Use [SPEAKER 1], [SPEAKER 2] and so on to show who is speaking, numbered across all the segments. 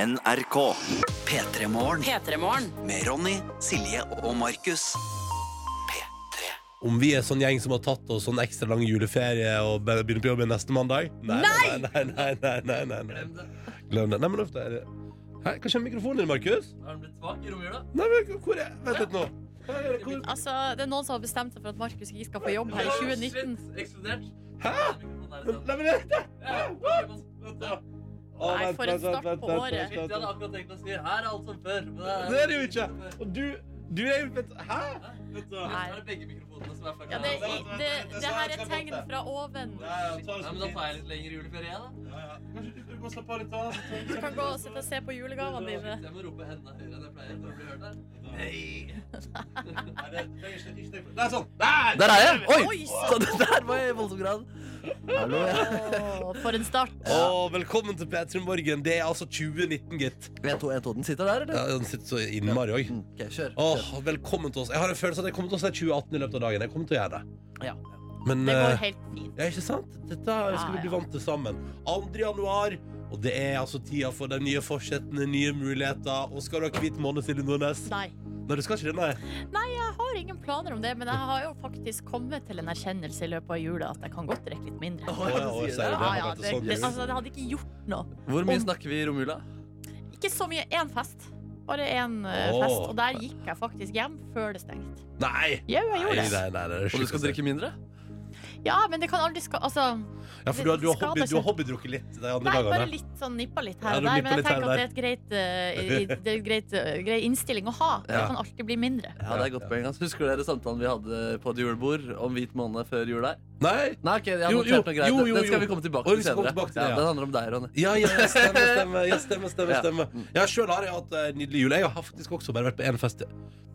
[SPEAKER 1] NRK. P3 Morgen
[SPEAKER 2] P3-morgen.
[SPEAKER 1] med Ronny, Silje og Markus. P3.
[SPEAKER 3] Om vi er sånn gjeng som har tatt oss sånn ekstra lang juleferie og be- begynner på jobb igjen neste mandag? Nei! Nei, nei, nei, nei, nei, nei, nei. Glem det. Nei, men ofte er det Hæ, Hva skjer med mikrofonen din, Markus?
[SPEAKER 4] Har den blitt svak i romjula?
[SPEAKER 3] Nei, men hvor er Vent litt nå. Hva er det- Hvor?
[SPEAKER 5] Altså, det er noen som har bestemt seg for at Markus ikke skal få jobb her i 2019.
[SPEAKER 4] Shit, eksplodert.
[SPEAKER 3] Hæ?
[SPEAKER 4] Mikrofonen er i stand.
[SPEAKER 3] Nei, men vent!
[SPEAKER 4] Ja, Vent da.
[SPEAKER 3] Å,
[SPEAKER 5] Nei,
[SPEAKER 3] vent,
[SPEAKER 5] for en
[SPEAKER 3] vent, vent,
[SPEAKER 5] start
[SPEAKER 3] vent,
[SPEAKER 5] på
[SPEAKER 3] vent,
[SPEAKER 5] året.
[SPEAKER 3] vent,
[SPEAKER 4] Shit, jeg
[SPEAKER 3] vent,
[SPEAKER 4] hadde
[SPEAKER 3] vent.
[SPEAKER 4] akkurat tenkt å si her er alt som før. Men
[SPEAKER 3] Det er det jo ikke. Og du, du er jo vent, Hæ?
[SPEAKER 4] Vent da.
[SPEAKER 5] Nei.
[SPEAKER 4] Her er begge mikrofonene som er fucka.
[SPEAKER 5] Ja, det, det, det her er tegn fra oven.
[SPEAKER 3] sånn
[SPEAKER 4] Nei, men da tar jeg litt lengre juleferie, jeg, da.
[SPEAKER 5] Du kan gå og sitte og se på julegavene dine.
[SPEAKER 4] Jeg må rope henda høyere enn jeg pleier for å bli hørt her.
[SPEAKER 3] Nei, sånn.
[SPEAKER 2] Der er jeg! Oi!
[SPEAKER 5] Oi,
[SPEAKER 2] Så det der var i voldsom grad. Hallo, ja.
[SPEAKER 5] Å, for en start.
[SPEAKER 3] Å, velkommen til P3 Morgen. Det er altså 2019, gitt.
[SPEAKER 2] Jeg tror, jeg tror den sitter der, eller?
[SPEAKER 3] Ja, den sitter så innmari òg.
[SPEAKER 2] Mm, Ok, kjør.
[SPEAKER 3] Åh, velkommen til oss. Jeg har en følelse av at jeg kommer til å se 2018 i løpet av dagen. Jeg kommer til å gjøre det.
[SPEAKER 2] Ja.
[SPEAKER 3] Men
[SPEAKER 5] Det går
[SPEAKER 3] eh,
[SPEAKER 5] helt fint.
[SPEAKER 3] ja, ikke sant? Dette skal vi bli vant til sammen. 2. januar, og det er altså tida for de nye forsettene, nye muligheter. Og skal du ha hvit måned, Silje Nordnes?
[SPEAKER 5] Nei.
[SPEAKER 3] Nei, du skal ikke det, nei.
[SPEAKER 5] Nei, jeg har ingen planer om det, men jeg har jo faktisk kommet til en erkjennelse i løpet av jula at jeg kan godt drikke litt mindre.
[SPEAKER 2] Åh, ja, du
[SPEAKER 3] Åh,
[SPEAKER 2] sier
[SPEAKER 3] ser
[SPEAKER 2] det.
[SPEAKER 3] du
[SPEAKER 5] Ja,
[SPEAKER 3] har
[SPEAKER 5] ja,
[SPEAKER 3] vært
[SPEAKER 5] det,
[SPEAKER 3] sånn
[SPEAKER 5] det,
[SPEAKER 3] jul.
[SPEAKER 5] altså, det hadde ikke gjort noe.
[SPEAKER 2] Hvor mye snakker vi i romjula?
[SPEAKER 5] Ikke så mye. Én fest. Bare én eh,
[SPEAKER 3] Åh.
[SPEAKER 5] fest. Og der gikk jeg faktisk hjem før det stengte.
[SPEAKER 3] Nei!
[SPEAKER 5] Jau, jeg
[SPEAKER 3] Nei,
[SPEAKER 5] gjorde det.
[SPEAKER 3] nei, nei, det er
[SPEAKER 2] Og du
[SPEAKER 3] sjukt å
[SPEAKER 2] skal
[SPEAKER 3] se.
[SPEAKER 2] drikke mindre?
[SPEAKER 5] Ja, men det kan aldri skal... Altså,
[SPEAKER 3] Ja, for du har, du har, hobby, du
[SPEAKER 5] Skader
[SPEAKER 3] har
[SPEAKER 5] seg.
[SPEAKER 3] hobbydrukket litt de andre
[SPEAKER 5] Nei, bare
[SPEAKER 3] dagene.
[SPEAKER 5] litt sånn nippa litt
[SPEAKER 3] Ja,
[SPEAKER 5] her og
[SPEAKER 3] du
[SPEAKER 5] der.
[SPEAKER 3] nipper
[SPEAKER 5] Men jeg
[SPEAKER 3] litt her
[SPEAKER 5] tenker
[SPEAKER 3] og
[SPEAKER 5] at det er et greit, eh, i- det er et greit, eh, grei innstilling å ha. Det
[SPEAKER 2] Ja.
[SPEAKER 5] kan alltid bli mindre.
[SPEAKER 2] Ja, det er et godt poeng. ass. Husker dere samtalen vi hadde på et julebord om hvit måned før jul her?
[SPEAKER 3] Nei!
[SPEAKER 2] Nei, ok, jeg har
[SPEAKER 3] Jo,
[SPEAKER 2] notert noe
[SPEAKER 3] jo,
[SPEAKER 2] greit.
[SPEAKER 3] jo, jo,
[SPEAKER 2] Den skal
[SPEAKER 3] jo.
[SPEAKER 2] vi komme tilbake
[SPEAKER 3] Oi, vi
[SPEAKER 2] til
[SPEAKER 3] skal komme
[SPEAKER 2] senere.
[SPEAKER 3] tilbake til det,
[SPEAKER 2] ja.
[SPEAKER 3] ja.
[SPEAKER 2] Den handler om deg, Ronny.
[SPEAKER 3] Ja, ja, stemmer, stemmer. Ja, stemmer, stemmer,
[SPEAKER 2] Ja.
[SPEAKER 3] stemmer. ja Sjøl har jeg hatt eh, nydelig jul. Jeg har faktisk også bare vært på én fest.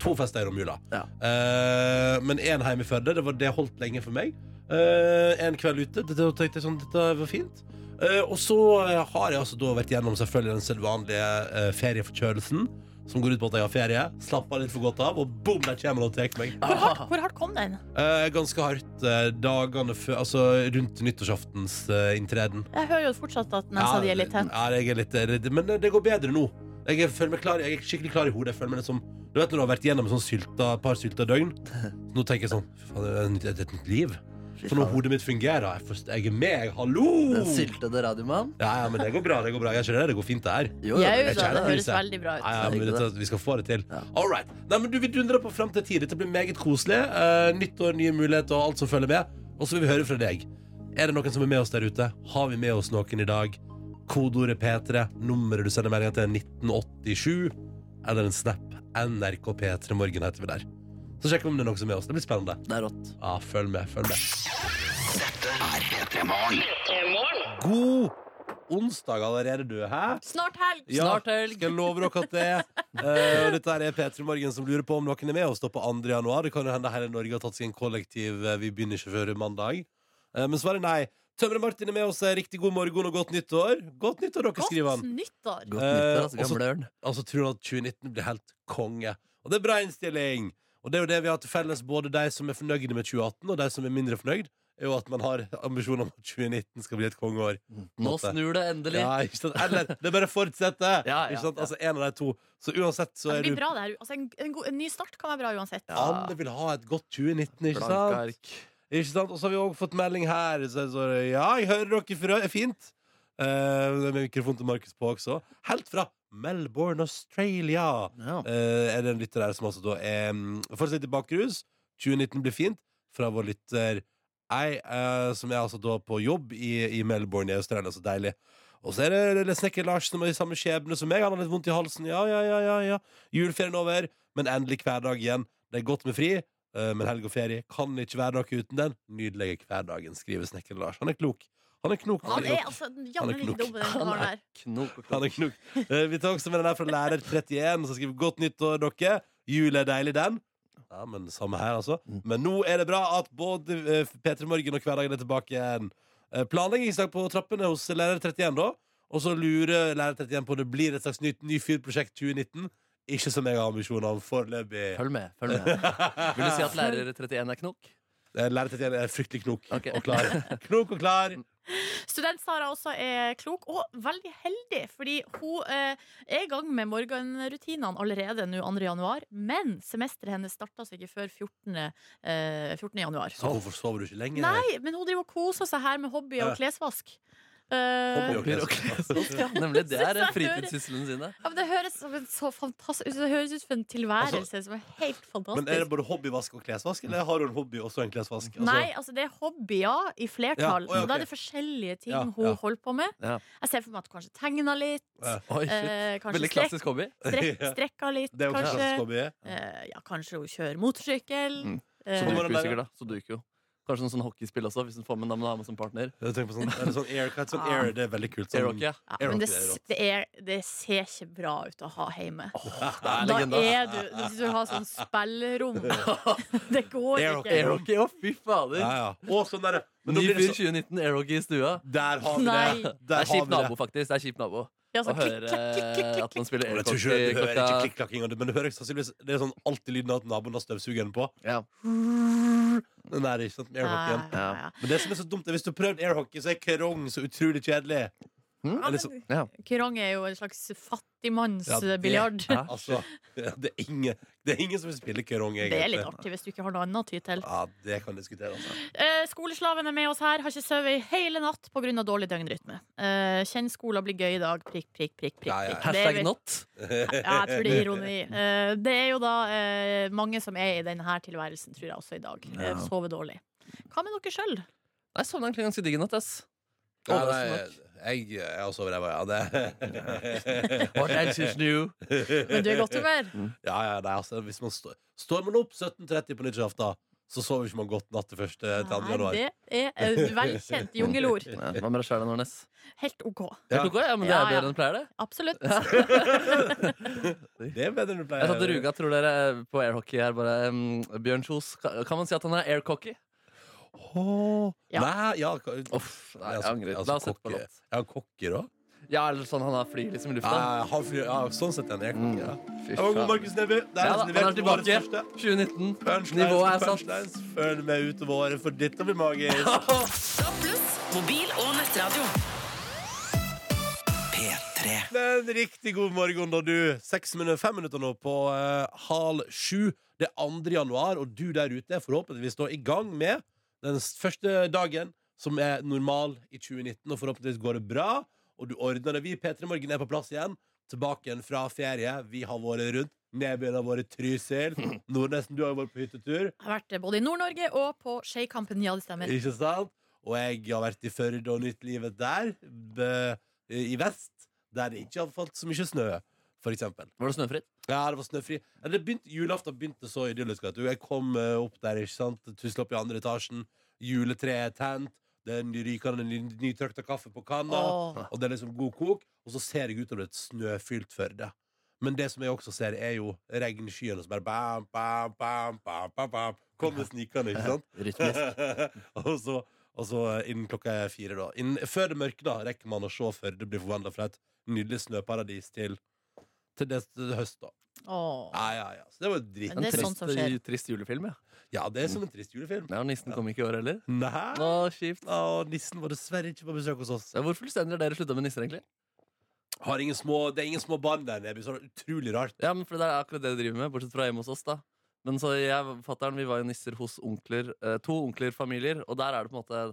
[SPEAKER 3] To fester i romjula.
[SPEAKER 2] Ja.
[SPEAKER 3] Eh, men én hjemme i Førde. Det, var, det holdt lenge for meg. Eh, en kveld ute. Dette, da tenkte jeg sånn, dette var fint. Eh, og så eh, har jeg altså da vært gjennom selvfølgelig den sedvanlige eh, ferieforkjølelsen. Som går ut på at jeg har ferie. Slapper litt for godt av, og boom, der kommer han og tar meg.
[SPEAKER 5] Hvor hardt, hvor hardt kom den?
[SPEAKER 3] Eh, ganske hardt eh, dagene før Altså rundt nyttårsaftens eh, inntreden.
[SPEAKER 5] Jeg hører jo fortsatt at nesa di er litt tent.
[SPEAKER 3] Ja, jeg er litt eh, redd, men det- det går bedre nå. Jeg er, føler meg klar, jeg er skikkelig klar i hodet. Jeg føler meg litt som, du vet når du har vært gjennom sånn sylta, par sylta døgn. Så nå tenker jeg sånn Fy faen, det er et, et nytt liv. For nå hodet mitt fungerer. Jeg, forst- jeg er med, jeg,
[SPEAKER 2] Den
[SPEAKER 3] hallo!
[SPEAKER 2] syltede radiomannen.
[SPEAKER 3] Ja, ja, men det går bra. Det går bra. Jeg skjønner det. Det går fint, det her.
[SPEAKER 2] Jo,
[SPEAKER 5] Jau,
[SPEAKER 2] jo,
[SPEAKER 3] jeg
[SPEAKER 5] da. Det
[SPEAKER 3] kjenner
[SPEAKER 5] høres
[SPEAKER 3] lyset.
[SPEAKER 5] veldig bra
[SPEAKER 3] Ja,
[SPEAKER 5] ut.
[SPEAKER 3] ja, men dette, vi skal få det til.
[SPEAKER 2] Ja.
[SPEAKER 3] All right. Nei, men du, vi dundrer på fram til tidlig. Dette blir meget koselig. Eh, nytt år, nye muligheter og alt som følger med. Og så vil vi høre fra deg. Er det noen som er med oss der ute? Har vi med oss noen i dag? Kodeordet P3, nummeret du sender meldinga til er 1987, eller en snap NRK P3 Morgen heter vi der. Så sjekk om det er noen som er med oss. Det blir spennende.
[SPEAKER 2] Det er rått.
[SPEAKER 3] Ja, følg med, følg med. God onsdag allerede, du. Hæ?
[SPEAKER 5] Snart helg!
[SPEAKER 3] Ja,
[SPEAKER 2] Snart helg.
[SPEAKER 3] Skal jeg love dere at det er. Eh, og dette her er P3 Morgen som lurer på om noen er med oss da på 2. januar. Det kan jo hende hele Norge har tatt seg en kollektiv eh, vi begynner ikke før mandag. Eh, men svaret er nei. Tømre-Martin er med oss. eh, Riktig god morgen og godt nyttår. Godt nyttår, dere, skriver
[SPEAKER 5] Godt
[SPEAKER 3] han.
[SPEAKER 5] nyttår!
[SPEAKER 2] Godt
[SPEAKER 3] Eh,
[SPEAKER 2] nyttår,
[SPEAKER 3] og
[SPEAKER 2] altså,
[SPEAKER 3] så-
[SPEAKER 2] gamle ørn.
[SPEAKER 3] Altså, tror han at 2019 blir helt konge. Og det er bra innstilling. Og det er jo det vi har til felles, både de som er fornøyde med 2018, og de som er mindre fornøyd, er jo at man har ambisjoner om at 2019 skal bli et kongeår.
[SPEAKER 2] Nå
[SPEAKER 3] måte.
[SPEAKER 2] snur det endelig.
[SPEAKER 3] Ja, ikke sant? Eller det bare fortsetter!
[SPEAKER 2] Ja, ja,
[SPEAKER 3] ikke sant?
[SPEAKER 2] ja.
[SPEAKER 3] Altså, en av de to. Så uansett så
[SPEAKER 5] Det
[SPEAKER 3] er du
[SPEAKER 5] blir bra, det her. Altså, en, en, god, en ny start kan være bra uansett.
[SPEAKER 3] Alle vil ha et godt 2019, ikke
[SPEAKER 2] Blanke
[SPEAKER 3] sant?
[SPEAKER 2] ark.
[SPEAKER 3] Ikke sant? Og så har vi også fått melding her. Så så, ja, jeg hører dere fra er Fint. Eh, det er mikrofon til Markus på også. Helt fra Melbourne, Australia.
[SPEAKER 2] Ja.
[SPEAKER 3] Eh, er det en lytter her som altså da er mm, Fortsett i bakrus. 2019 blir fint. Fra vår lytter ei, eh, som er altså da på jobb i, i Melbourne i Australia. Så deilig. Og så er det lille snekker Lars som har samme skjebne som meg. Han har litt vondt i halsen. Ja, ja, ja, ja, ja. Juleferien over, men endelig hverdag igjen. Det er godt med fri, eh, men helg og ferie kan ikke hverdag uten den. Nydelige hverdagen, skriver snekker Lars. Han er klok. Han er klok.
[SPEAKER 5] Han er altså jammen
[SPEAKER 3] klok.
[SPEAKER 5] ikke dum, den karen der.
[SPEAKER 2] Knok og
[SPEAKER 3] Han
[SPEAKER 2] knok.
[SPEAKER 3] er klok. Eh, Vi tar også med den her fra Lærer31, som skriver 'Godt nyttår, dere'. Jul er deilig, den. Ja, men Samme her, altså.
[SPEAKER 2] Mm.
[SPEAKER 3] Men nå er det bra at både eh, P3 Morgen og Hverdagen er tilbake igjen. Eh, Planleggingsdag på trappene hos Lærer31, da. Og så lurer Lærer31 på om det blir et slags nytt Nyfyr-prosjekt 2019. Ikke som jeg har ambisjoner om foreløpig.
[SPEAKER 2] Følg med. følg med Vil du si at lærer 31 er knok?
[SPEAKER 3] Eh, Lærer31 er fryktelig knok
[SPEAKER 2] Ok.
[SPEAKER 3] og klar. Knok og klar
[SPEAKER 5] Student Sara også er klok, og veldig heldig, fordi hun eh, er i gang med morgenrutinene allerede nå 2. januar, men semesteret hennes starta seg ikke før 14. Eh, 14. januar.
[SPEAKER 3] Så hvorfor sover du ikke lenger?
[SPEAKER 5] Nei, men hun driver og koser seg her med hobby og
[SPEAKER 3] Ja.
[SPEAKER 5] klesvask. Eh,
[SPEAKER 3] Hobby og klesvask.
[SPEAKER 2] Ja, nemlig. Det er
[SPEAKER 5] Synes jeg
[SPEAKER 2] fritidssyslene sine.
[SPEAKER 5] ja, men det høres som en så fantastisk Det høres ut som en tilværelse som er helt fantastisk.
[SPEAKER 3] Altså, Men er det både hobbyvask og klesvask, eller har du en hobby og så en klesvask? Altså,
[SPEAKER 5] Nei, altså det er hobbyer i flertall.
[SPEAKER 3] Ja, å ja,
[SPEAKER 5] Og da
[SPEAKER 3] ok.
[SPEAKER 5] er det forskjellige ting
[SPEAKER 3] Ja,
[SPEAKER 5] hun
[SPEAKER 3] ja.
[SPEAKER 5] holder på med.
[SPEAKER 2] Ja.
[SPEAKER 5] Jeg ser for meg at hun kanskje tegner litt.
[SPEAKER 3] Ja.
[SPEAKER 2] Oi, shit.
[SPEAKER 5] Eh, kanskje
[SPEAKER 2] Veldig
[SPEAKER 5] strek,
[SPEAKER 2] klassisk hobby.
[SPEAKER 5] strek,
[SPEAKER 3] Ja.
[SPEAKER 5] strekker litt.
[SPEAKER 3] Det er jo en
[SPEAKER 5] kanskje,
[SPEAKER 3] klassisk hobby.
[SPEAKER 5] eh, ja, kanskje hun kjører motorsykkel.
[SPEAKER 2] Mm. Så
[SPEAKER 5] Eh,
[SPEAKER 3] må
[SPEAKER 2] duker
[SPEAKER 3] den
[SPEAKER 2] jo
[SPEAKER 3] der,
[SPEAKER 2] sikkert, da. Så duker jo. Kanskje noen sånn hockeyspill også, hvis hun får med en dame å ha med som partner.
[SPEAKER 3] Jeg tenker på sånn, er det sånn air, hva er det sånn
[SPEAKER 5] Ah.
[SPEAKER 3] air, det er veldig kult.
[SPEAKER 2] Air
[SPEAKER 3] Sånn,
[SPEAKER 2] hockey, ja.
[SPEAKER 5] ja,
[SPEAKER 3] er
[SPEAKER 5] men
[SPEAKER 3] jo
[SPEAKER 5] det,
[SPEAKER 3] ikke det rått.
[SPEAKER 5] det, er, det ser ikke bra ut å ha hjemme.
[SPEAKER 2] Det er
[SPEAKER 5] da
[SPEAKER 2] legenda.
[SPEAKER 5] er du Hvis du har sånn spillerom Det går
[SPEAKER 3] Air
[SPEAKER 5] ikke.
[SPEAKER 2] Air hockey, å fy fader!
[SPEAKER 3] Ja, ja. Og sånn der, men da
[SPEAKER 2] Ny
[SPEAKER 3] blir
[SPEAKER 2] fyr
[SPEAKER 3] det så,
[SPEAKER 2] 2019, air hockey i stua.
[SPEAKER 3] der har vi
[SPEAKER 5] Nei.
[SPEAKER 3] det.
[SPEAKER 2] Det
[SPEAKER 3] Der
[SPEAKER 2] er kjip
[SPEAKER 3] har vi
[SPEAKER 2] nabo, faktisk. Det er kjip nabo
[SPEAKER 5] Ja,
[SPEAKER 2] Å
[SPEAKER 5] sånn klikk,
[SPEAKER 2] høre
[SPEAKER 5] klakk, klikk, klikk,
[SPEAKER 3] eh,
[SPEAKER 2] at man spiller
[SPEAKER 3] Men
[SPEAKER 2] air
[SPEAKER 3] jeg tror ikke,
[SPEAKER 2] hockey
[SPEAKER 3] du hører ikke
[SPEAKER 2] klokka
[SPEAKER 3] klikk-klakkinga, men du hører sannsynligvis Det er sånn alltid lyden av at naboen har støvsugeren på.
[SPEAKER 2] ja.
[SPEAKER 3] Den der, ikke sant, med air hockeyen.
[SPEAKER 5] Ja, ja, ja.
[SPEAKER 3] Men det som er så dumt, er hvis du har prøvd air hockey, så er krong så utrolig kjedelig.
[SPEAKER 2] Hmm?
[SPEAKER 3] Eller så,
[SPEAKER 2] Ja.
[SPEAKER 5] Krong er jo en slags
[SPEAKER 3] Ja, det-
[SPEAKER 5] fattigmannsbiljard.
[SPEAKER 2] Ja.
[SPEAKER 3] altså, det, er ingen, det er ingen som vil spille krong, egentlig.
[SPEAKER 5] Det er litt artig hvis du ikke har noe annet å ty til.
[SPEAKER 3] Ja, det kan diskuteres.
[SPEAKER 5] Eh, skoleslaven er med oss her. Har ikke sovet i hele natt pga. dårlig døgnrytme. Eh, kjenn skolen blir gøy i dag. Prikk, prikk, prikk. prikk,
[SPEAKER 3] Ja, ja.
[SPEAKER 5] prikk. Det
[SPEAKER 2] Hashtag
[SPEAKER 5] vet-
[SPEAKER 2] not.
[SPEAKER 5] Ja, jeg tror det er ironi. Eh, det er jo da eh, mange som er i denne tilværelsen, tror jeg, også i dag. Eh, sover dårlig. Hva med dere sjøl?
[SPEAKER 2] Nei, sovna egentlig ganske digg i natt, ass.
[SPEAKER 3] Ja,
[SPEAKER 2] Overraskende
[SPEAKER 3] nei,
[SPEAKER 2] nok.
[SPEAKER 3] jeg, jeg også over ræva, ja. Det.
[SPEAKER 2] What else is new?
[SPEAKER 5] Men du er i godt humør?
[SPEAKER 3] ja, ja, nei, altså, hvis man står, står man opp 17.30 på nyttårsaften, så sover ikke man godt natt til første til andre
[SPEAKER 5] Nei,
[SPEAKER 3] januar.
[SPEAKER 5] det er et velkjent jungelord.
[SPEAKER 2] Ja, Hva med deg sjæl, Nornes?
[SPEAKER 5] Helt OK.
[SPEAKER 3] Ja.
[SPEAKER 2] Helt ok? Ja, men det
[SPEAKER 5] Ja,
[SPEAKER 2] er
[SPEAKER 5] ja.
[SPEAKER 2] bedre enn det pleier, det.
[SPEAKER 5] Absolutt.
[SPEAKER 3] Det er bedre enn du pleier.
[SPEAKER 2] Jeg satt og ruga, tror dere, eh, på air hockey her, bare mm, Bjørn Kjos, ka- kan man si at han er air cocky?
[SPEAKER 3] Åh,
[SPEAKER 5] Ja.
[SPEAKER 3] Nei, ja ka-
[SPEAKER 2] Uff, nei, jeg
[SPEAKER 3] altså,
[SPEAKER 2] angrer.
[SPEAKER 3] altså,
[SPEAKER 2] La oss sette på
[SPEAKER 3] kokke-
[SPEAKER 2] låt.
[SPEAKER 3] Er han kokker òg?
[SPEAKER 2] Ja, eller sånn han har fly liksom
[SPEAKER 3] Ja,
[SPEAKER 2] i lufta.
[SPEAKER 3] han flyr- ja, sånn sett er han
[SPEAKER 2] Mm.
[SPEAKER 3] kokker. Ja.
[SPEAKER 2] Fy
[SPEAKER 3] Det var god
[SPEAKER 2] faen.
[SPEAKER 3] Markus Neby. Det er
[SPEAKER 2] Ja da,
[SPEAKER 3] nesten
[SPEAKER 2] han
[SPEAKER 3] levert
[SPEAKER 2] er
[SPEAKER 3] på årets
[SPEAKER 2] tilbake.
[SPEAKER 3] første.
[SPEAKER 2] 2019.
[SPEAKER 3] Punchlines,
[SPEAKER 2] Nivået er satt.
[SPEAKER 3] punchlines. Følg med utover året, for dette blir magisk.
[SPEAKER 6] Mobil og nettradio.
[SPEAKER 1] P3.
[SPEAKER 3] Men riktig god morgen da du Seks minutter, fem minutter nå på eh, halv sju Det er 2. januar Og du der ute er forhåpentligvis da i gang med Den s- første dagen Som er normal i 2019 Og forhåpentligvis går det bra Og du ordner det Vi P3 Morgen er på plass igjen Tilbake igjen fra ferie Vi har vært rundt Nedbyen har vært i Trysil Nordnesten, du har jo vært på hyttetur
[SPEAKER 5] Jeg har vært både i Nord-Norge og på Skeikampen. Ja, det stemmer.
[SPEAKER 3] Ikke sant? Og jeg har vært i Førde og nytt livet der be- I vest Der det ikke har falt så mye snø For eksempel
[SPEAKER 2] Var det snøfritt?
[SPEAKER 3] Ja, det var snøfri. Eller, Det begynte, julaften begynte så idyllisk. vet du. Jeg kom eh, opp der, ikke sant? tusla opp i andre etasjen. Juletreet er tent. Det er en rykende ny- nytørkta kaffe på kanna.
[SPEAKER 5] Åh.
[SPEAKER 3] Og det er liksom god kok. Og så ser jeg utover et snøfylt Førde. Men det som jeg også ser, er jo regnskyene som bare bam, bam, bam, bam, bam, bam. Kommer snikende, ikke
[SPEAKER 2] Sånn.
[SPEAKER 3] sant?
[SPEAKER 2] Rytmisk.
[SPEAKER 3] og, så, og så eh, innen klokka er fire, da. Innen, før det mørkner, rekker man å se før det blir forvandla fra et nydelig snøparadis til, til det til høst, da.
[SPEAKER 5] Åh.
[SPEAKER 3] Ja, ja, ja. Så det var dritt.
[SPEAKER 5] Men det er sånt
[SPEAKER 2] Trist, eh,
[SPEAKER 5] som skjer.
[SPEAKER 2] trist julefilm, ja.
[SPEAKER 3] Ja, det er som en trist julefilm.
[SPEAKER 2] ja. og Nissen kom ikke i år heller. Å,
[SPEAKER 3] Nei.
[SPEAKER 2] kjipt.
[SPEAKER 3] Å, nissen var dessverre ikke på besøk hos oss.
[SPEAKER 2] Ja, Hvor fullstendig har dere slutta med nisser, egentlig?
[SPEAKER 3] Har ingen små, det er ingen små barn der nede. Så det er utrolig rart.
[SPEAKER 2] Ja, men for Det er akkurat det de driver med, bortsett fra hjemme hos oss. da Men så jeg fatteren, Vi var jo nisser hos onkler eh, to onklerfamilier, og der er det på en måte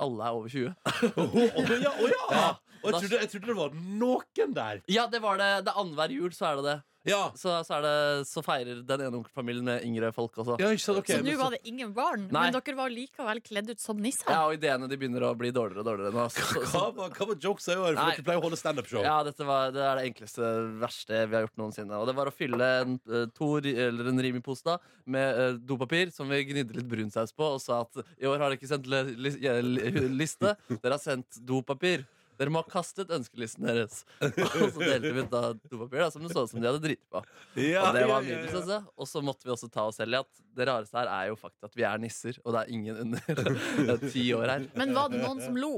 [SPEAKER 2] alle er over 20.
[SPEAKER 3] Å ja, å ja!
[SPEAKER 2] Ja.
[SPEAKER 3] Og jeg trodde, jeg trodde det var noen der.
[SPEAKER 2] Ja, det var det! Det er Annenhver jul så er det det.
[SPEAKER 3] Ja,
[SPEAKER 2] Så, så, er det, så feirer den ene onkelfamilien med yngre folk også.
[SPEAKER 3] ja ikke sant, ok.
[SPEAKER 5] Så nå
[SPEAKER 3] men
[SPEAKER 5] var det ingen barn,
[SPEAKER 2] Nei.
[SPEAKER 5] men dere var likevel kledd ut som nisser.
[SPEAKER 2] Ja, og ideene de begynner å bli dårligere og dårligere nå. Så, så,
[SPEAKER 3] Hva var, hva var jokesa i år? For
[SPEAKER 2] Nei.
[SPEAKER 3] dere pleier å holde standup-show.
[SPEAKER 2] Ja, dette var, det er det enkleste, verste vi har gjort noensinne. Og det var å fylle en, eh, to, ri- eller en Rimi-pose da, med eh, dopapir som vi gnidde litt brunsaus på, og sa at i år har dere ikke sendt le- lis- ja, li- liste, dere har sendt dopapir. Dere må ha kastet ønskelisten deres. Og så delte vi ut da dopapir da, som det så ut som de hadde driti på.
[SPEAKER 3] Ja,
[SPEAKER 2] Og det
[SPEAKER 3] ja, ja,
[SPEAKER 2] var
[SPEAKER 3] ja.
[SPEAKER 2] nydelig, synes jeg. Og så måtte vi også ta oss selv i at det rareste her er jo faktisk at vi er nisser, og det er ingen under ti år her.
[SPEAKER 5] Men var det noen som lo?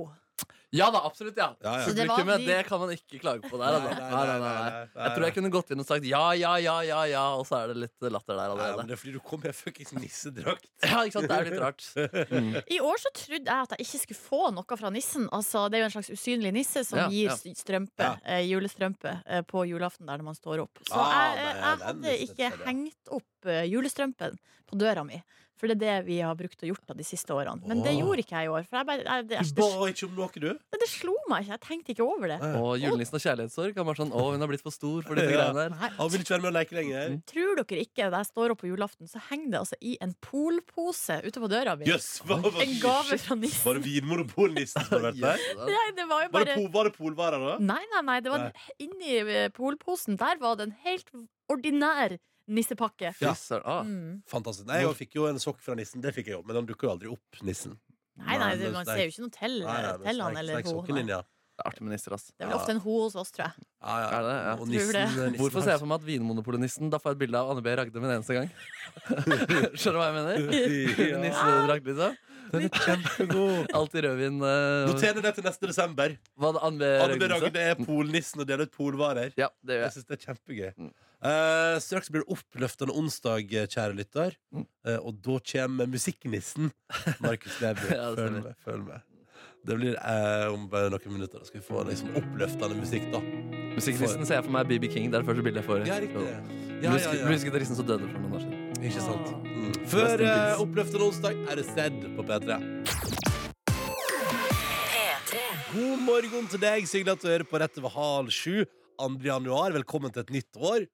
[SPEAKER 2] Ja da, absolutt, ja.
[SPEAKER 3] Ja, ja.
[SPEAKER 5] Så det var
[SPEAKER 2] Publikummet,
[SPEAKER 5] de-
[SPEAKER 2] det kan man ikke klage på der. Altså. Nei, nei, nei,
[SPEAKER 3] nei, nei, nei.
[SPEAKER 2] Jeg Jeg tror jeg kunne gått inn og sagt ja, ja, ja, ja, ja, og så er det litt latter der
[SPEAKER 3] Nei, men
[SPEAKER 2] allerede.
[SPEAKER 3] det er fordi du kom med fuckings nissedrakt.
[SPEAKER 2] Ja, ikke sant? Det er litt rart. Mm.
[SPEAKER 5] I år så trodde jeg at jeg ikke skulle få noe fra nissen. Altså, det er jo en slags usynlig nisse som
[SPEAKER 2] Ja,
[SPEAKER 5] gir
[SPEAKER 2] ja.
[SPEAKER 5] s- strømpe,
[SPEAKER 3] Ja.
[SPEAKER 5] eh, julestrømpe eh, på julaften der når man står opp. Så
[SPEAKER 3] Ah,
[SPEAKER 5] jeg,
[SPEAKER 3] nei,
[SPEAKER 5] eh, jeg
[SPEAKER 3] den
[SPEAKER 5] hadde
[SPEAKER 3] nissen,
[SPEAKER 5] ikke
[SPEAKER 3] ser jeg.
[SPEAKER 5] hengt opp eh, julestrømpen på døra mi. For det er det vi har brukt og gjort da de siste årene. Men det
[SPEAKER 3] Åh.
[SPEAKER 5] gjorde ikke jeg i år. For jeg bare, jeg, det,
[SPEAKER 3] Du
[SPEAKER 5] det,
[SPEAKER 3] ba ikke om noe, du.
[SPEAKER 5] det, slo meg ikke. Jeg tenkte ikke over det.
[SPEAKER 2] Og julenissen og kjærlighetssorg. Han var sånn Å, hun har blitt for stor for disse
[SPEAKER 3] Ja.
[SPEAKER 2] greiene der.
[SPEAKER 5] Nei.
[SPEAKER 3] Han vil ikke være med og leke lenger.
[SPEAKER 5] Tror dere ikke, da jeg står opp på julaften, så henger det altså i en polpose ute på døra mi.
[SPEAKER 3] Jøss, hva var
[SPEAKER 5] En gave fra nissen.
[SPEAKER 3] Var det Vinmonopol-nissen som hadde vært der?
[SPEAKER 2] Yes.
[SPEAKER 5] Nei, det var jo
[SPEAKER 3] Var det,
[SPEAKER 5] bare Mm.
[SPEAKER 3] pol, var det polvarer, da?
[SPEAKER 5] Nei, nei, nei, det var
[SPEAKER 3] Nei.
[SPEAKER 5] inni eh, polposen. Der var det en helt ordinær nissepakke.
[SPEAKER 3] Ja.
[SPEAKER 2] Fy søren. Ah.
[SPEAKER 5] Mm.
[SPEAKER 3] Fantastisk. Nei, jeg fikk jo en sokk fra nissen, det fikk jeg jo, men han dukker jo aldri opp, nissen.
[SPEAKER 5] Nei, nei, det, man
[SPEAKER 3] Nei,
[SPEAKER 5] ser jo ikke noe til,
[SPEAKER 3] Nei, nei, men
[SPEAKER 5] til han
[SPEAKER 3] snek-
[SPEAKER 5] eller
[SPEAKER 3] snek sokken
[SPEAKER 5] hun.
[SPEAKER 3] inn,
[SPEAKER 5] nei.
[SPEAKER 3] ja.
[SPEAKER 2] Det er artig med nisser, ass.
[SPEAKER 5] Det er vel ofte en ho hos oss, tror jeg.
[SPEAKER 3] Ja, ja.
[SPEAKER 2] Er det? Ja.
[SPEAKER 3] Og
[SPEAKER 5] Tror det.
[SPEAKER 3] nissen,
[SPEAKER 2] Hvorfor ser jeg for meg at Vinmonopolenissen Da får jeg et bilde av Anne B. Ragde med en eneste gang. Skjønner du hva jeg mener?
[SPEAKER 3] Ja.
[SPEAKER 2] Nissedrakt, liksom.
[SPEAKER 3] Den er kjempegod.
[SPEAKER 2] Alltid rødvin. Uh,
[SPEAKER 3] Noter det til neste desember.
[SPEAKER 2] hva det Anne B.
[SPEAKER 3] Anne B.
[SPEAKER 2] Ragde sa?
[SPEAKER 3] Ragde er polnissen og deler ut polvarer.
[SPEAKER 2] Ja, det gjør
[SPEAKER 3] Jeg
[SPEAKER 2] jeg.
[SPEAKER 3] synes det er kjempegøy.
[SPEAKER 2] Mm.
[SPEAKER 3] Eh, straks blir det oppløftende onsdag, eh, kjære lytter.
[SPEAKER 2] Mm.
[SPEAKER 3] Eh, og da kommer musikknissen. Markus Neby,
[SPEAKER 2] Ja, det
[SPEAKER 3] følg
[SPEAKER 2] stemmer.
[SPEAKER 3] med. Følg med. Det blir eh, om bare noen minutter. Da skal vi få liksom, oppløftende musikk, da.
[SPEAKER 2] Musikknissen ser jeg for meg BB King. Det er det første bildet jeg får.
[SPEAKER 3] Ja, riktig. Ja, ja, ja.
[SPEAKER 2] Bluesgitaristen som døde for noen år siden.
[SPEAKER 3] Ikke sant?
[SPEAKER 5] Åh.
[SPEAKER 3] Mm.
[SPEAKER 2] Ah. Rest
[SPEAKER 3] Før
[SPEAKER 2] in
[SPEAKER 3] eh,
[SPEAKER 2] peace.
[SPEAKER 3] oppløftende onsdag er det Zed på P3. God morgen til deg, så hyggelig at du hører på rett over halv sju. 2. januar, velkommen til et nytt år.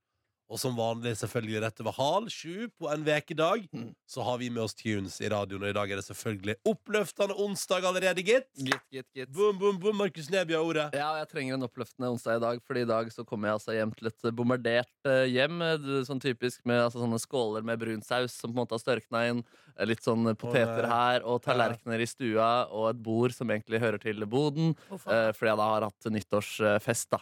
[SPEAKER 3] Og som vanlig selvfølgelig rett over halv sju på en vekedag,
[SPEAKER 2] Mm.
[SPEAKER 3] så har vi med oss tunes i radioen, og i dag er det selvfølgelig oppløftende onsdag allerede, gitt.
[SPEAKER 2] Gitt, gitt, gitt.
[SPEAKER 3] Boom, boom, boom, Markus Neby har ordet.
[SPEAKER 2] Ja, og jeg trenger en oppløftende onsdag i dag, Fordi i dag så kommer jeg altså hjem til et bombardert eh, hjem. eh, d- Sånn typisk med altså, sånne skåler med brun saus som på en måte har størkna inn. eh, Litt sånn poteter
[SPEAKER 3] nei.
[SPEAKER 2] her, og tallerkener i stua, og et bord som egentlig hører til boden. eh, Fordi jeg da har hatt nyttårsfest, da.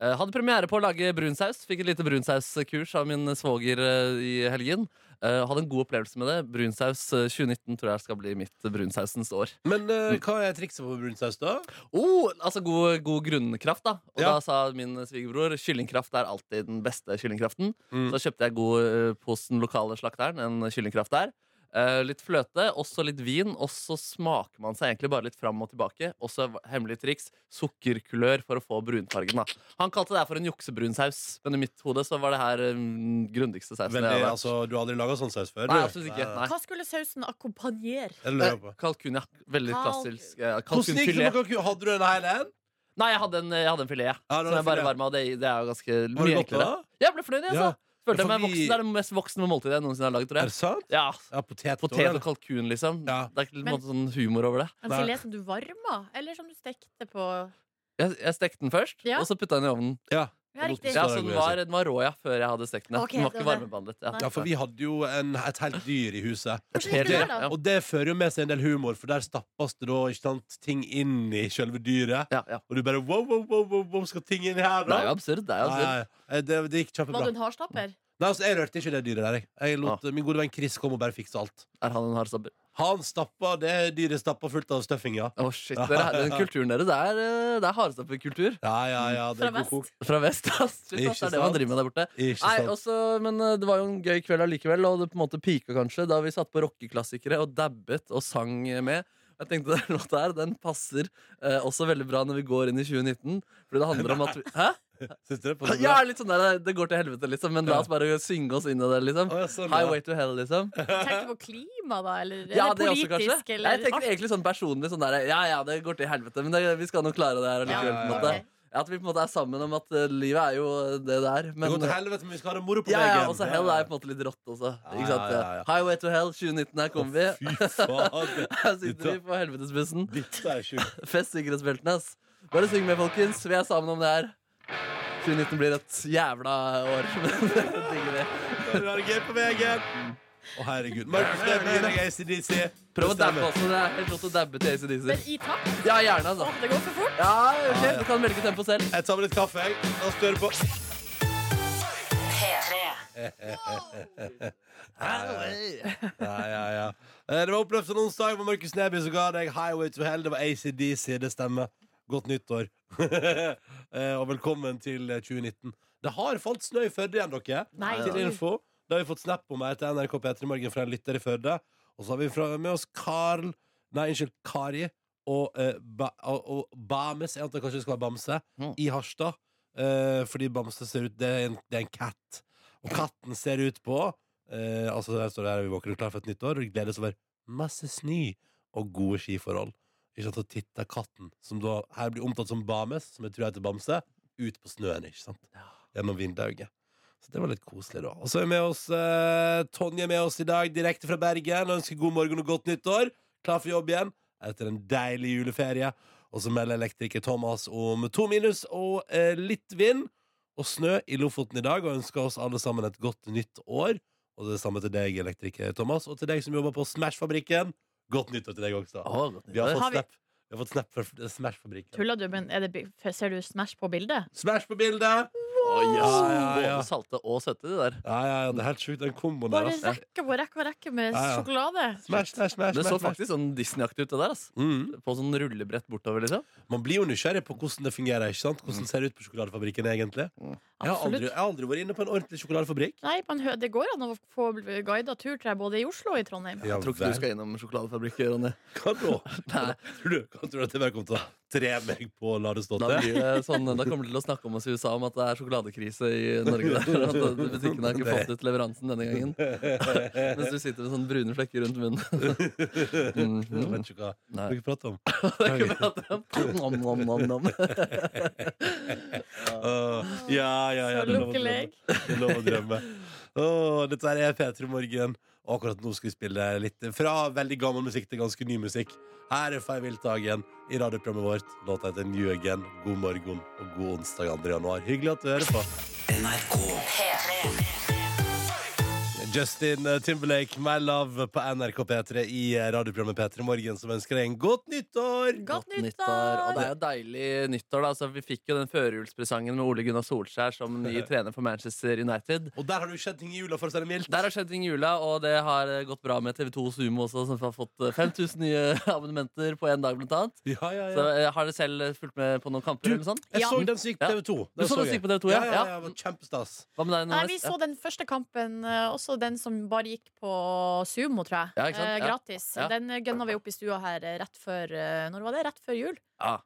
[SPEAKER 2] Eh, Hadde premiere på å lage brunsaus. Fikk et lite brunsauskurs av min svoger eh, i helgen. Eh, Hadde en god opplevelse med det. Brunsaus eh, 2019 tror jeg skal bli mitt eh, brunsausens år.
[SPEAKER 3] Men eh, hva er trikset på brunsaus, da?
[SPEAKER 2] Oh, altså god, god grunnkraft, da. Og
[SPEAKER 3] Ja.
[SPEAKER 2] da sa min svigerbror kyllingkraft er alltid den beste kyllingkraften.
[SPEAKER 3] Mm.
[SPEAKER 2] Så kjøpte jeg god eh, hos den lokale slakteren en kyllingkraft der. Eh, litt fløte, også litt vin, og så smaker man seg egentlig bare litt fram og tilbake. Også hemmelig triks sukkerkulør for å få brunfargen. da Han kalte det her for en juksebrunsaus, men i mitt hode så var det her um, grundigste sausen.
[SPEAKER 3] Veldig,
[SPEAKER 2] jeg har vært.
[SPEAKER 3] altså, du har aldri laga sånn saus før?
[SPEAKER 2] Nei,
[SPEAKER 3] du? Eh,
[SPEAKER 2] absolutt ikke. Nei.
[SPEAKER 5] Hva skulle sausen akkompagnere?
[SPEAKER 3] Det lurer jeg på.
[SPEAKER 2] Kalkun, ja. Veldig
[SPEAKER 5] Kalkun.
[SPEAKER 2] klassisk.
[SPEAKER 3] Hvordan
[SPEAKER 2] eh,
[SPEAKER 3] gikk det med
[SPEAKER 2] Kalkunfilet.
[SPEAKER 3] kalkun? Hadde du en hel en?
[SPEAKER 2] Nei, jeg hadde en, jeg hadde en filet. Ja.
[SPEAKER 3] Ja, det var
[SPEAKER 2] Som
[SPEAKER 3] en
[SPEAKER 2] jeg bare
[SPEAKER 3] filet.
[SPEAKER 2] varma, og det, det er jo ganske
[SPEAKER 3] Var det
[SPEAKER 2] mye
[SPEAKER 3] godt da?
[SPEAKER 2] enklere. Jeg ble fornøyd, jeg,
[SPEAKER 3] Ja.
[SPEAKER 2] altså. Følte jeg
[SPEAKER 3] for
[SPEAKER 2] meg
[SPEAKER 3] vi-
[SPEAKER 2] voksen. Det er det mest voksne måltidet jeg noensinne har lagd, tror
[SPEAKER 3] Er det
[SPEAKER 2] jeg.
[SPEAKER 3] sant?
[SPEAKER 2] Ja,
[SPEAKER 3] Ja, potet,
[SPEAKER 2] Potet og kalkun, liksom.
[SPEAKER 3] Ja.
[SPEAKER 2] Det er ikke på
[SPEAKER 5] Men-
[SPEAKER 2] en måte sånn humor over det.
[SPEAKER 5] En
[SPEAKER 3] Nei.
[SPEAKER 5] filet som du varma, eller som du stekte på
[SPEAKER 2] Jeg, jeg stekte den først,
[SPEAKER 5] Ja.
[SPEAKER 2] og så putta jeg den i ovnen.
[SPEAKER 5] Ja, riktig.
[SPEAKER 2] Ja,
[SPEAKER 3] Så
[SPEAKER 2] så
[SPEAKER 3] det går
[SPEAKER 2] den var, den var rå, ja, før jeg hadde stekt den. ja.
[SPEAKER 5] Ok,
[SPEAKER 2] den var
[SPEAKER 5] det
[SPEAKER 2] ikke
[SPEAKER 5] var det.
[SPEAKER 2] varmebehandlet. Ja.
[SPEAKER 3] Ja, for vi hadde jo en, et helt dyr i huset.
[SPEAKER 5] Hvordan gikk det
[SPEAKER 2] Helt-
[SPEAKER 5] der, da?
[SPEAKER 2] Ja.
[SPEAKER 3] Og det fører jo med seg en del humor, for der stappes det da ikke sant, ting inn i selve dyret.
[SPEAKER 2] Ja, ja.
[SPEAKER 3] Og du bare wow, wow, wow, wow, wow skal ting inn her,
[SPEAKER 2] Det er jo
[SPEAKER 3] da?
[SPEAKER 2] absurd. Det er jo
[SPEAKER 3] Nei,
[SPEAKER 2] absurd.
[SPEAKER 3] nei, det, det gikk kjempebra.
[SPEAKER 5] Var du en hardstapper?
[SPEAKER 3] Nei, altså, Jeg rørte ikke det dyret der. Jeg, jeg lot Min gode venn Chris komme og bare fikse alt.
[SPEAKER 2] Er han en hardstabber?
[SPEAKER 3] Han stappa det dyret stappa fullt av stuffing, ja.
[SPEAKER 2] Å, shit. Dere, den kulturen deres, det er, eh, det er hardstapperkultur.
[SPEAKER 3] Ja, ja, ja, det
[SPEAKER 5] Fra
[SPEAKER 3] er god
[SPEAKER 5] vest?
[SPEAKER 3] kok.
[SPEAKER 2] Mm. Fra vest, ass. Shit,
[SPEAKER 3] Ikke
[SPEAKER 2] ass. Det er det man
[SPEAKER 3] sant?
[SPEAKER 2] driver med der borte.
[SPEAKER 3] Ikke
[SPEAKER 2] Nei,
[SPEAKER 3] sant?
[SPEAKER 2] også, men eh, det var jo en gøy kveld allikevel, og det på en måte pika kanskje da vi satt på rockeklassikere og dabbet og sang eh, med. Jeg tenkte den låta her, den passer eh, også veldig bra når vi går inn i 2019. Fordi det handler om at vi, Hæ?
[SPEAKER 3] Syns du det? passer
[SPEAKER 2] Ja,
[SPEAKER 3] bra?
[SPEAKER 2] litt sånn der, det går til helvete, liksom, men la oss bare synge oss inn i det, liksom.
[SPEAKER 3] Å, ja, sånn, ja.
[SPEAKER 2] Highway to hell, liksom.
[SPEAKER 5] Tenkte du på klima, da? Eller,
[SPEAKER 2] Ja,
[SPEAKER 5] eller
[SPEAKER 2] det også,
[SPEAKER 5] politisk?
[SPEAKER 2] kanskje.
[SPEAKER 5] eller
[SPEAKER 2] Jeg tenker egentlig sånn personlig sånn der Ja, ja, det går til helvete, men det, vi skal nå klare det her
[SPEAKER 5] Ja,
[SPEAKER 2] allikevel, på en måte.
[SPEAKER 5] ok.
[SPEAKER 2] At vi på en måte er sammen om at eh, livet er jo eh, det det er.
[SPEAKER 3] Det går
[SPEAKER 2] Men
[SPEAKER 3] til helvete, men vi skal ha det moro på
[SPEAKER 2] Ja,
[SPEAKER 3] veggen.
[SPEAKER 2] ja, også hell er på en måte litt rått også.
[SPEAKER 3] ja,
[SPEAKER 2] Ikke sant?
[SPEAKER 3] ja, ja.
[SPEAKER 2] Highway to hell, 2019, her kommer vi.
[SPEAKER 3] Fy faen.
[SPEAKER 2] Her sitter vi på helvetesbussen.
[SPEAKER 3] Dette er sjukt.
[SPEAKER 2] Fest sikkerhetsbeltene, ass. Bare syng med, folkens. Vi er sammen om det her. 2019 blir et jævla år. Men det digger vi.
[SPEAKER 3] Reager på veggen. Å, herregud. Markus Neby gir deg ACDC.
[SPEAKER 2] Prøv å dabbe også. Det er helt rått å dabbe til
[SPEAKER 5] Men
[SPEAKER 2] ACDC.
[SPEAKER 5] i takt?
[SPEAKER 2] Ja,
[SPEAKER 5] Å,
[SPEAKER 2] gjerne, altså.
[SPEAKER 5] det går for fort!
[SPEAKER 2] Ja, ok, Du kan velge tempo selv.
[SPEAKER 3] Jeg tar med litt kaffe, jeg. La oss kjøre på. Ja, ja, ja. Eh, Det var oppløftende onsdag med Markus Neby som ga deg Highway to Hell. Det var ACDC, det stemmer. Godt nyttår. Eh, og velkommen til eh, 2019. Det har falt snø i Førde igjen, dere.
[SPEAKER 5] Nei,
[SPEAKER 3] Til info. Det har vi fått snap om her til NRK P3 Morgen fra en lytter i Førde. Og så har vi fra, med oss Karl Nei, unnskyld, Kari og, eh, ba, og, og Bames. Jeg antar kanskje det skal være Bamse.
[SPEAKER 2] Mm.
[SPEAKER 3] I Harstad. Eh, fordi Bamse ser ut Det er en, det er en katt. Og katten ser ut på eh, Altså, der står det her, vi våkner klar for et nytt år og gledes over masse snø og gode skiforhold. Ikke sant, Så titter katten, som da her blir omtalt som Bames, som jeg tror heter Bamse, ut på snøen. ikke sant? Gjennom vinduet. Så det var litt koselig, da. Og så er med oss eh, Tonje er med oss i dag, direkte fra Bergen. Og ønsker god morgen og godt nyttår. Klar for jobb igjen etter en deilig juleferie. Og så melder elektriker Thomas om to minus og eh, litt vind og snø i Lofoten i dag. Og ønsker oss alle sammen et godt nytt år. Og det samme til deg, elektriker Thomas, og til deg som jobber på Smash-fabrikken. Godt nyttår til deg også.
[SPEAKER 2] Å, godt
[SPEAKER 3] Vi har
[SPEAKER 5] Har
[SPEAKER 2] nyttår.
[SPEAKER 3] fått
[SPEAKER 5] vi-
[SPEAKER 3] snap, vi har fått snap fra Smash-fabrikken.
[SPEAKER 5] Tulla du, men er det, bi- ser du Smash på bildet?
[SPEAKER 3] Smash på bildet!
[SPEAKER 2] Å, yes.
[SPEAKER 3] Ja, ja, ja.
[SPEAKER 2] Både salte og søte, de der.
[SPEAKER 3] Ja, ja, ja, det er helt sjukt, den komboen der.
[SPEAKER 5] Bare
[SPEAKER 3] altså.
[SPEAKER 5] rekke på rekke på rekke med
[SPEAKER 3] Ja, ja.
[SPEAKER 5] sjokolade.
[SPEAKER 3] Smash, smash, smash.
[SPEAKER 2] Det
[SPEAKER 3] smash,
[SPEAKER 2] så
[SPEAKER 3] smash.
[SPEAKER 2] faktisk sånn Disney-aktig ut, det der. ass
[SPEAKER 3] Mm.
[SPEAKER 2] På sånn rullebrett bortover, liksom.
[SPEAKER 3] Man blir jo nysgjerrig på hvordan det fungerer. ikke sant? Hvordan ser det ut på sjokoladefabrikken egentlig? Jeg har, aldri,
[SPEAKER 5] Mm. Absolutt.
[SPEAKER 3] jeg har aldri vært inne på en ordentlig sjokoladefabrikk.
[SPEAKER 5] Nei, men hø- det går an å få guida tur tror jeg, både i Oslo og i Trondheim.
[SPEAKER 3] Ja,
[SPEAKER 2] Jeg tror ikke du skal innom sjokoladefabrikken, Ronny.
[SPEAKER 3] Hva da?
[SPEAKER 2] Nei,
[SPEAKER 3] Tror du, hva tror du at jeg bare kommer til å tre meg på å la det stå
[SPEAKER 2] da,
[SPEAKER 3] til?
[SPEAKER 2] blir det sånn, da kommer de til å snakke om oss i USA om at det er sjokoladekrise i Norge. Der, og at Butikken har ikke fått ut leveransen denne gangen. Mens du sitter med sånne brune flekker rundt munnen.
[SPEAKER 3] Jeg
[SPEAKER 2] Mhm.
[SPEAKER 3] vet ikke hva
[SPEAKER 2] Nei.
[SPEAKER 3] dere prater om.
[SPEAKER 2] Det er ikke bra at det er- Nom, nom, nom, nom.
[SPEAKER 3] Åh, ja, ja, ja.
[SPEAKER 5] Så
[SPEAKER 3] det er lov å
[SPEAKER 5] lukkelig.
[SPEAKER 3] drømme. Det er lov å drømme. Åh, dette her er P3 Morgen. Og akkurat nå skal vi spille litt fra veldig gammel musikk til ganske ny musikk. Her er Fei Viltagen i radioprogrammet vårt. Låta heter Njøgen. God morgen og god onsdag 2. januar. Hyggelig at du hører på.
[SPEAKER 1] NRK.
[SPEAKER 3] Justin Timberlake, My Love på NRK P3 i radioprogrammet P3 Morgen, som ønsker deg en godt nyttår!
[SPEAKER 5] Godt
[SPEAKER 2] nyttår! Og det
[SPEAKER 5] nyttår!
[SPEAKER 2] er jo deilig nyttår, da. Så vi fikk jo den førjulspresangen med Ole Gunnar Solskjær som ny trener for Manchester United.
[SPEAKER 3] Og der har det jo skjedd ting i jula, for å si det mildt.
[SPEAKER 2] Der har skjedd ting i jula, og det har eh, gått bra med TV2 Sumo også, som har fått eh, 5000 nye abonnementer på én dag, blant annet.
[SPEAKER 3] Ja, ja,
[SPEAKER 2] Så
[SPEAKER 3] ja.
[SPEAKER 2] eh, Har dere selv eh, fulgt med på noen kamper?
[SPEAKER 3] Du-
[SPEAKER 2] eller noe sånt?
[SPEAKER 3] Jeg
[SPEAKER 5] Ja.
[SPEAKER 3] så den som gikk på
[SPEAKER 2] Ja.
[SPEAKER 3] TV 2.
[SPEAKER 2] Du så den som gikk på TV 2,
[SPEAKER 3] ja?
[SPEAKER 2] ja?
[SPEAKER 3] Ja, ja,
[SPEAKER 2] Ja.
[SPEAKER 3] det var Kjempestas.
[SPEAKER 2] Hva med deg,
[SPEAKER 5] Nei,
[SPEAKER 2] Nordnes?
[SPEAKER 5] Vi så den første kampen, eh, også den som bare gikk på Sumo, tror jeg.
[SPEAKER 2] Ja, ikke sant?
[SPEAKER 5] Eh,
[SPEAKER 2] Ja.
[SPEAKER 5] Gratis.
[SPEAKER 2] Ja.
[SPEAKER 5] Den gønna vi opp i stua her eh, rett før eh, Når var det? Rett før jul?
[SPEAKER 2] Ja.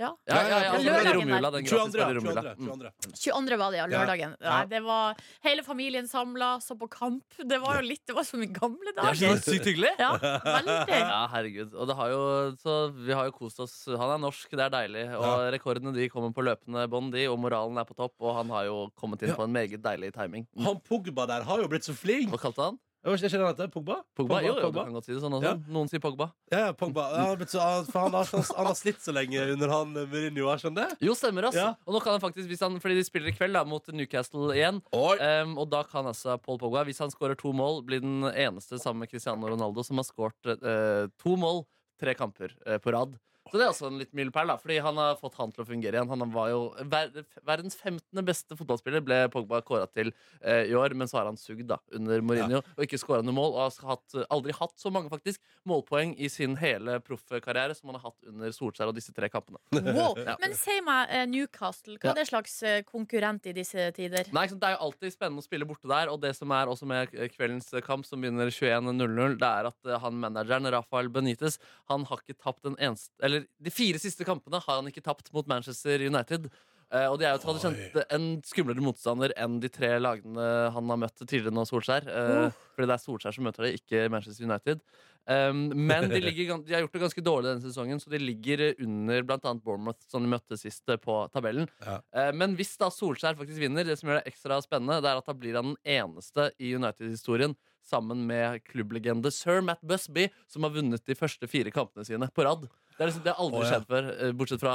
[SPEAKER 5] Ja.
[SPEAKER 2] Ja, ja, ja, altså, den
[SPEAKER 5] Lørdagen
[SPEAKER 2] romjula, den
[SPEAKER 3] 22. 22.
[SPEAKER 2] gratis romjula. Mm.
[SPEAKER 3] 22.
[SPEAKER 5] 22. var det, ja.
[SPEAKER 3] Ja.
[SPEAKER 5] Lørdagen. Nei, det var hele familien samla, så på kamp. Det var jo litt Det var som i gamle
[SPEAKER 2] Det er
[SPEAKER 5] dager.
[SPEAKER 2] så sykt hyggelig!
[SPEAKER 5] Ja, veldig.
[SPEAKER 2] Ja, herregud. Og det har jo, så vi har jo kost oss. Han er norsk, det er deilig. Og
[SPEAKER 3] Ja.
[SPEAKER 2] rekordene de kommer på løpende bånd, de. Og moralen er på topp. Og han har jo kommet inn
[SPEAKER 3] Ja.
[SPEAKER 2] på en meget deilig timing.
[SPEAKER 3] Han Pogba der har jo blitt så flink.
[SPEAKER 2] Hva kalte han?
[SPEAKER 3] Jeg vet ikke, kjenner han heter Pogba?
[SPEAKER 2] Pogba? jo, jo,
[SPEAKER 3] Pogba.
[SPEAKER 2] du kan godt si det sånn også.
[SPEAKER 3] Ja.
[SPEAKER 2] Noen sier Pogba.
[SPEAKER 3] Ja, ja, Pogba. Ja, han, har blitt så, han, for han, har, han, har slitt så lenge under han eh, Mourinho, har skjønt det?
[SPEAKER 2] Jo, stemmer, ass.
[SPEAKER 3] Ja.
[SPEAKER 2] Og nå kan han faktisk, hvis han, fordi de spiller i kveld da, mot Newcastle igjen. Em, og da kan altså Paul Pogba, hvis han skårer to mål, bli den eneste sammen med Cristiano Ronaldo som har skåret eh, to mål tre kamper eh, på rad. Så det er altså en litt milepæl, da, fordi han har fått han til å fungere igjen. Han var jo ver Verdens 15. beste fotballspiller ble Pogba kåra til eh, i år, men så har han sugd da, under Mourinho og ikke skåra noe mål. Og har hatt, aldri hatt så mange faktisk målpoeng i sin hele proffkarriere som han har hatt under Solskjær og disse tre kampene.
[SPEAKER 5] Wow.
[SPEAKER 2] Ja.
[SPEAKER 5] Men si meg, eh, Newcastle, hva
[SPEAKER 2] Ja.
[SPEAKER 5] er det slags eh, konkurrent i disse tider?
[SPEAKER 2] Nei, ikke sant, Det er jo alltid spennende å spille borte der. Og det som er også med kveldens kamp, som begynner 21.00, det er at eh, han manageren, Rafael Benitez, han har ikke tapt en eneste Eller de fire siste kampene har han ikke tapt mot Manchester United. Eh, og det er jo tradisjonelt en skumlere motstander enn de tre lagene han har møtt tidligere nå, Solskjær. Eh, Fordi det er Solskjær som møter det, ikke Manchester United. Um, men de, ligger, gan- de har gjort det ganske dårlig denne sesongen, så de ligger under bl.a. Bournemouth, som de møtte sist eh, på tabellen. Eh, Men hvis da Solskjær faktisk vinner, det som gjør det ekstra spennende, det er at da blir han den eneste i United-historien sammen med klubblegende sir Matt Busby, som har vunnet de første fire kampene sine på rad. Det har liksom, det har aldri
[SPEAKER 3] Å, ja.
[SPEAKER 2] skjedd før, eh, bortsett fra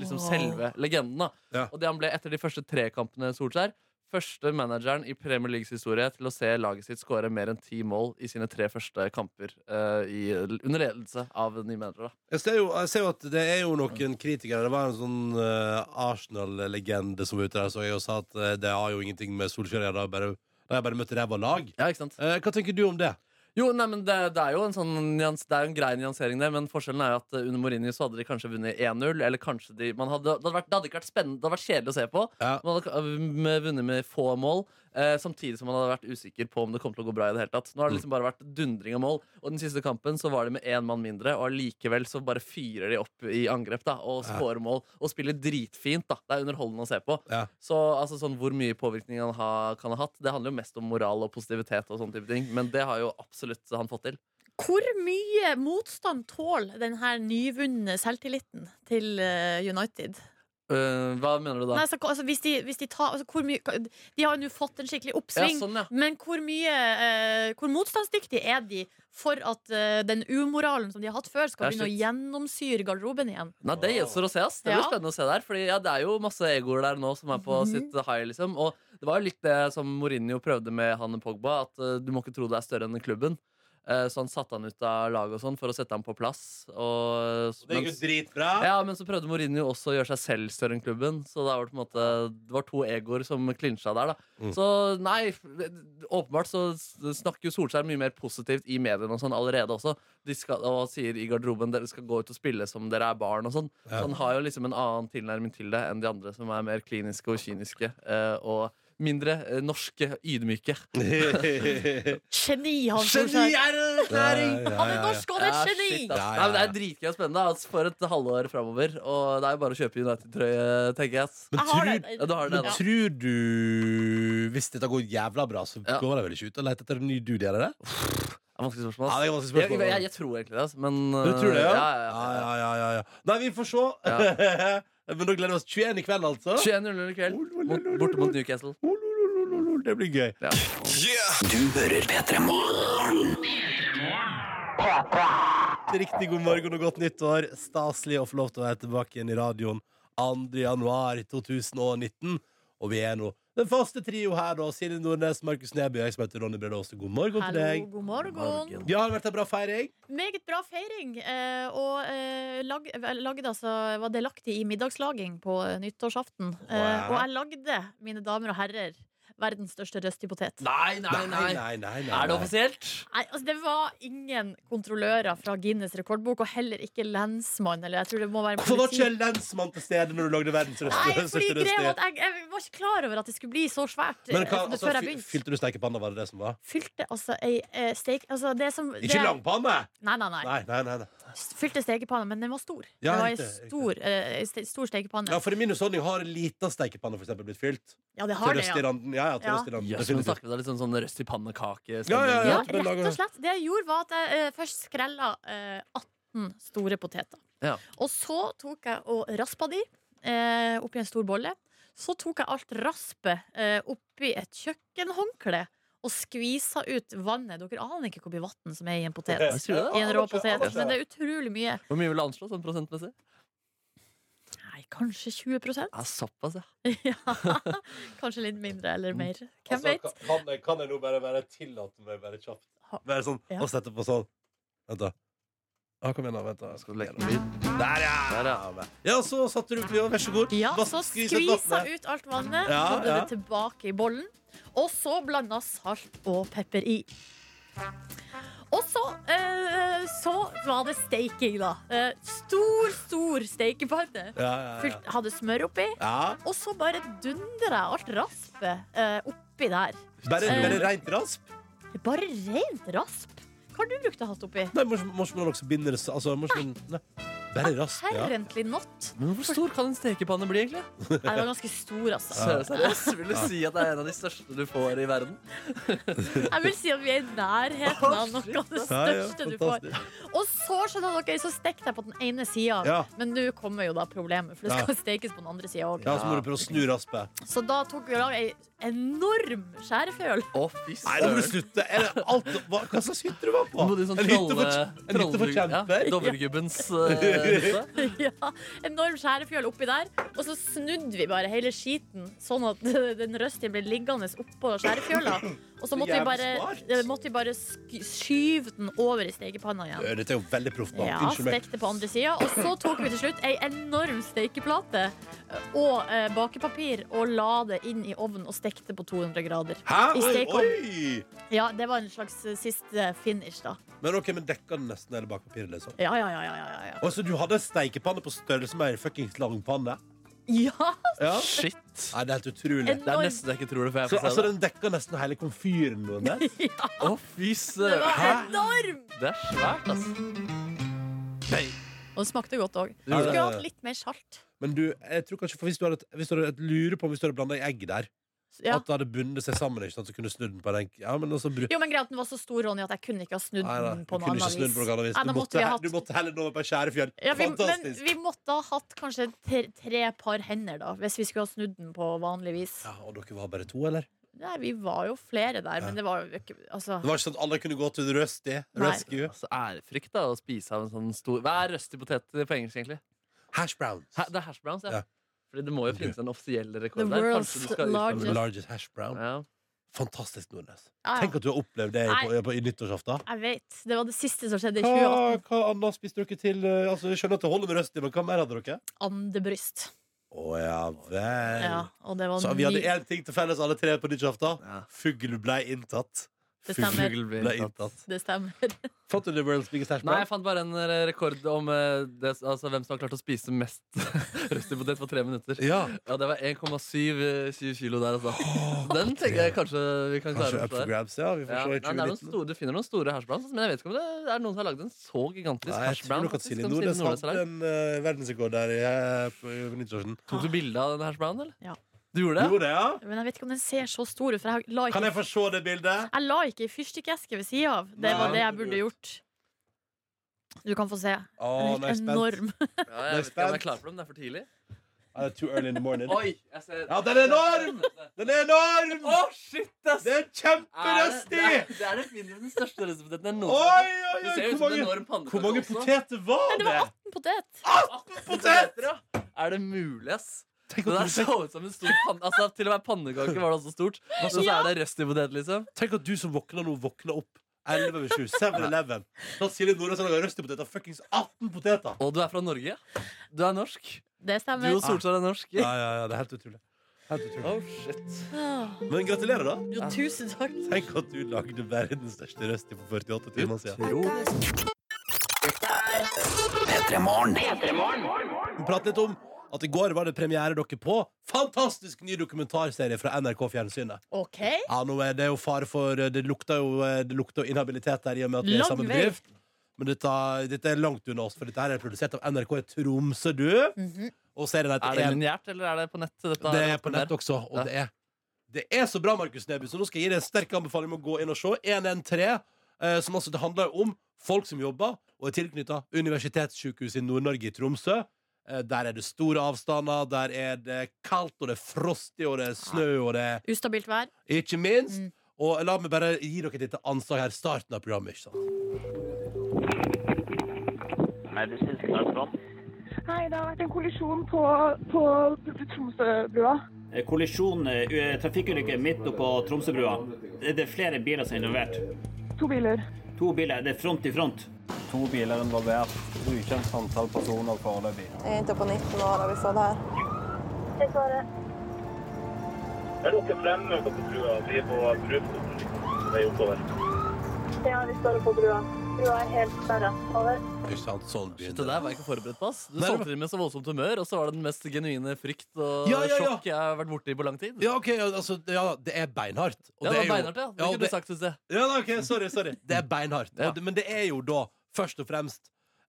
[SPEAKER 2] liksom
[SPEAKER 5] Wow.
[SPEAKER 2] selve legenden. da.
[SPEAKER 3] Ja.
[SPEAKER 2] Og det han ble etter de første tre kampene Solskjær. Første manageren i Premier Leagues historie til å se laget sitt skåre mer enn ti mål i sine tre første kamper eh, i, under ledelse av en ny manager. Da.
[SPEAKER 3] Jeg ser, jo, jeg ser jo at det er jo noen kritikere. Det var en sånn eh, Arsenal-legende som var ute der så jeg og sa at eh, det har jo ingenting med Solskjær å gjøre. det har bare- De har bare møtt ræva lag.
[SPEAKER 2] Ja, ikke sant?
[SPEAKER 3] Eh, hva tenker du om det?
[SPEAKER 2] Jo, nei, men det, det er jo en sånn nyans, Det er jo en grei nyansering der, men forskjellen er jo at eh, under Mourinho så hadde de kanskje vunnet 1-0, eller kanskje de man hadde, det, hadde vært, det hadde ikke vært spennende, det hadde vært kjedelig å se på.
[SPEAKER 3] Ja.
[SPEAKER 2] Man hadde eh, med- vunnet med få mål, eh, samtidig som man hadde vært usikker på om det kom til å gå bra i det hele tatt. Nå har det liksom bare vært dundring av mål, og den siste kampen så var de med én mann mindre, og allikevel så bare fyrer de opp i angrep, da, og
[SPEAKER 3] Ja.
[SPEAKER 2] skårer mål, og spiller dritfint, da. Det er underholdende å se på.
[SPEAKER 3] Ja.
[SPEAKER 2] Så altså, sånn, hvor mye påvirkning han ha, kan ha hatt, det handler jo mest om moral og positivitet. og sånne type ting Men det har jo absolutt han fått til.
[SPEAKER 5] Hvor mye motstand tåler denne nyvunne selvtilliten til eh, United?
[SPEAKER 2] Øh, hva mener du da?
[SPEAKER 5] Nei, så, altså, hvis de, hvis de, tar, altså, hvor mye, de har jo nå fått en skikkelig
[SPEAKER 2] ja,
[SPEAKER 5] oppsving.
[SPEAKER 2] sånn, ja.
[SPEAKER 5] Men hvor mye eh, Hvor motstandsdyktige er de for at eh, den umoralen som de har hatt før, skal
[SPEAKER 2] Det er
[SPEAKER 5] begynne å gjennomsyre garderoben igjen?
[SPEAKER 2] Nei, Det gjenstår å se. ass Det blir
[SPEAKER 5] Ja.
[SPEAKER 2] spennende å se der. Fordi ja, Det er jo masse egoer der nå som er på
[SPEAKER 5] Mhm.
[SPEAKER 2] sitt high. liksom Og Det var jo litt det som Mourinho prøvde med han og Pogba. At øh, du må ikke tro det er større enn klubben. Eh, så han satte han ut av laget og sånn for å sette ham på plass. Og,
[SPEAKER 3] Det gikk jo
[SPEAKER 2] mens-
[SPEAKER 3] dritbra.
[SPEAKER 2] Ja, men så prøvde Mourinho også å gjøre seg selv større enn klubben. Så det var, på en måte, det var to egoer som klinsja der, da.
[SPEAKER 3] Mm.
[SPEAKER 2] Så nei, åpenbart så snakker jo Solskjær mye mer positivt i mediene og sånn allerede også. De skal, og sier i garderoben dere skal gå ut og spille som dere er barn og sånn.
[SPEAKER 3] Ja.
[SPEAKER 2] Så han har jo liksom en annen tilnærming til det enn de andre som er mer kliniske og kyniske. eh, og mindre eh, norske, ydmyke.
[SPEAKER 5] Geni, han
[SPEAKER 2] Geni
[SPEAKER 5] Solskjær!
[SPEAKER 2] er en erklæring!
[SPEAKER 5] Han er norsk, og han er et
[SPEAKER 2] shit,
[SPEAKER 5] geni!
[SPEAKER 2] ass.
[SPEAKER 3] Ja, ja,
[SPEAKER 2] Nei, men Det
[SPEAKER 3] ja.
[SPEAKER 2] er dritgøy og spennende ass, for et halvår framover. Og det er jo bare å kjøpe United-trøye, tenker jeg. ass.
[SPEAKER 5] Jeg har den.
[SPEAKER 2] Ja, du har den,
[SPEAKER 3] Men
[SPEAKER 2] ja.
[SPEAKER 3] tror du Hvis dette går jævla bra, så
[SPEAKER 2] Ja.
[SPEAKER 3] går de vel ikke ut og leter etter en ny dude? Gjør de det?
[SPEAKER 2] Det er Vanskelig
[SPEAKER 3] Ja,
[SPEAKER 2] spørsmål. ass.
[SPEAKER 3] det er ganske spørsmål.
[SPEAKER 2] Jeg, jeg, jeg tror egentlig det, ass, men
[SPEAKER 3] Du tror det, ja?
[SPEAKER 2] ja, ja,
[SPEAKER 3] Ja,
[SPEAKER 2] ja.
[SPEAKER 3] ja, ja, ja, ja. Nei, vi får se. Men da gleder vi oss 21 i kveld, altså. Oh,
[SPEAKER 2] 21.00 i kveld, mot, borte mot Newcastle.
[SPEAKER 3] Olololololol, Det blir gøy.
[SPEAKER 2] Ja.
[SPEAKER 1] Du hører P3 Morgen.
[SPEAKER 3] Riktig god morgen og godt nyttår. Staselig å få lov til å være tilbake igjen i radioen 2. januar 2019. Og vi er nå den faste trio her, da. Silje Nordnes, Markus Neby og jeg som heter Ronny Brede Aase. God morgen til
[SPEAKER 5] Hallo,
[SPEAKER 3] deg.
[SPEAKER 5] god morgen.
[SPEAKER 3] Ja, har det vært en bra feiring?
[SPEAKER 5] Meget bra feiring. eh, Og eh, lag, vel, lagde, altså, var delaktig i middagslaging på eh, nyttårsaften. Eh, Og jeg lagde, mine damer og herrer, verdens største røstipotet.
[SPEAKER 2] Nei, nei, nei.
[SPEAKER 3] nei, nei, nei.
[SPEAKER 2] Er det
[SPEAKER 3] nei.
[SPEAKER 2] offisielt?
[SPEAKER 5] Nei, altså Det var ingen kontrollører fra Guinness rekordbok, og heller ikke lensmann. Eller jeg tror det må være
[SPEAKER 3] Hvorfor var
[SPEAKER 5] politi.
[SPEAKER 3] ikke lensmann til stede når du lagde verdens
[SPEAKER 5] Nei,
[SPEAKER 3] største
[SPEAKER 5] fordi
[SPEAKER 3] største
[SPEAKER 5] greia var
[SPEAKER 3] røst?
[SPEAKER 5] at jeg, jeg var ikke klar over at det skulle bli så svært
[SPEAKER 3] Men hva,
[SPEAKER 5] eh,
[SPEAKER 3] altså,
[SPEAKER 5] før jeg
[SPEAKER 3] fy-
[SPEAKER 5] begynte.
[SPEAKER 3] fylte du steikepanna, var det det som var?
[SPEAKER 5] fylte altså ei eh, steik... Altså det som
[SPEAKER 3] Ikke
[SPEAKER 5] det-
[SPEAKER 3] langpanne!
[SPEAKER 5] Nei, nei, nei.
[SPEAKER 3] Nei, nei, nei. nei.
[SPEAKER 5] Fylte stekepanne, men den var stor.
[SPEAKER 3] Ja,
[SPEAKER 5] det var ei
[SPEAKER 3] riktig, riktig.
[SPEAKER 5] stor, eh, ei ste- stor stekepanne.
[SPEAKER 3] Ja, for i min husholdning har en liten steikepanne for eksempel blitt fylt.
[SPEAKER 5] Ja, det
[SPEAKER 3] Til
[SPEAKER 5] har det,
[SPEAKER 3] røst i
[SPEAKER 5] ja.
[SPEAKER 3] randen. Ja, ja, til
[SPEAKER 5] Ja.
[SPEAKER 3] røst i randen.
[SPEAKER 2] Jøss, men
[SPEAKER 3] Definitivt.
[SPEAKER 2] snakker vi da litt sånn, sånn røst i pannekake?
[SPEAKER 3] Ja, ja,
[SPEAKER 5] ja.
[SPEAKER 3] ja. men
[SPEAKER 5] Rett
[SPEAKER 3] lager-
[SPEAKER 5] og slett. Det jeg gjorde, var at jeg eh, først skrella eh, 18 store poteter.
[SPEAKER 2] Ja.
[SPEAKER 5] Og så tok jeg og raspa de eh, oppi en stor bolle. Så tok jeg alt raspet eh, oppi et kjøkkenhåndkle og skvisa ut vannet. Dere aner ikke hvor mye vann som er i en potet.
[SPEAKER 2] Jeg tror
[SPEAKER 5] I
[SPEAKER 2] det.
[SPEAKER 5] en rå potet. Men det er utrolig mye.
[SPEAKER 2] Hvor mye vil du anslå sånn prosentmessig?
[SPEAKER 5] Nei, kanskje 20
[SPEAKER 2] Ja, såpass, ja. Mm.
[SPEAKER 5] ja. Kanskje litt mindre eller mer. Hvem
[SPEAKER 3] Altså,
[SPEAKER 5] vet?
[SPEAKER 3] ka- Kan, jeg- kan jeg nå bare, bare tillate meg bare kjapt
[SPEAKER 5] Ha-
[SPEAKER 3] Bare sånn,
[SPEAKER 5] Ja.
[SPEAKER 3] og sette på sånn Vent da ja, kom igjen da, vent da jeg skal legge den. Der ja!
[SPEAKER 2] Der, ja.
[SPEAKER 3] Ja, så satte du på, ja, vær så god
[SPEAKER 5] Ja,
[SPEAKER 3] Vask-
[SPEAKER 5] så
[SPEAKER 3] skvis et
[SPEAKER 5] skvisa
[SPEAKER 3] vattnet.
[SPEAKER 5] ut alt vannet,
[SPEAKER 3] Ja,
[SPEAKER 5] så ble
[SPEAKER 3] ja.
[SPEAKER 5] det tilbake i bollen. Og så blanda salt og pepper i. Og så, eh, så var det steiking, da. Eh, stor, stor steikepanne.
[SPEAKER 3] Ja, ja, ja
[SPEAKER 5] Fylt, hadde smør oppi.
[SPEAKER 3] Ja,
[SPEAKER 5] Og så bare dundra jeg alt raspet eh, oppi der.
[SPEAKER 3] bare,
[SPEAKER 5] Eh.
[SPEAKER 3] bare rent rasp
[SPEAKER 5] Bare rent rasp. Hva har du brukt å ha hatt oppi?
[SPEAKER 3] Nei, må ikke- må ikke man også binde det s- altså, må ikke man, nei. Bare rasp, ja
[SPEAKER 5] Herrentlig not.
[SPEAKER 2] Men hvor stor kan en stekepanne bli, egentlig?
[SPEAKER 5] Nei, det var ganske stor, altså.
[SPEAKER 2] Seriøst, seriøst, vil du si at det er en av de største du får i verden?
[SPEAKER 5] Jeg vil si at vi er i nærheten av noe av det
[SPEAKER 3] Ja, ja,
[SPEAKER 5] største du får.
[SPEAKER 3] fantastisk.
[SPEAKER 5] Og så skjønner dere, så stekte jeg på den ene sida.
[SPEAKER 3] Ja.
[SPEAKER 5] Men nå kommer jo da problemet, for det
[SPEAKER 3] Ja.
[SPEAKER 5] skal stekes på den andre sida òg.
[SPEAKER 3] Ja, så må du prøve å snu raspet
[SPEAKER 5] Så da tok vi og laga ei enorm skjærefjøl.
[SPEAKER 2] Å, fy
[SPEAKER 3] Nei, da må du
[SPEAKER 2] søren.
[SPEAKER 3] slutte Er det alt, hva, hva slags hytte du var på?
[SPEAKER 2] Må du sånn
[SPEAKER 3] En hytte for,
[SPEAKER 2] trolle-
[SPEAKER 3] en hytte for
[SPEAKER 2] trollebrygge- ja,
[SPEAKER 3] kjemper
[SPEAKER 2] Dovregubbens eh, hytte?
[SPEAKER 5] ja, enorm skjærefjøl oppi der. Og så snudde vi bare hele skiten, sånn at den røsten ble liggende oppå skjærefjøla. Og så måtte vi
[SPEAKER 3] Jævlig
[SPEAKER 5] bare,
[SPEAKER 3] smart.
[SPEAKER 5] eh, måtte vi bare sk- skyve den over i stekepanna igjen.
[SPEAKER 3] Dette er jo veldig proff mat.
[SPEAKER 5] Ja,
[SPEAKER 3] Unnskyld meg.
[SPEAKER 5] stekte på andre sida. Og så tok vi til slutt ei enorm stekeplate og eh, bakepapir og la det inn i ovnen og stekte på 200 grader.
[SPEAKER 3] Hæ?
[SPEAKER 5] I
[SPEAKER 3] Oi,
[SPEAKER 5] stekeovn.
[SPEAKER 3] oi!
[SPEAKER 5] Ja, det var en slags eh, siste finish, da.
[SPEAKER 3] Men ok, men dekka den nesten hele bakpapiret, liksom.
[SPEAKER 5] Ja, ja, ja. ja, ja, ja.
[SPEAKER 3] Og så du hadde steikepanne på størrelse med ei fuckings langpanne?
[SPEAKER 5] ja
[SPEAKER 3] Ja.
[SPEAKER 2] Shit.
[SPEAKER 3] Nei, det er helt utrolig.
[SPEAKER 2] Det er nesten jeg ikke tror det før jeg
[SPEAKER 3] Så
[SPEAKER 2] får
[SPEAKER 3] altså,
[SPEAKER 2] se det.
[SPEAKER 3] den dekka nesten hele komfyren under?
[SPEAKER 2] Å, fy
[SPEAKER 5] det
[SPEAKER 2] søren.
[SPEAKER 5] var
[SPEAKER 3] Hæ?
[SPEAKER 5] enorm!
[SPEAKER 2] Det er svært, altså.
[SPEAKER 5] Og det smakte godt òg.
[SPEAKER 3] Ja, ja,
[SPEAKER 5] Skulle
[SPEAKER 3] ja.
[SPEAKER 5] hatt litt mer salt.
[SPEAKER 3] Men du, jeg tror kanskje for hvis du hadde, hvis du hadde et lure på om hvis du hadde blanda egg der,
[SPEAKER 5] Ja.
[SPEAKER 3] at det hadde bundet seg sammen, ikke sant, så kunne du snudd den på en enk- Ja, men altså bru-
[SPEAKER 5] Jo, men greia at den var så stor, Ronny, at jeg kunne ikke ha snudd
[SPEAKER 3] Nei, nei,
[SPEAKER 5] den på
[SPEAKER 3] du
[SPEAKER 5] noe
[SPEAKER 3] kunne ikke
[SPEAKER 5] annet
[SPEAKER 3] snudd
[SPEAKER 5] vis.
[SPEAKER 3] den på noe annet vis.
[SPEAKER 5] Nei,
[SPEAKER 3] Du
[SPEAKER 5] da måtte
[SPEAKER 3] måtte,
[SPEAKER 5] vi
[SPEAKER 3] he-
[SPEAKER 5] hatt-
[SPEAKER 3] du måtte helle den over på ei skjærefjøl.
[SPEAKER 5] Ja, vi, men
[SPEAKER 3] Fantastisk!
[SPEAKER 5] vi måtte ha hatt kanskje tre, tre par hender, da, hvis vi skulle ha snudd den på vanlig vis.
[SPEAKER 3] Ja, og dere var bare to, eller?
[SPEAKER 5] Nei, vi var jo flere der, men det var jo ikke altså,
[SPEAKER 3] Det var ikke sånn at alle kunne gå til Rusty?
[SPEAKER 5] Nei.
[SPEAKER 3] Rescue?
[SPEAKER 2] altså ærefrykt da, å spise av en sånn stor Hva er røstig potet på engelsk, egentlig?
[SPEAKER 3] Hash browns.
[SPEAKER 2] Ha, det er hash browns, ja.
[SPEAKER 3] Ja.
[SPEAKER 2] Fordi det må jo finnes en offisiell rekord
[SPEAKER 5] The
[SPEAKER 2] der.
[SPEAKER 5] world's
[SPEAKER 2] Kanskje du skal utfordre-
[SPEAKER 5] largest.
[SPEAKER 3] Largest hash brown.
[SPEAKER 2] Ja.
[SPEAKER 3] Fantastisk, Nordnes.
[SPEAKER 5] ja,
[SPEAKER 3] Tenk
[SPEAKER 5] ja.
[SPEAKER 3] at du har opplevd det i- på, på, i nyttårsaften.
[SPEAKER 5] Jeg vet. Det var det siste som skjedde i
[SPEAKER 3] Hva,
[SPEAKER 5] 2018.
[SPEAKER 3] hva annet spiste dere til? eh, Altså, jeg skjønner at det holder med Rusty, men hva mer hadde dere?
[SPEAKER 5] Andebryst.
[SPEAKER 3] Å ja vel.
[SPEAKER 5] Ja, og det var
[SPEAKER 3] Så vi hadde
[SPEAKER 5] ny-
[SPEAKER 3] én ting til felles, alle tre, på nyttårsaften.
[SPEAKER 2] Ja.
[SPEAKER 3] Fugl ble inntatt.
[SPEAKER 5] Det stemmer.
[SPEAKER 2] Google blir
[SPEAKER 3] ble
[SPEAKER 2] inntatt.
[SPEAKER 3] inntatt.
[SPEAKER 5] Det stemmer.
[SPEAKER 3] Fant du The World's Biggest Hash Brown?
[SPEAKER 2] Nei, jeg fant bare en eh, rekord om eh, det, altså, hvem som har klart å spise mest røstig potet på tre minutter.
[SPEAKER 3] Ja.
[SPEAKER 2] Ja, det var 1,7 kilo der, altså. Den tenker jeg kanskje vi kan
[SPEAKER 3] Kanskje
[SPEAKER 2] klare
[SPEAKER 3] Up for
[SPEAKER 2] oss der.
[SPEAKER 3] Grabs, ja. Vi får
[SPEAKER 2] Ja.
[SPEAKER 3] se
[SPEAKER 2] Nei,
[SPEAKER 3] i
[SPEAKER 2] det er noen
[SPEAKER 3] 2019.
[SPEAKER 2] store, du finner noen store hash browns, men jeg vet ikke om det er noen som har lagd en så gigantisk
[SPEAKER 3] Nei, jeg
[SPEAKER 2] hash
[SPEAKER 3] tror
[SPEAKER 2] brown.
[SPEAKER 3] nok at
[SPEAKER 2] faktisk,
[SPEAKER 3] Silje
[SPEAKER 2] som Silje
[SPEAKER 3] Nordnes
[SPEAKER 2] Nordnes
[SPEAKER 3] vant
[SPEAKER 2] har lagd.
[SPEAKER 3] en eh, verdensrekord der i, eh, på- på nyttårsaften.
[SPEAKER 2] Tok du bilde av den hash brownen, eller?
[SPEAKER 5] Ja.
[SPEAKER 2] Du gjorde det?
[SPEAKER 3] Gjorde det, ja?
[SPEAKER 5] Men jeg vet ikke om den ser så stor ut, for jeg la
[SPEAKER 3] Kan
[SPEAKER 5] ikke,
[SPEAKER 3] jeg få se det bildet?
[SPEAKER 5] jeg la ikke i fyrstikkeske ved sida av. Det
[SPEAKER 3] Nei,
[SPEAKER 5] var det
[SPEAKER 3] det
[SPEAKER 5] jeg
[SPEAKER 3] burde
[SPEAKER 5] burde gjort. Du kan få se.
[SPEAKER 3] Å,
[SPEAKER 5] Den
[SPEAKER 3] nå er
[SPEAKER 5] er
[SPEAKER 3] jeg
[SPEAKER 5] helt
[SPEAKER 3] spent.
[SPEAKER 5] enorm.
[SPEAKER 2] Ja, jeg vet ikke om jeg
[SPEAKER 3] spent.
[SPEAKER 2] er klar for dem. Det er for tidlig.
[SPEAKER 3] Ah, det er too early in the morning.
[SPEAKER 2] Oi! Jeg ser
[SPEAKER 3] Ja, den er enorm! Den er enorm!
[SPEAKER 2] Å, shit, ass!
[SPEAKER 3] Det er
[SPEAKER 2] det,
[SPEAKER 3] kjemperøstig!
[SPEAKER 2] er- det er definitivt den største røstepoteten jeg
[SPEAKER 3] Oi,
[SPEAKER 2] noensinne
[SPEAKER 3] oi,
[SPEAKER 2] Det
[SPEAKER 3] oi!
[SPEAKER 2] ser jo
[SPEAKER 3] Hvor
[SPEAKER 2] ut som en
[SPEAKER 3] mange,
[SPEAKER 2] enorm pannekake
[SPEAKER 3] hvor mange
[SPEAKER 2] også.
[SPEAKER 3] poteter var
[SPEAKER 5] Det
[SPEAKER 3] det?
[SPEAKER 5] var 18 potet!
[SPEAKER 3] Potet!
[SPEAKER 2] Ja. Er det mulig, ass?
[SPEAKER 3] Tenk
[SPEAKER 2] Det
[SPEAKER 3] at,
[SPEAKER 2] der
[SPEAKER 3] du,
[SPEAKER 2] så ut som en stor panne... Altså, til og med pannekake var det så stort. Og så er det røstpotet, liksom.
[SPEAKER 3] tenk at du som våkner nå, våkner opp 11 over 7. 7-Eleven. Da sier det Nordnes at han har røstepoteter. Fuckings 18 poteter!
[SPEAKER 2] Og du er fra Norge. Du er norsk.
[SPEAKER 5] Det
[SPEAKER 2] Du
[SPEAKER 5] stemmer.
[SPEAKER 2] og Solskjær er norsk.
[SPEAKER 3] Ja, ja, ja, det er helt utrolig. Helt utrolig.
[SPEAKER 2] Oh, shit.
[SPEAKER 5] Ah,
[SPEAKER 3] Men gratulerer, da.
[SPEAKER 5] Jo, tusen takk.
[SPEAKER 3] Tenk at du lagde verdens største røst på 48 timer siden. Prat litt om at i går var det premiere dere på fantastisk ny dokumentarserie fra NRK Fjernsynet.
[SPEAKER 5] OK.
[SPEAKER 3] Ja, nå er det jo fare for Det lukter jo det lukter jo inhabilitet der i og med at vi er i
[SPEAKER 5] Lang
[SPEAKER 3] samme
[SPEAKER 5] vei.
[SPEAKER 3] bedrift. Men dette, dette er langt unna oss, for dette her er produsert av NRK i Tromsø, du.
[SPEAKER 5] Mhm.
[SPEAKER 3] Og serien
[SPEAKER 2] Er
[SPEAKER 3] heter
[SPEAKER 2] det
[SPEAKER 3] En
[SPEAKER 2] lineært, eller er det på nett? Dette
[SPEAKER 3] Det er på nett
[SPEAKER 2] Der.
[SPEAKER 3] også, og
[SPEAKER 2] Ja.
[SPEAKER 3] det er Det er så bra, Markus Neby, så nå skal jeg gi deg en sterk anbefaling om å gå inn og se 113, eh, som altså det handler om folk som jobber og er tilknyttet Universitetssykehuset i Nord-Norge i Tromsø. Eh, der er det store avstander, der er det kaldt, og det er frostig, og det er snø, og det er
[SPEAKER 5] Ustabilt vær.
[SPEAKER 3] ikke minst.
[SPEAKER 5] Mm.
[SPEAKER 3] Og la meg bare gi dere et lite anslag her. Starten av programmet, ikke sant?
[SPEAKER 7] Nei, det har vært en kollisjon på, på Tromsøbrua.
[SPEAKER 8] Eh, Kollisjon, eh, trafikkulykke midt oppå Tromsøbrua. Det er flere biler som er involvert.
[SPEAKER 7] To biler.
[SPEAKER 8] To biler, det er front i front.
[SPEAKER 9] To biler involvert. Ukjent antall personer foreløpig.
[SPEAKER 10] Jeg er jente på 19 år da vi så det her.
[SPEAKER 3] Ikke sant? Sånn begynner
[SPEAKER 2] Shit, det
[SPEAKER 3] det.
[SPEAKER 2] der var jeg ikke forberedt på. ass Du
[SPEAKER 3] Nei, det var-
[SPEAKER 2] solgte det med så voldsomt humør, og så var det den mest genuine frykt og
[SPEAKER 3] Ja, ja, ja.
[SPEAKER 2] sjokk jeg har vært borti på lang tid.
[SPEAKER 3] Ja, ok, ja, altså, ja, det er beinhardt. og
[SPEAKER 2] Ja, det
[SPEAKER 3] er
[SPEAKER 2] var
[SPEAKER 3] jo-
[SPEAKER 2] beinhardt, ja. Det
[SPEAKER 3] og
[SPEAKER 2] kunne du sagt, synes jeg.
[SPEAKER 3] Ja, nei, ok, sorry, sorry Det er beinhardt
[SPEAKER 2] Ja.
[SPEAKER 3] Og det, Men det er jo da først og fremst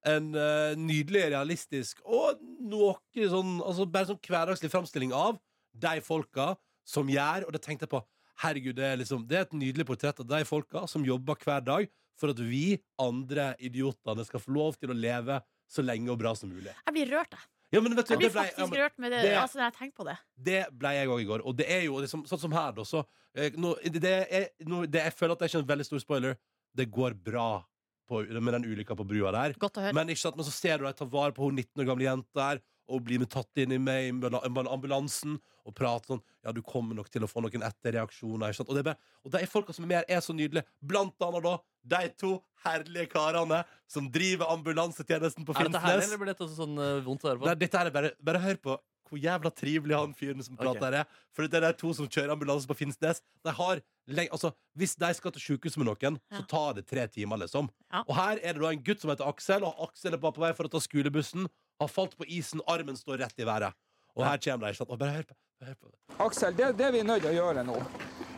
[SPEAKER 3] En eh, nydelig, realistisk Og noe sånn altså, Bare sånn hverdagslig fremstilling av De folka som gjør Og det tenkte jeg på Herregud, det er, liksom, det er et nydelig portrett av de folka Som jobber hver dag For at vi andre idiotene skal få lov til å leve Så lenge og bra som mulig
[SPEAKER 5] Jeg blir rørt, jeg.
[SPEAKER 3] Ja, men vet du
[SPEAKER 5] Jeg blir
[SPEAKER 3] det ble- ja,
[SPEAKER 5] faktisk
[SPEAKER 3] men-
[SPEAKER 5] rørt med det,
[SPEAKER 3] det-
[SPEAKER 5] altså, når jeg tenker på det.
[SPEAKER 3] det ble jeg òg i går. Og det er jo liksom, sånn som her, da. Så, eh, nå, det er, nå, det, jeg føler at det er ikke en veldig stor spoiler. Det går bra på, med den ulykka på brua der.
[SPEAKER 5] Godt å høre.
[SPEAKER 3] Men, ikke sant, men så ser du at jeg tar vare på hun 19 år gamle jenta der. og bli med tatt inn i med i ambula- ambul- ambulansen og prate sånn Ja, du kommer nok til å få noen etterreaksjoner. Ikke sant? Og, det er bare, og de folka som er med her, er så nydelige. Blant annet da de to herlige karene som driver ambulansetjenesten på
[SPEAKER 2] Er dette herlig,
[SPEAKER 3] Finnsnes.
[SPEAKER 2] eller blir dette også sånn eh, vondt å høre på?
[SPEAKER 3] Nei, dette her er bare, bare hør på hvor jævla trivelig han fyren som prater her er. For det er de to som kjører ambulanse på Finnsnes. De har lenge, altså, hvis de skal til sykehus med noen, så tar det tre timer, liksom.
[SPEAKER 5] Ja.
[SPEAKER 3] Og her er det da en gutt som heter Aksel, og Aksel er bare på vei for å ta skolebussen. Har falt på isen, armen står rett i været. Og her kommer de, ikke sant. Og bare hør på, hør på det.
[SPEAKER 11] Aksel, det, det vi er nødt til å gjøre nå.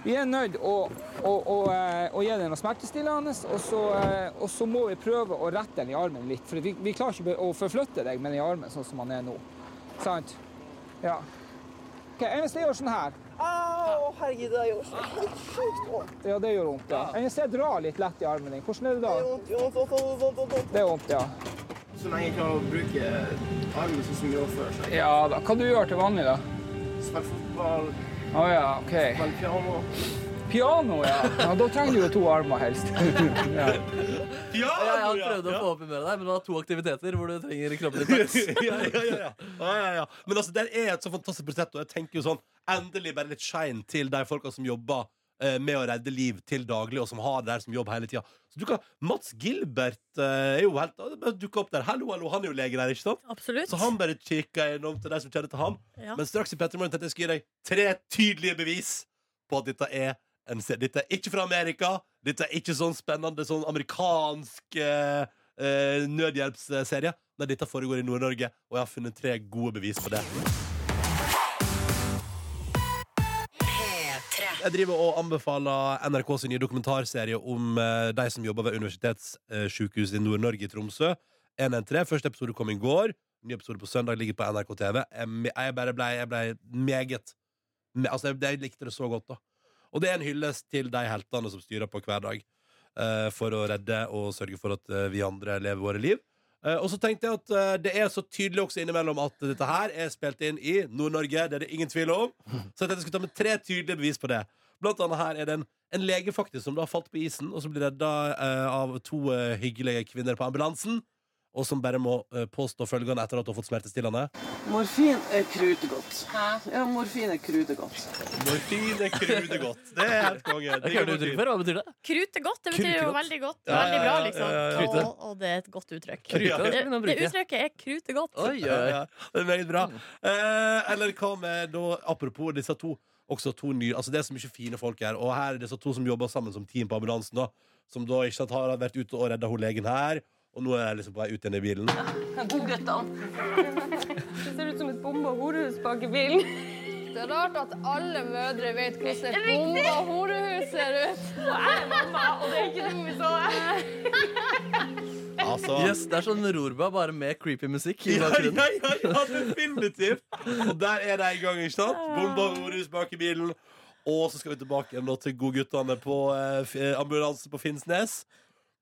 [SPEAKER 11] Vi er nødt til å, å, å, eh, å gi deg noe smertestillende, og så, eh, og så må vi prøve å rette den i armen litt. For vi, vi klarer ikke å forflytte deg med den i armen sånn som han er nå. Sant? Ja. Ok, Enn hvis jeg gjør sånn her?
[SPEAKER 10] Au, herregud, det gjorde så sjukt vondt.
[SPEAKER 11] Ja, det gjør vondt. ja. Enn hvis jeg drar litt lett i armen din? Hvordan er det da? Det er vondt, ja.
[SPEAKER 12] Så lenge jeg klarer å bruke armen sånn som jeg gjorde før. så-
[SPEAKER 11] Ja da. Hva du gjør til vanlig, da?
[SPEAKER 12] Spille fotball,
[SPEAKER 11] Å ja, OK.
[SPEAKER 12] spille piano.
[SPEAKER 11] Piano, ja. ja. Da trenger du jo to armer, helst. ja.
[SPEAKER 3] Ja,
[SPEAKER 2] jeg, jeg har prøvd å få opp i mer av deg, men du har to aktiviteter hvor du trenger kroppen i flaks.
[SPEAKER 3] ja, ja, ja, ja. Ja, ja, ja. Men altså, der er et så fantastisk portrett, og jeg tenker jo sånn Endelig bare litt shine til de folka som jobber eh, med å redde liv til daglig, og som har det der som jobb hele tida. Så du kan Mats Gilbert eh, er jo helt han bare dukker opp der. Hallo, hallo, han er jo lege der, ikke sant?
[SPEAKER 5] Absolutt.
[SPEAKER 3] Så han bare kikker innom til de som kjenner til ham.
[SPEAKER 5] Ja.
[SPEAKER 3] Men straks i Petter Morgen tenkte jeg skulle gi deg tre tydelige bevis på at dette er en serie. Dette er ikke fra Amerika. Dette er ikke sånn spennende sånn amerikansk eh, eh, nødhjelpsserie. Nei, dette foregår i Nord-Norge, og jeg har funnet tre gode bevis på det. Jeg driver og anbefaler NRK sin nye dokumentarserie om eh, de som jobber ved universitetssykehuset i Nord-Norge i Tromsø. 113. Første episode kom i går. Ny episode på søndag ligger på NRK TV. Jeg, me- jeg bare ble, jeg ble meget me, Altså, jeg, jeg likte det så godt, da. Og det er en hyllest til de heltene som styrer på hver dag eh, for å redde og sørge for at eh, vi andre lever våre liv. Eh, og så tenkte jeg at eh, det er så tydelig også innimellom at dette her er spilt inn i Nord-Norge. Det er det ingen tvil om. Så jeg tenkte jeg skulle ta med tre tydelige bevis på det. Blant annet her er det en, en lege faktisk som da har falt på isen, og som blir redda eh, av to eh, hyggelige kvinner på ambulansen. Og som bare må eh, påstå følgende etter at hun har fått smertestillende.
[SPEAKER 13] Morfin er krudegodt. Ja, morfin er krudegodt.
[SPEAKER 3] Morfin er krudegodt. Det er helt konge.
[SPEAKER 2] Det har ikke hørt uttrykk før. Hva betyr det?
[SPEAKER 5] Krute godt, det betyr jo
[SPEAKER 2] Krutegodt.
[SPEAKER 5] veldig godt.
[SPEAKER 2] Ja,
[SPEAKER 5] veldig bra,
[SPEAKER 2] ja, ja,
[SPEAKER 5] liksom.
[SPEAKER 2] ja, ja, ja. Krute.
[SPEAKER 5] Og, og det er et godt uttrykk.
[SPEAKER 3] Krute, det
[SPEAKER 5] det,
[SPEAKER 3] skal man
[SPEAKER 5] det
[SPEAKER 3] bruke.
[SPEAKER 5] uttrykket er krute godt.
[SPEAKER 3] Ja, ja. Det er meget bra. Eh, eller hva med da, apropos disse to Også to nye, altså Det er så mye fine folk her, og her er disse to som jobber sammen som team på ambulansen. da Som da ikke sant, har vært ute og redda hun legen her, og nå er jeg liksom på vei ut igjen i bilen.
[SPEAKER 14] God Det ser ut som et bomba horehus bak i bilen. Det er rart at alle mødre vet hvordan et bomba horehus ser ut. Og jeg er mamma, og det er ikke noe vi så
[SPEAKER 3] Altså,
[SPEAKER 2] Yes, det er sånn Rorba, bare med creepy musikk. i
[SPEAKER 3] Ja,
[SPEAKER 2] bakgrunnen.
[SPEAKER 3] ja, ja, ja, definitivt! Og der er de i gang, ikke sant? Bomba horus bak i bilen. Og så skal vi tilbake igjen nå til godguttene på eh, f- eh, ambulanse på Finnsnes.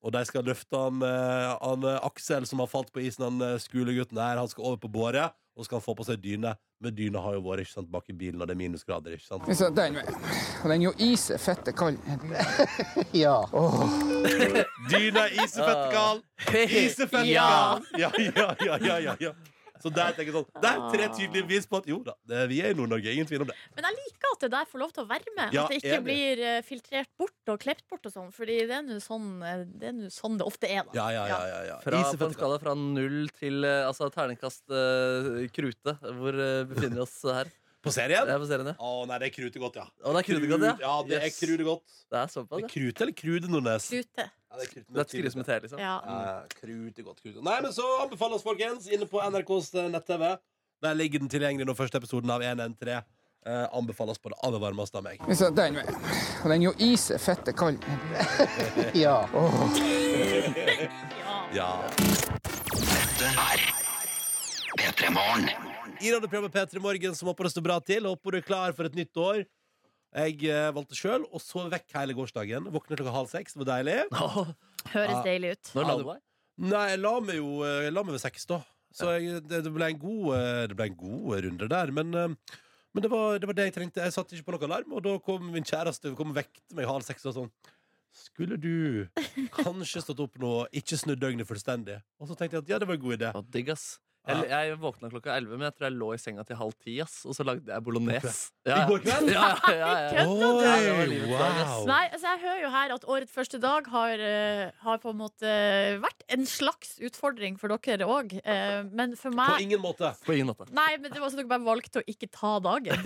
[SPEAKER 3] Og de skal løfte han, eh, han eh, Aksel som har falt på isen, han eh, skolegutten her. Han skal over på båret, og så skal han få på seg dyne. Men dyna har jo vært ikke sant, bak i bilen, og det er minusgrader. ikke sant?
[SPEAKER 11] Vi ser den veien. Og den er jo is er fette kald. ja.
[SPEAKER 3] Dyna er isefettekal! Isefettekal! Ja, ja, ja, ja, ja, ja. Så der tenker jeg sånn Det er tre tydelige bevis på at jo da, det, vi er i Nord-Norge. Ingen tvil om det.
[SPEAKER 5] Men jeg liker at det der får lov til å være med.
[SPEAKER 3] Ja,
[SPEAKER 5] at det ikke
[SPEAKER 3] enig.
[SPEAKER 5] blir eh, filtrert bort og klept bort og sånn. Fordi det er nå sånn, eh, det er nå sånn det ofte er, da.
[SPEAKER 3] Ja, ja, ja, ja, ja.
[SPEAKER 2] Fra,
[SPEAKER 3] Is i
[SPEAKER 2] på en
[SPEAKER 3] fettekal.
[SPEAKER 2] skala fra null til eh, altså, terningkast eh, krute. Hvor eh, befinner vi oss her?
[SPEAKER 3] På serien?
[SPEAKER 2] Ja, på serien, ja.
[SPEAKER 3] Å nei, det er krutet godt, ja.
[SPEAKER 2] Å, det er krutet godt, ja?
[SPEAKER 3] Krut, ja, det er
[SPEAKER 2] Yes.
[SPEAKER 3] krutet godt.
[SPEAKER 2] Det er såpass,
[SPEAKER 3] ja. Krute eller krude, Nordnes?
[SPEAKER 5] Krute.
[SPEAKER 3] Ja, det er krute.
[SPEAKER 2] Det skrives med T, liksom.
[SPEAKER 5] Ja.
[SPEAKER 3] krutet godt, krutet. Nei, men så anbefales, folkens, inne på NRKs nett-TV. Der ligger den tilgjengelig nå, første episoden av 113. Eh, anbefales på det aller varmeste av meg.
[SPEAKER 11] Vi ser den veien. Og den er jo is er fette kald. ja.
[SPEAKER 3] ja. Dette er P3 Morgen. I radioprogrammet P3 Morgen som håper det står bra til. Håper du er klar for et nytt år. Jeg eh, valgte sjøl og sov vekk hele gårsdagen. Våknet klokka halv seks. Det var deilig.
[SPEAKER 5] Høres
[SPEAKER 3] Ja.
[SPEAKER 5] deilig ut.
[SPEAKER 3] Ja, det- Nei, jeg la meg jo jeg la meg ved seks, da. Så jeg, det, det, ble en god, eh, det ble en god runde der. Men, eh, men det, var, det var det jeg trengte. Jeg satte ikke på noen alarm, og da kom min kjæreste kom og vekte meg halv seks og sånn. Skulle du kanskje stått opp nå, ikke snudd døgnet fullstendig? Og så tenkte jeg at ja, det var en god idé.
[SPEAKER 2] digg, ass. Jeg, jeg våkna klokka 11, men jeg tror jeg lå i senga til halv ti. Ass, og så lagde jeg bolognese.
[SPEAKER 3] I går kveld?
[SPEAKER 2] Ja, ja, ja, ja.
[SPEAKER 3] Kødder du?
[SPEAKER 2] Ja, det var livets dag, ass.
[SPEAKER 3] Au.
[SPEAKER 5] Nei, altså jeg hører jo her at årets første dag har, eh, har på en måte vært en slags utfordring for dere òg. Men for meg
[SPEAKER 3] På ingen måte.
[SPEAKER 5] Nei, men det var så dere bare valgte å ikke ta dagen.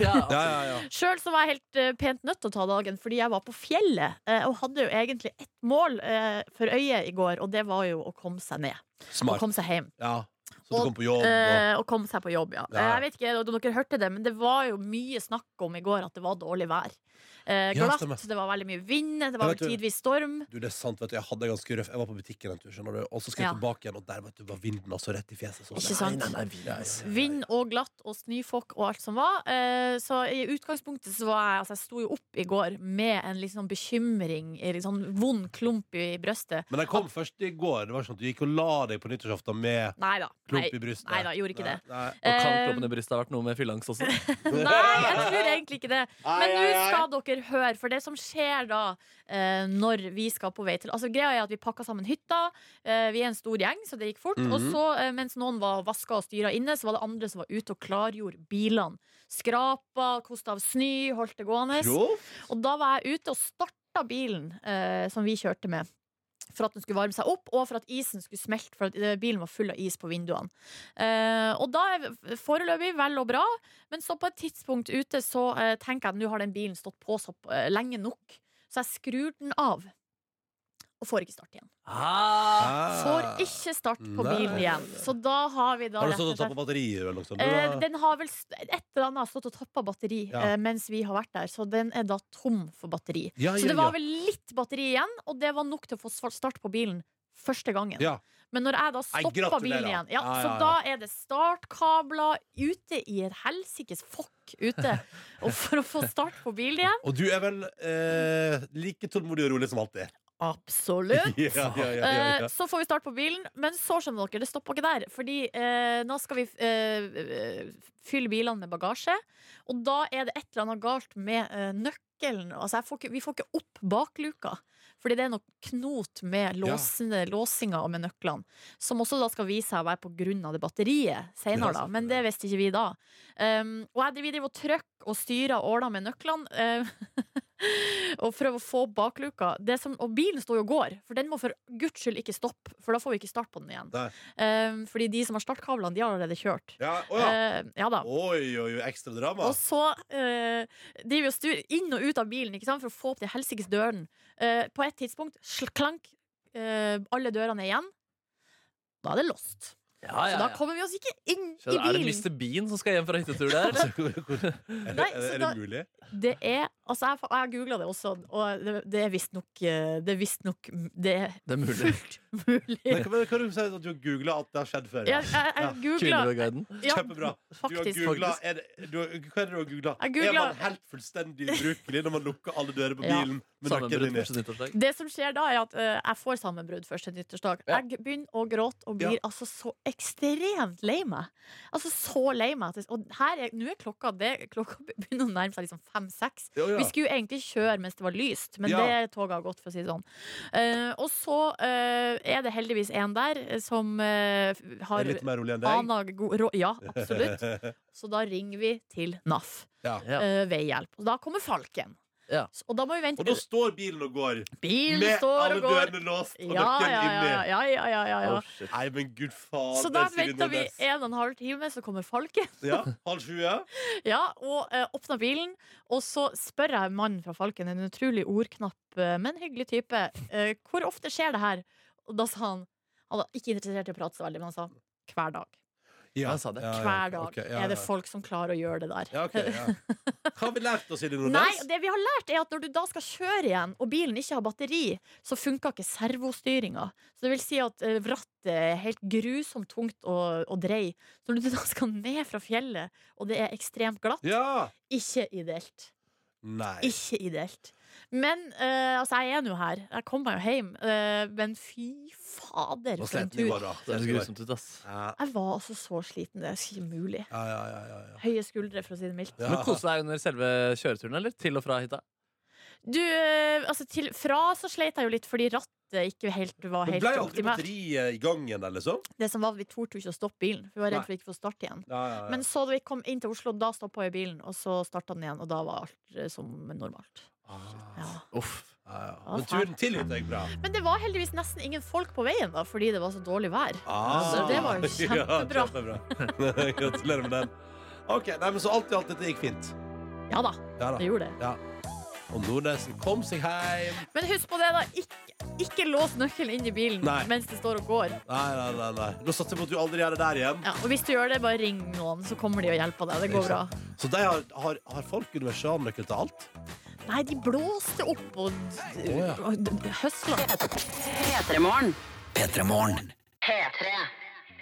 [SPEAKER 3] Ja, ja, ja.
[SPEAKER 5] Sjøl var jeg helt eh, pent nødt til å ta dagen fordi jeg var på fjellet. eh, og hadde jo egentlig ett mål eh, for øyet i går, og det var jo å komme seg ned.
[SPEAKER 3] Smart.
[SPEAKER 5] Å komme seg hjem.
[SPEAKER 3] Ja. Så du kom på jobb
[SPEAKER 5] Eh,
[SPEAKER 3] og
[SPEAKER 5] og komme seg på jobb, ja.
[SPEAKER 3] Ja.
[SPEAKER 5] Eh, Jeg vet ikke om dere hørte det, men det var jo mye snakk om i går at det var dårlig vær. Eh,
[SPEAKER 3] Ja,
[SPEAKER 5] glatt,
[SPEAKER 3] stemmer.
[SPEAKER 5] det var veldig mye vind, det
[SPEAKER 3] Jeg
[SPEAKER 5] var vel
[SPEAKER 3] vet du-
[SPEAKER 5] tidvis storm.
[SPEAKER 3] Du, det er sant, vet du. Jeg hadde det ganske røff. Jeg var på butikken en tur, skjønner du. Og så skal jeg
[SPEAKER 5] Ja.
[SPEAKER 3] tilbake igjen, og der vet du, var vinden altså rett i fjeset. Så.
[SPEAKER 5] Ikke sant?
[SPEAKER 3] Nei, nei, nei, vi- ja, ja.
[SPEAKER 5] Vind og glatt og snøfokk og alt som var. Eh, Så i utgangspunktet så var jeg Altså, jeg sto jo opp i går med en litt sånn bekymring, en litt sånn vond klump i brystet.
[SPEAKER 3] Men den kom først i går. Det var sånn at Du gikk og la deg på nyttårsaften med
[SPEAKER 5] Nei da.
[SPEAKER 3] klump
[SPEAKER 5] Nei.
[SPEAKER 3] i brystet.
[SPEAKER 5] Nei da, gjorde ikke det.
[SPEAKER 3] Nei.
[SPEAKER 5] Og kaldklumpen i
[SPEAKER 2] brystet har vært noe med fyllangs også.
[SPEAKER 5] Nei, jeg tror egentlig ikke det. Men
[SPEAKER 2] Ai,
[SPEAKER 5] nå
[SPEAKER 2] ai, ai.
[SPEAKER 5] skal dere høre, for det som skjer da eh, når vi skal på vei til Altså Greia er at vi pakka sammen hytta. Eh, vi er en stor gjeng, så det gikk fort.
[SPEAKER 15] Mhm.
[SPEAKER 5] Og så, eh, mens noen var vaska og styra inne, så var det andre som var ute og klargjorde bilene. Skrapa, kosta av snø, holdt det gående.
[SPEAKER 15] Proft.
[SPEAKER 5] Og da var jeg ute og starta bilen eh, som vi kjørte med. For at den skulle varme seg opp, og for at isen skulle smelte. For at eh, bilen var full av is på vinduene. Eh, og da er v- foreløpig vel og bra, men så på et tidspunkt ute så eh, tenker jeg at nå har den bilen stått på så eh, lenge nok, så jeg skrur den av. Og får ikke start igjen. Får ikke start på
[SPEAKER 3] Nei.
[SPEAKER 5] bilen igjen. Så da har vi da
[SPEAKER 3] Ah. Har du
[SPEAKER 5] rett
[SPEAKER 3] stått og
[SPEAKER 5] slett-
[SPEAKER 3] tatt på batterier eller noe sånt?
[SPEAKER 5] Eh,
[SPEAKER 3] Du, da?
[SPEAKER 5] den har vel st- et eller annet stått og tappa batteri
[SPEAKER 3] Ja.
[SPEAKER 5] eh, mens vi har vært der, så den er da tom for batteri.
[SPEAKER 3] Ja, ja,
[SPEAKER 5] så det
[SPEAKER 3] ja.
[SPEAKER 5] var vel litt batteri igjen, og det var nok til å få svar- start på bilen første gangen.
[SPEAKER 3] Ja.
[SPEAKER 5] Men når jeg da
[SPEAKER 3] Nei,
[SPEAKER 5] stoppa
[SPEAKER 3] gratulerer.
[SPEAKER 5] bilen igjen, ja,
[SPEAKER 3] Ja, ja,
[SPEAKER 5] så
[SPEAKER 3] ja.
[SPEAKER 5] da er det startkabler ute i et helsikes fokk ute og for å få start på bilen igjen.
[SPEAKER 3] Og du er vel eh, like tålmodig og rolig som alltid?
[SPEAKER 5] Absolutt.
[SPEAKER 3] ja, ja, ja, ja,
[SPEAKER 5] Eh,
[SPEAKER 3] ja.
[SPEAKER 5] Så får vi start på bilen, men så skjønner dere, det stopper ikke der. Fordi eh, nå skal vi eh, fylle bilene med bagasje, og da er det et eller annet galt med eh, nøkkelen. Altså, jeg får ikke, vi får ikke opp bakluka, fordi det er noe knot med låsene, låsinga og med nøklene. Som også da skal vise seg å være på grunn av det batteriet senere, da. Men det visste ikke vi da. Um, og jeg driver- driver og trykker og styrer og ordner med nøklene. eh, og prøve å få opp bakluka. Det som, og bilen står jo og går, for den må for guds skyld ikke stoppe. For da får vi ikke start på den igjen.
[SPEAKER 3] Nei.
[SPEAKER 5] Um, fordi de som har startkablene, de har allerede kjørt.
[SPEAKER 3] Ja, å ja.
[SPEAKER 5] Eh, ja da.
[SPEAKER 3] Oi, oi, oi, ekstra drama.
[SPEAKER 5] Og så eh, driver vi og sturer inn og ut av bilen ikke sant, for å få opp den helsikes døren. Eh, på et tidspunkt sl- klank eh, alle dørene er igjen. Da er det lost.
[SPEAKER 2] Ja, ja,
[SPEAKER 5] Så da
[SPEAKER 2] ja.
[SPEAKER 5] kommer vi oss ikke inn i
[SPEAKER 2] Skjønner, Er det
[SPEAKER 5] bilen.
[SPEAKER 2] Mr. Bean som skal hjem fra hyttetur der?
[SPEAKER 3] er,
[SPEAKER 5] Nei, så da-
[SPEAKER 3] mulig?
[SPEAKER 5] Det er Altså, jeg, jeg googla det også, og det, det er visstnok eh, Det er visstnok Det er
[SPEAKER 2] Det er mulig.
[SPEAKER 5] fullt mulig.
[SPEAKER 3] Nei, hva, hva er det du sier at du har googla at det har skjedd før?
[SPEAKER 5] Jeg- jeg- jeg googlet- Ja,
[SPEAKER 3] Kjempebra. Du har
[SPEAKER 5] faktisk.
[SPEAKER 3] googlet, er det, du, har- hva er det du har googla?
[SPEAKER 5] Jeg
[SPEAKER 3] Er
[SPEAKER 5] googlet-
[SPEAKER 3] man helt fullstendig ubrukelig når man lukker alle dører på
[SPEAKER 5] Ja.
[SPEAKER 3] bilen? med
[SPEAKER 2] Sammenbrudd
[SPEAKER 3] nøkkelen inni?
[SPEAKER 2] første nyttårsdag.
[SPEAKER 5] Det som skjer da, er at eh, jeg får sammenbrudd første nyttårsdag. Jeg begynner å gråte og blir
[SPEAKER 3] Ja.
[SPEAKER 5] altså så ekstremt lei meg. Altså så lei meg. at det- Og her er, nå er klokka det Klokka begynner å nærme seg liksom fem-seks.
[SPEAKER 15] Ja, ja.
[SPEAKER 5] Vi skulle jo egentlig kjøre mens det var lyst, men
[SPEAKER 15] Ja.
[SPEAKER 5] det toget har gått, for å si det sånn. Eh, og så eh, er det heldigvis en der eh, som eh, har
[SPEAKER 3] Er litt mer rolig enn deg?
[SPEAKER 5] aner god råd. Ja, absolutt. Så da ringer vi til NAF
[SPEAKER 3] Ja.
[SPEAKER 5] eh, ved hjelp. Og da kommer Falken. S- Og da må vi vente
[SPEAKER 3] Og da står bilen og går.
[SPEAKER 5] Bilen
[SPEAKER 3] med
[SPEAKER 5] står
[SPEAKER 3] alle
[SPEAKER 5] og går.
[SPEAKER 3] dørene låst og
[SPEAKER 5] ja,
[SPEAKER 3] nøkkelen
[SPEAKER 5] ja, ja,
[SPEAKER 3] inni.
[SPEAKER 5] ja, ja, ja, ja, ja.
[SPEAKER 3] Å, shit. Nei, men gud faen.
[SPEAKER 5] Så
[SPEAKER 3] det
[SPEAKER 5] da
[SPEAKER 3] er Sigrid
[SPEAKER 5] venter vi
[SPEAKER 3] Nordnes.
[SPEAKER 5] en og en halv time, så kommer Falken.
[SPEAKER 3] Ja, halv sju, ja.
[SPEAKER 5] Ja, og eh, åpner bilen, og så spør jeg mannen fra Falken, en utrolig ordknapp, eh, men hyggelig type, eh, hvor ofte skjer det her? Og da sa han Han var ikke interessert i å prate så veldig, men han sa hver dag.
[SPEAKER 3] Ja,
[SPEAKER 5] Hver dag
[SPEAKER 3] ok, ja,
[SPEAKER 5] er det
[SPEAKER 3] ja.
[SPEAKER 5] folk som klarer å gjøre det der.
[SPEAKER 3] Ja, ok, ja. Hva har vi lært oss i det
[SPEAKER 5] Nei,
[SPEAKER 3] Nordnes?
[SPEAKER 5] det vi har lært er at når du da skal kjøre igjen, og bilen ikke har batteri, så funker ikke servostyringa. Så det vil si at eh, rattet er helt grusomt tungt å, å dreie. Så når du da skal ned fra fjellet, og det er ekstremt glatt,
[SPEAKER 3] Ja.
[SPEAKER 5] ikke ideelt.
[SPEAKER 3] Nei.
[SPEAKER 5] Ikke ideelt. Men eh, altså, jeg er nå her. Jeg kom meg jo hjem. eh, men fy fader,
[SPEAKER 3] Nå
[SPEAKER 5] for en
[SPEAKER 3] sleit vi
[SPEAKER 5] tur.
[SPEAKER 3] bare, da.
[SPEAKER 2] Det er
[SPEAKER 3] Sleit vi
[SPEAKER 2] grusomt
[SPEAKER 3] bare.
[SPEAKER 2] ut, ass.
[SPEAKER 3] Ja.
[SPEAKER 5] Jeg var altså så sliten. Det er ikke mulig.
[SPEAKER 3] Ja, ja, ja, ja, ja.
[SPEAKER 5] Høye skuldre, for å si det mildt.
[SPEAKER 2] Men kose deg under selve kjøreturen, eller? Til og fra hytta?
[SPEAKER 5] Du, eh, altså til, fra så sleit jeg jo litt fordi rattet ikke helt var
[SPEAKER 3] Men
[SPEAKER 5] helt
[SPEAKER 3] ble aldri
[SPEAKER 5] optimalt.
[SPEAKER 3] batteriet i gang igjen, der, liksom?
[SPEAKER 5] Det som var at Vi torde jo ikke å stoppe bilen, for vi var redd
[SPEAKER 3] Nei.
[SPEAKER 5] for ikke å få starte igjen.
[SPEAKER 3] Ja, ja, ja.
[SPEAKER 5] Men så da vi kom inn til Oslo, da stoppa jo bilen, og så starta den igjen, og da var alt eh, som normalt.
[SPEAKER 3] Uff. Ah, Ja, ja.
[SPEAKER 5] Ja,
[SPEAKER 3] Men
[SPEAKER 5] faen.
[SPEAKER 3] turen til gikk bra.
[SPEAKER 5] Men det var heldigvis nesten ingen folk på veien da, fordi det var så dårlig vær.
[SPEAKER 3] Ah.
[SPEAKER 5] Så det var jo kjempebra.
[SPEAKER 3] Ja, kjempebra. Gratulerer med den. Ok, nei, men Så alt i alt, dette gikk fint?
[SPEAKER 5] Ja da,
[SPEAKER 3] Ja da.
[SPEAKER 5] det gjorde det.
[SPEAKER 3] Ja. Og Nordnesen kom seg hjem.
[SPEAKER 5] Men husk på det, da. Ikke, ikke lås nøkkelen inn i bilen
[SPEAKER 3] Nei.
[SPEAKER 5] mens det står og går.
[SPEAKER 3] Nei, nei, nei. nei. Nå satser jeg på at du aldri gjør det der igjen.
[SPEAKER 5] Ja, og hvis du gjør det, bare ring noen, så kommer de og hjelper deg. Det går bra.
[SPEAKER 3] Så de har, har, har folk universalnøkkel til alt?
[SPEAKER 5] Nei, de blåste opp og d-
[SPEAKER 3] Å, ja.
[SPEAKER 5] og d- d- høsla.
[SPEAKER 13] P3morgen.
[SPEAKER 1] P3morgen.
[SPEAKER 13] P3.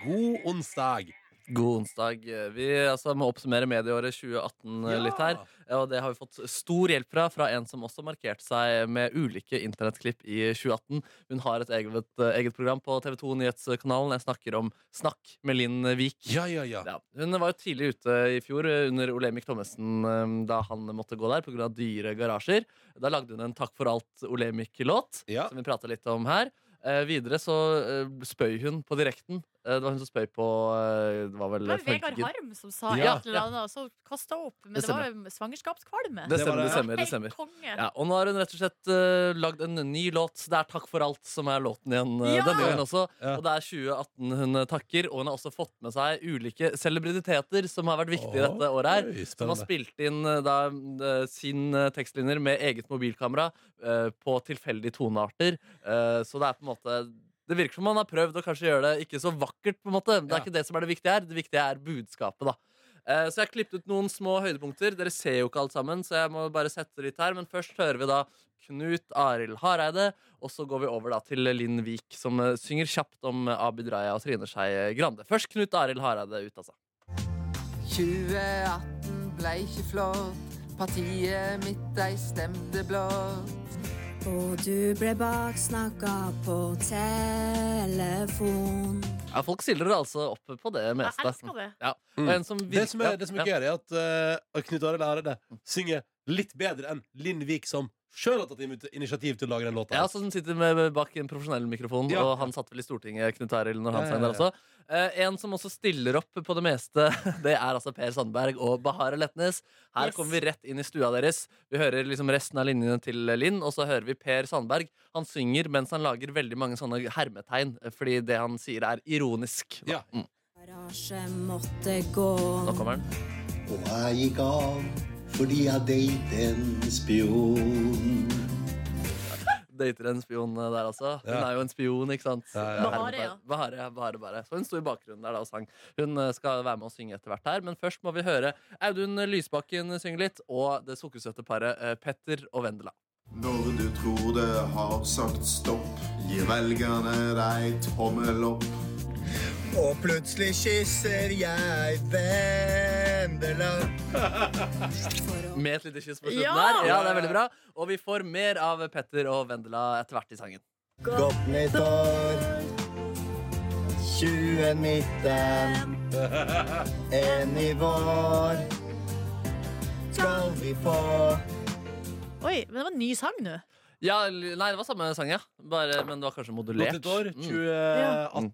[SPEAKER 3] God onsdag.
[SPEAKER 2] God onsdag. Vi altså, må oppsummere medieåret 2018 litt her. Og det har vi fått stor hjelp fra fra en som også markerte seg med ulike internettklipp i 2018. Hun har et eget, eh, eget program på TV2 Nyhetskanalen. Jeg snakker om Snakk med Linn Vik. Ja. Hun var jo tidlig ute i fjor eh, under Olemic Thommessen eh, da han måtte gå der pga. dyre garasjer. Da lagde hun en Takk for alt Olemic-låt, som vi prata litt om her. Eh, videre så eh, spøy hun på direkten. Eh, det var hun som spøy på eh, Det var vel
[SPEAKER 5] Det var Vegard
[SPEAKER 2] Funkygid.
[SPEAKER 5] Harm som sa
[SPEAKER 2] Ja,
[SPEAKER 5] et eller annet, og så kasta hun opp. Men
[SPEAKER 2] Det
[SPEAKER 5] det, var jo svangerskapskvalme.
[SPEAKER 2] Det stemmer. det stemmer,
[SPEAKER 5] Ja,
[SPEAKER 2] det
[SPEAKER 5] helt
[SPEAKER 2] stemmer.
[SPEAKER 5] konge.
[SPEAKER 2] Ja, og nå har hun rett og slett eh, lagd en ny låt. Det er 'Takk for alt' som er låten igjen eh,
[SPEAKER 5] Ja!
[SPEAKER 2] denne gangen også. Og det er 2018 hun eh, takker, og hun har også fått med seg ulike celebriditeter som har vært viktige dette året her.
[SPEAKER 3] Oi,
[SPEAKER 2] som har
[SPEAKER 3] spennende.
[SPEAKER 2] spilt inn eh, da, eh, sin eh, tekstlinjer med eget mobilkamera eh, på tilfeldige tonearter. Eh, så det er på en måte det virker som man har prøvd å kanskje gjøre det ikke så vakkert. på en måte Det er ikke det som er det viktige her. Det viktige er budskapet. da Eh, Så jeg har klippet ut noen små høydepunkter. Dere ser jo ikke alt sammen, så jeg må bare sette det litt her. Men først hører vi da Knut Arild Hareide, og så går vi over da til Linn Vik, som eh, synger kjapt om eh, Abid Raja og Trine Skei Grande. Først Knut Arild Hareide ut, altså.
[SPEAKER 15] 2018 blei ikke flott, partiet mitt ei stemte blått.
[SPEAKER 16] Og du ble baksnakka på telefon.
[SPEAKER 2] Ja, folk stiller altså opp på det meste.
[SPEAKER 16] elsker det.
[SPEAKER 2] Ja.
[SPEAKER 3] Mm.
[SPEAKER 2] Og en som
[SPEAKER 3] Det som er, det som er
[SPEAKER 2] ja.
[SPEAKER 3] gøy, er at eh, Knut Arild Hareide synger litt bedre enn Linn Vik, som sjøl har tatt imot- initiativ til å lage den låta.
[SPEAKER 2] Ja, altså, som sitter med, bak en profesjonell mikrofon,
[SPEAKER 3] Ja.
[SPEAKER 2] og han satt vel i Stortinget, Knut Arild, når han
[SPEAKER 3] Ja,
[SPEAKER 2] sang
[SPEAKER 3] ja,
[SPEAKER 2] der også. Eh, en som også stiller opp på det meste, det er altså Per Sandberg og Bahare Letnes. Her
[SPEAKER 5] Yes.
[SPEAKER 2] kommer vi rett inn i stua deres. Vi hører liksom resten av linjene til Linn, og så hører vi Per Sandberg. Han synger mens han lager veldig mange sånne hermetegn, fordi det han sier, er ironisk. da. Mm.
[SPEAKER 16] Garasje måtte gå.
[SPEAKER 2] Nå kommer han.
[SPEAKER 17] Og jeg gikk av fordi jeg date en spion.
[SPEAKER 2] Dater en spion eh, der, altså. Hun
[SPEAKER 3] Ja.
[SPEAKER 2] er jo en spion, ikke sant?
[SPEAKER 3] ja.
[SPEAKER 5] Bahare,
[SPEAKER 2] Hermetegn.
[SPEAKER 5] ja.
[SPEAKER 2] Bahare, ja, Bahare, bare. Så hun sto i bakgrunnen der da og sang. Hun eh, skal være med og synge etter hvert her, men først må vi høre Audun Lysbakken synge litt, og det sukkersøte paret eh, Petter og Vendela.
[SPEAKER 18] Når du tror det har sagt stopp, gir velgerne deg tommel opp.
[SPEAKER 17] Og plutselig kysser jeg Vendela.
[SPEAKER 2] Med et lite kyss på slutten
[SPEAKER 17] Ja!
[SPEAKER 2] der. Ja, det er veldig bra. Og vi får mer av Petter og Vendela etter hvert i sangen.
[SPEAKER 17] Godt nyttår, 2019. En i vår skal vi få.
[SPEAKER 5] Oi, men det var en ny sang nå.
[SPEAKER 2] Ja, l- nei, det var samme sang, ja. Bare, men det var kanskje modulert.
[SPEAKER 3] Godt nytt år,
[SPEAKER 2] Mm.
[SPEAKER 3] 2018,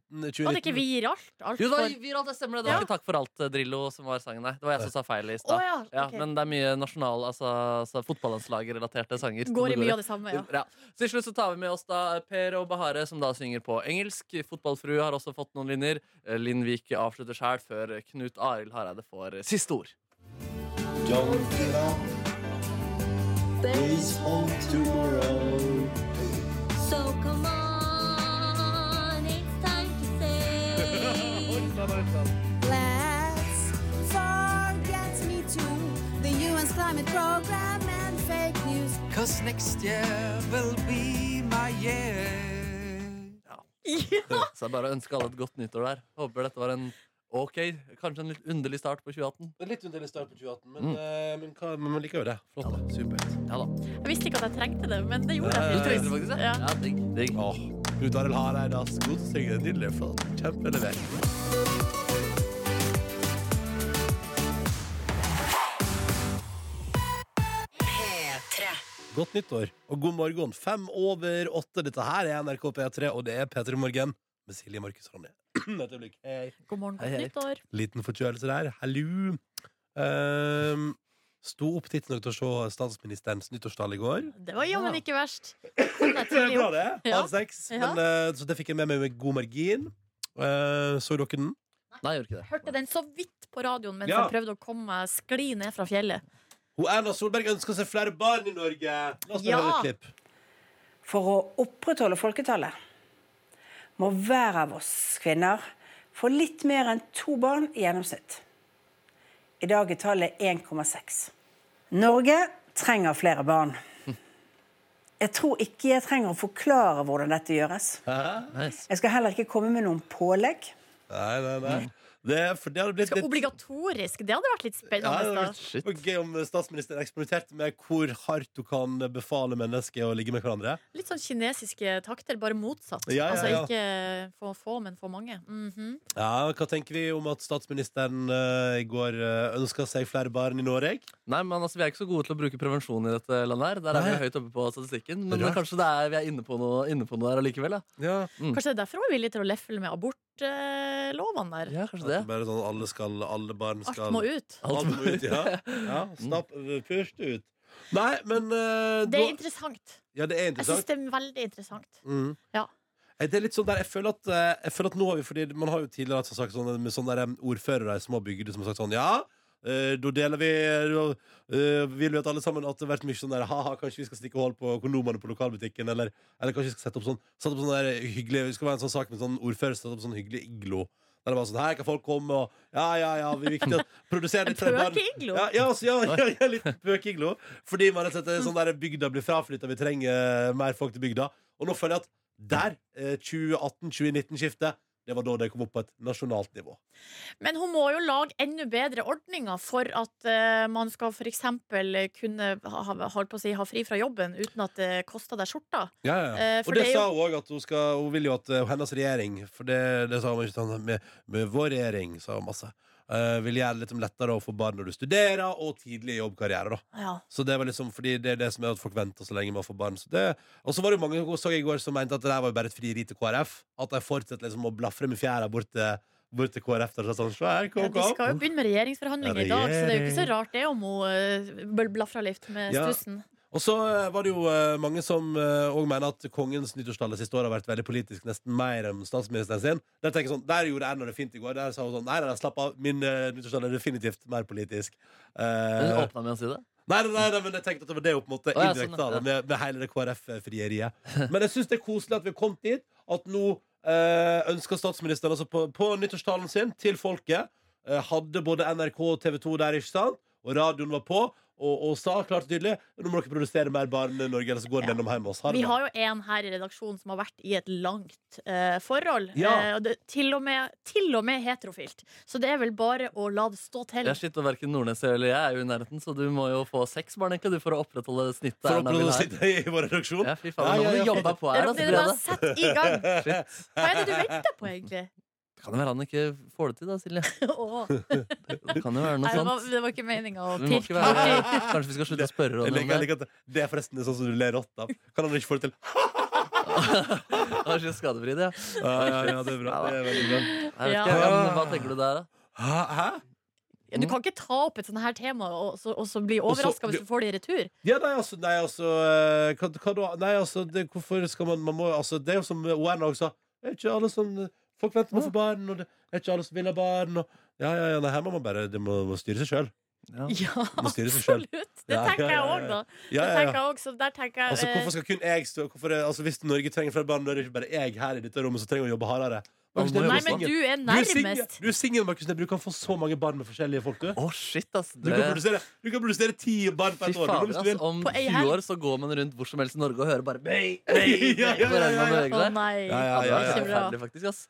[SPEAKER 5] Var det ikke Vi gir alt? alt
[SPEAKER 2] Jo, det var
[SPEAKER 5] for-
[SPEAKER 2] Vi Ralt, det stemmer det. Det var ikke Takk for alt, eh, Drillo, som var sangen, nei. Det var jeg som sa feil i stad.
[SPEAKER 5] Å, ja, ok.
[SPEAKER 2] men det er mye nasjonal, altså, altså fotballandslagrelaterte sanger.
[SPEAKER 5] Går i
[SPEAKER 2] som
[SPEAKER 5] mye av det samme, ja.
[SPEAKER 2] Så til slutt så tar vi med oss da Per og Bahare, som da synger på engelsk. Fotballfrue har også fått noen linjer. Eh, Linn Vik avslutter sjæl før Knut Arild Hareide får eh, siste ord.
[SPEAKER 17] Don't give up. There's hope tomorrow.
[SPEAKER 16] So come on, it's time to say. Let's forget me too. The UN's climate program and fake news.
[SPEAKER 15] Cause next year will be my year.
[SPEAKER 2] Så jeg bare ønsker alle et godt nyttår der. Håper dette var en OK, kanskje en litt underlig start på 2018.
[SPEAKER 3] Litt underlig start på 2018, men,
[SPEAKER 2] Mm.
[SPEAKER 3] eh, men, hva, men man liker jo det. Flott. da. Supert.
[SPEAKER 2] Ja da.
[SPEAKER 5] Jeg visste ikke at jeg trengte det, men det gjorde jeg.
[SPEAKER 3] Du trengte det
[SPEAKER 2] faktisk,
[SPEAKER 5] ja.
[SPEAKER 2] digg. digg.
[SPEAKER 3] Åh, Knut Arild Hareide, ass. God til å synge. Nydelig. Flott. Kjempelevert. Godt nyttår og god morgen. Fem over åtte. Dette her er NRK P3, og det er P3 Morgen med Silje Markus Ronny. Et øyeblikk. Hei.
[SPEAKER 5] God morgen,
[SPEAKER 3] Hei,
[SPEAKER 5] godt
[SPEAKER 3] hei.
[SPEAKER 5] nyttår.
[SPEAKER 3] Liten forkjølelse der. Hallo. Ehm, sto opp tidsnok til å se statsministerens nyttårstale i går.
[SPEAKER 5] Det var jammen ikke verst.
[SPEAKER 3] Det var bra, det.
[SPEAKER 5] Ja.
[SPEAKER 3] Halv seks.
[SPEAKER 5] Ja.
[SPEAKER 3] Men, eh, så det fikk jeg med meg med god margin. Eh, så dere den? Nei, gjorde ikke det.
[SPEAKER 5] Hørte den så vidt på radioen mens
[SPEAKER 3] Ja.
[SPEAKER 5] jeg prøvde å komme meg skli ned fra fjellet.
[SPEAKER 3] Hun Erna Solberg ønsker seg flere barn i Norge. La oss bare
[SPEAKER 5] Ja.
[SPEAKER 3] høre et klipp.
[SPEAKER 19] For å opprettholde folketallet må hver av oss kvinner få litt mer enn to barn i gjennomsnitt. I dag er tallet 1,6. Norge trenger flere barn. Jeg tror ikke jeg trenger å forklare hvordan dette gjøres. Jeg skal heller ikke komme med noen pålegg.
[SPEAKER 3] Nei, nei, nei. Det, for det hadde blitt litt
[SPEAKER 5] Obligatorisk. Det hadde vært litt
[SPEAKER 3] Ja, det
[SPEAKER 5] spennende.
[SPEAKER 3] hadde
[SPEAKER 5] da.
[SPEAKER 3] vært gøy om statsministeren eksperimenterte med hvor hardt du kan befale mennesker å ligge med hverandre.
[SPEAKER 5] Litt sånn kinesiske takter, bare motsatt.
[SPEAKER 3] Ja, ja, ja.
[SPEAKER 5] Altså ikke få få, men få mange. Mhm.
[SPEAKER 3] Ja, Hva tenker vi om at statsministeren eh, i går uh, ønska seg flere barn i Norge?
[SPEAKER 2] Nei, men altså, Vi er ikke så gode til å bruke prevensjon i dette landet. her Der er vi
[SPEAKER 3] Nei.
[SPEAKER 2] jo høyt oppe på statistikken. Men
[SPEAKER 3] Rart.
[SPEAKER 2] kanskje det er, vi er inne på noe, inne på noe der allikevel.
[SPEAKER 3] Ja.
[SPEAKER 2] Mm.
[SPEAKER 5] Kanskje det er derfor hun er villig til å lefle med abortlovene der.
[SPEAKER 2] Ja, kanskje det.
[SPEAKER 3] At Bare sånn alle skal, alle barn skal
[SPEAKER 5] må ut. Mm.
[SPEAKER 3] Alt må ut, ja. ja snapp, Pust ut. Nei, men eh,
[SPEAKER 5] Det er
[SPEAKER 3] da-
[SPEAKER 5] interessant.
[SPEAKER 3] Ja, det er
[SPEAKER 5] Jeg syns
[SPEAKER 3] interessant.
[SPEAKER 5] det er veldig interessant.
[SPEAKER 3] Mm.
[SPEAKER 5] Ja.
[SPEAKER 3] Eh, Det er litt sånn der, jeg føler at, eh, jeg føler at nå har vi, fordi Man har jo tidligere hatt sånn sagt sånn, med sånne der, em, ordførere i små bygder som har sagt sånn Ja, eh, da deler vi da, eh, Vil vi at alle sammen at det har vært mye sånn der Ha-ha, kanskje vi skal stikke hold på kondomene på lokalbutikken Eller, eller kanskje vi skal sette opp sånn Sette opp sånn der hyggelig Det skal være en sånn sak med sånn ordfører Sette opp sånn hyggelig iglo Der det bare sånn Her kan folk komme og Ja, ja, ja, vi er viktig å produsere litt for
[SPEAKER 5] En
[SPEAKER 3] barn.
[SPEAKER 5] pøkeiglo?
[SPEAKER 3] Ja, ja, altså, ja, ja, ja, litt pøkeiglo Fordi man rett og slett er sånn der Bygda blir fraflyttet Vi trenger eh, mer folk til bygda Og nå føler jeg at der, eh, 2018-2019-skiftet, det var da det kom opp på et nasjonalt nivå.
[SPEAKER 5] Men hun må jo lage enda bedre ordninger for at eh, man skal f.eks. kunne ha, ha- holdt på å si, ha fri fra jobben uten at det koster deg skjorta. Eh,
[SPEAKER 3] og
[SPEAKER 5] for
[SPEAKER 3] det,
[SPEAKER 5] det er
[SPEAKER 3] sa
[SPEAKER 5] jo-
[SPEAKER 3] hun òg, at hun, skal, hun vil jo at eh, hennes regjering For det, det sa hun ikke sånn med, med vår regjering, sa hun masse. eh, vil gjøre det liksom lettere å få barn når du studerer, og tidlig i jobbkarriere. da
[SPEAKER 5] Ja.
[SPEAKER 3] Så det var liksom fordi det er det som er at folk venter så lenge med å få barn. Så det, og så var det jo mange hun så jeg i går som mente at det der var jo bare et frieri til KrF. At de fortsetter liksom å blafre med fjæra bort til, bort til KrF. Der, og sånn, «Svær,
[SPEAKER 5] Ja,
[SPEAKER 3] kom,
[SPEAKER 5] de
[SPEAKER 3] kom.
[SPEAKER 5] skal jo begynne med regjeringsforhandlinger i dag, så det er jo ikke så rart det om hun eh, blafrer litt med
[SPEAKER 3] Ja.
[SPEAKER 5] stussen.
[SPEAKER 3] Og så eh, var det jo eh, mange som òg mener at kongens nyttårstale siste år har vært veldig politisk, nesten mer enn statsministeren sin. Der tenker jeg sånn, der gjorde Erna det fint i går. Der sa hun sånn Nei, nei, nei, slapp av. Min eh, nyttårstale er definitivt mer politisk.
[SPEAKER 2] Hun
[SPEAKER 3] Eh,
[SPEAKER 2] åpna med å si det.
[SPEAKER 3] Nei, nei, nei, nei, men jeg tenkte at det var det hun på en måte
[SPEAKER 2] Å, ja, sånn,
[SPEAKER 3] indirekte da,
[SPEAKER 2] ja.
[SPEAKER 3] med, med hele det KrF-frieriet. Men jeg syns det er koselig at vi har kommet dit at nå eh, ønsker statsministeren altså på, på nyttårstalen sin til folket eh, Hadde både NRK og TV 2 der, ikke sant? Og radioen var på. Og, og sa klart og tydelig Nå må dere produsere mer barn i Norge, ellers så går den gjennom hjemme hos oss. Ha det
[SPEAKER 5] Vi
[SPEAKER 3] bra.
[SPEAKER 5] har jo en her i redaksjonen som har vært i et langt eh, forhold.
[SPEAKER 3] Ja.
[SPEAKER 5] Eh, og det, til, og med, til og med heterofilt. Så det er vel bare å la det stå til.
[SPEAKER 2] Det er shit, og Verken Nordnes eller jeg er jo i nærheten, så du må jo få seks barn egentlig, du, for å opprettholde snittet.
[SPEAKER 3] For å
[SPEAKER 2] Erna vil ha.
[SPEAKER 3] opprettholde snittet i vår redaksjon.
[SPEAKER 2] Ja, fy faen,
[SPEAKER 3] Ja, ja,
[SPEAKER 2] Nå må
[SPEAKER 3] ja.
[SPEAKER 2] du jobbe på her.
[SPEAKER 5] Dere-
[SPEAKER 2] altså,
[SPEAKER 5] dere bare sett
[SPEAKER 2] Brede.
[SPEAKER 5] i gang.
[SPEAKER 2] Shit.
[SPEAKER 5] Hva er det du venter på, egentlig?
[SPEAKER 2] Kan det være han ikke får det til, da, Silje?
[SPEAKER 5] Åh.
[SPEAKER 2] Det kan jo være
[SPEAKER 5] Nei,
[SPEAKER 2] noe
[SPEAKER 5] det, var,
[SPEAKER 2] sånt.
[SPEAKER 5] det var ikke meninga å
[SPEAKER 2] Vi må ikke
[SPEAKER 5] pirke.
[SPEAKER 2] være, kanskje vi skal slutte å spørre
[SPEAKER 3] Jeg
[SPEAKER 2] henne
[SPEAKER 3] liker- jeg
[SPEAKER 2] om det.
[SPEAKER 3] liker at det er forresten sånn som du ler rått av. Kan han ikke få det til?
[SPEAKER 2] Han er så skadefri, det.
[SPEAKER 3] Ja, ja, ja, det er bra. Det er veldig bra.
[SPEAKER 2] Jeg vet ikke,
[SPEAKER 3] Ja.
[SPEAKER 2] men Hva tenker du der, da?
[SPEAKER 3] Hæ?
[SPEAKER 5] Ja, Du kan ikke ta opp et sånt her tema og, så, og så bli
[SPEAKER 3] Og så-
[SPEAKER 5] overraska hvis du får det i retur.
[SPEAKER 3] Ja, nei, altså, nei, altså eh, hva, hva da? Nei, altså, det, hvorfor skal man, man må, altså, Det er jo som Erna også sa. Det er ikke alle som Folk venter på å få barn, og det er ikke alle som vil ha barn. Og, ja, ja, ja, nei, her må man bare Det må, må styre seg sjøl.
[SPEAKER 2] Ja,
[SPEAKER 3] må styre seg selv.
[SPEAKER 5] absolutt. Det
[SPEAKER 3] Ja,
[SPEAKER 5] tenker
[SPEAKER 3] ja,
[SPEAKER 5] jeg
[SPEAKER 3] ja,
[SPEAKER 5] òg, da.
[SPEAKER 3] ja. Ja,
[SPEAKER 5] Det
[SPEAKER 3] ja, ja.
[SPEAKER 5] tenker jeg også, der tenker jeg
[SPEAKER 3] Altså,
[SPEAKER 5] eh,
[SPEAKER 3] hvorfor skal kun jeg stå hvorfor, er- altså, Hvis Norge trenger flere barn, da er det ikke bare jeg her i dette rommet som trenger å jobbe hardere. Markus
[SPEAKER 5] Nei,
[SPEAKER 3] Neby,
[SPEAKER 5] men
[SPEAKER 3] singel.
[SPEAKER 5] du er
[SPEAKER 3] singel-
[SPEAKER 5] nærmest.
[SPEAKER 3] Du er singel, Markus Neby. Du kan få så mange barn med forskjellige folk, du.
[SPEAKER 2] Å, shit, ass.
[SPEAKER 3] Du kan produsere, du kan produsere ti barn på
[SPEAKER 2] Fy
[SPEAKER 3] et år.
[SPEAKER 2] fader,
[SPEAKER 3] hvis du
[SPEAKER 2] ass.
[SPEAKER 3] vil.
[SPEAKER 2] Om
[SPEAKER 5] På ei
[SPEAKER 2] 20
[SPEAKER 5] helg.
[SPEAKER 2] år så går man rundt hvor som helst i Norge og hører bare Bey,
[SPEAKER 3] Ja, ja, ja, ja, ja.
[SPEAKER 5] Å nei,
[SPEAKER 3] Ja, ja, ja,
[SPEAKER 5] det var
[SPEAKER 3] ja.
[SPEAKER 5] ikke bra.
[SPEAKER 2] Forferdelig, faktisk, ass.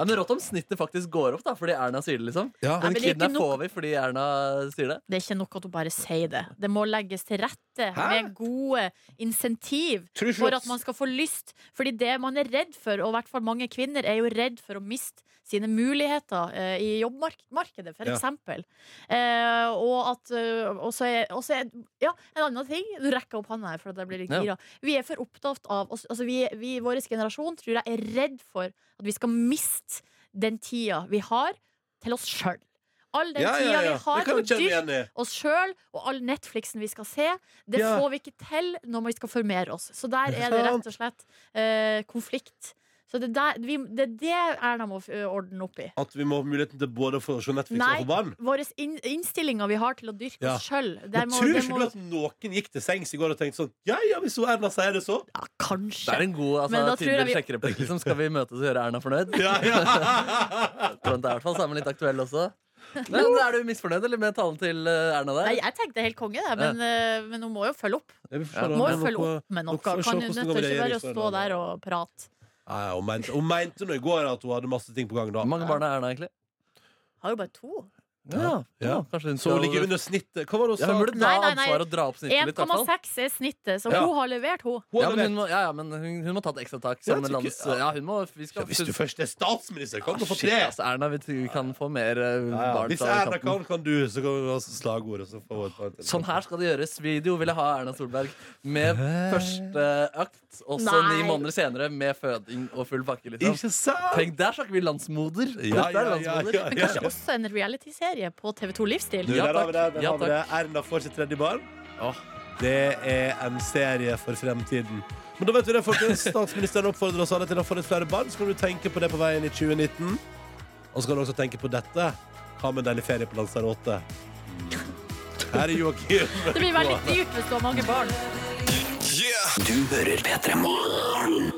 [SPEAKER 2] Ja, men Rått om snittet faktisk går opp, da, fordi Erna sier det. liksom
[SPEAKER 5] Ja. Nei,
[SPEAKER 2] Den
[SPEAKER 5] men det er
[SPEAKER 2] kiden her
[SPEAKER 5] ikke nok-
[SPEAKER 2] får vi fordi Erna sier det.
[SPEAKER 5] Det er ikke nok at hun bare sier det. Det må legges til rette med gode insentiv
[SPEAKER 2] Truslås.
[SPEAKER 5] for at man skal få lyst. Fordi det man er redd for, og i hvert fall mange kvinner er jo redd for å miste sine muligheter eh, i jobbmarkedet, for
[SPEAKER 20] Ja.
[SPEAKER 5] eksempel. Eh, og at eh, Og så er, og så er Ja, en annen ting. Du rekker opp hånda her, for at jeg blir litt
[SPEAKER 20] Ja.
[SPEAKER 5] gira. Vi er for opptatt av altså vi, vi i vår generasjon tror jeg er redd for at vi skal miste den tida vi har til oss sjøl. All den
[SPEAKER 3] Ja, ja,
[SPEAKER 5] tida
[SPEAKER 3] ja.
[SPEAKER 5] vi har
[SPEAKER 3] Det kan
[SPEAKER 5] til å
[SPEAKER 3] jeg kjenne igjen
[SPEAKER 5] dyrke
[SPEAKER 3] i.
[SPEAKER 5] oss sjøl og all Netflixen vi skal se, det
[SPEAKER 3] Ja.
[SPEAKER 5] får vi ikke til når vi skal formere oss. Så der
[SPEAKER 20] Det er
[SPEAKER 5] er det
[SPEAKER 20] sant.
[SPEAKER 5] rett og slett eh, konflikt. Så det, der, vi, det er det Erna må eh, ordne opp i.
[SPEAKER 3] At vi må ha muligheten til både å få se Netflix
[SPEAKER 5] Nei,
[SPEAKER 3] og få barn?
[SPEAKER 5] våre in innstillinger vi har til å dyrke
[SPEAKER 3] Ja.
[SPEAKER 5] oss sjøl
[SPEAKER 3] Men tror ikke du at noen gikk til sengs i går og tenkte sånn Ja, ja, hvis hun Erna sier det, så
[SPEAKER 5] Ja, kanskje
[SPEAKER 2] Det er en god
[SPEAKER 5] Men
[SPEAKER 2] altså,
[SPEAKER 5] da tror jeg vi-
[SPEAKER 2] Tinder-sjekkereplikk. Liksom. Skal vi møtes og gjøre Erna fornøyd? Trond er i hvert fall sammen litt aktuell også. Men Er du misfornøyd eller med talen til eh, Erna der?
[SPEAKER 5] Nei, jeg tenkte helt konge, det, men, eh, men hun må jo følge opp.
[SPEAKER 3] Ja, vi får se da.
[SPEAKER 5] må jo
[SPEAKER 3] Men
[SPEAKER 5] følge
[SPEAKER 3] noe-
[SPEAKER 5] opp med
[SPEAKER 3] noe
[SPEAKER 5] noe.
[SPEAKER 3] får vi se
[SPEAKER 5] Kan hun
[SPEAKER 3] hvordan det
[SPEAKER 5] nødt
[SPEAKER 3] går
[SPEAKER 5] til ikke
[SPEAKER 3] i
[SPEAKER 5] bare å
[SPEAKER 3] regjeringen,
[SPEAKER 5] stå der og prate?
[SPEAKER 3] Ja, ja, hun, mente, hun mente nå i går at hun hadde masse ting på gang da.
[SPEAKER 2] mange barn er Erna, egentlig?
[SPEAKER 5] Har jo bare to.
[SPEAKER 2] Ja, ja. Kanskje hun
[SPEAKER 3] Så hun
[SPEAKER 2] skal-
[SPEAKER 3] ligger under snittet. Hva var det hun
[SPEAKER 2] Ja,
[SPEAKER 3] sa?
[SPEAKER 2] hun burde ta ansvar og dra opp snittet litt. i hvert fall.
[SPEAKER 5] 1,6 er snittet, så
[SPEAKER 2] Ja.
[SPEAKER 5] hun har levert, hun.
[SPEAKER 2] Ja, men hun må, ja, ja, men hun, hun må ta et ekstra tak.
[SPEAKER 3] Ja,
[SPEAKER 2] Som
[SPEAKER 3] jeg tror
[SPEAKER 2] lands,
[SPEAKER 3] ikke- ja.
[SPEAKER 2] ja, hun må, vi skal,
[SPEAKER 3] Hvis du først er statsminister, kan du få
[SPEAKER 2] Shit,
[SPEAKER 3] tre!
[SPEAKER 2] altså, Erna, vi, vi kan få mer eh,
[SPEAKER 3] Ja, ja.
[SPEAKER 2] barn
[SPEAKER 3] Hvis
[SPEAKER 2] fra
[SPEAKER 3] Erna
[SPEAKER 2] kampen.
[SPEAKER 3] kan, kan du, så kan vi ha slagord. og så får hun et par til.
[SPEAKER 2] Sånn her skal det gjøres. Video ville ha Erna Solberg med første økt. Også
[SPEAKER 3] Nei.
[SPEAKER 2] ni måneder senere med føding og full pakke.
[SPEAKER 3] Ikke
[SPEAKER 2] Liksom.
[SPEAKER 3] sant?
[SPEAKER 2] Tenk, der snakker vi landsmoder!
[SPEAKER 3] Ja,
[SPEAKER 2] Dette
[SPEAKER 3] ja,
[SPEAKER 2] er
[SPEAKER 3] ja,
[SPEAKER 2] landsmoder.
[SPEAKER 3] ja,
[SPEAKER 5] Men kanskje også en realityserie på TV2 Livsstil.
[SPEAKER 3] Du, der har vi det. Der
[SPEAKER 2] Ja,
[SPEAKER 3] har vi det. Erna får sitt tredje barn. Det er en serie for fremtiden. Men da vet vi det, folkens. Statsministeren oppfordrer oss alle til å få litt flere barn. Så kan du tenke på det på veien i 2019. Og så kan du også tenke på dette. Ha med en deilig ferie på Lanzarote. Mm. Her er Joakim.
[SPEAKER 5] Det blir veldig dyrt hvis du har mange barn.
[SPEAKER 1] Du hører P3 Morgen.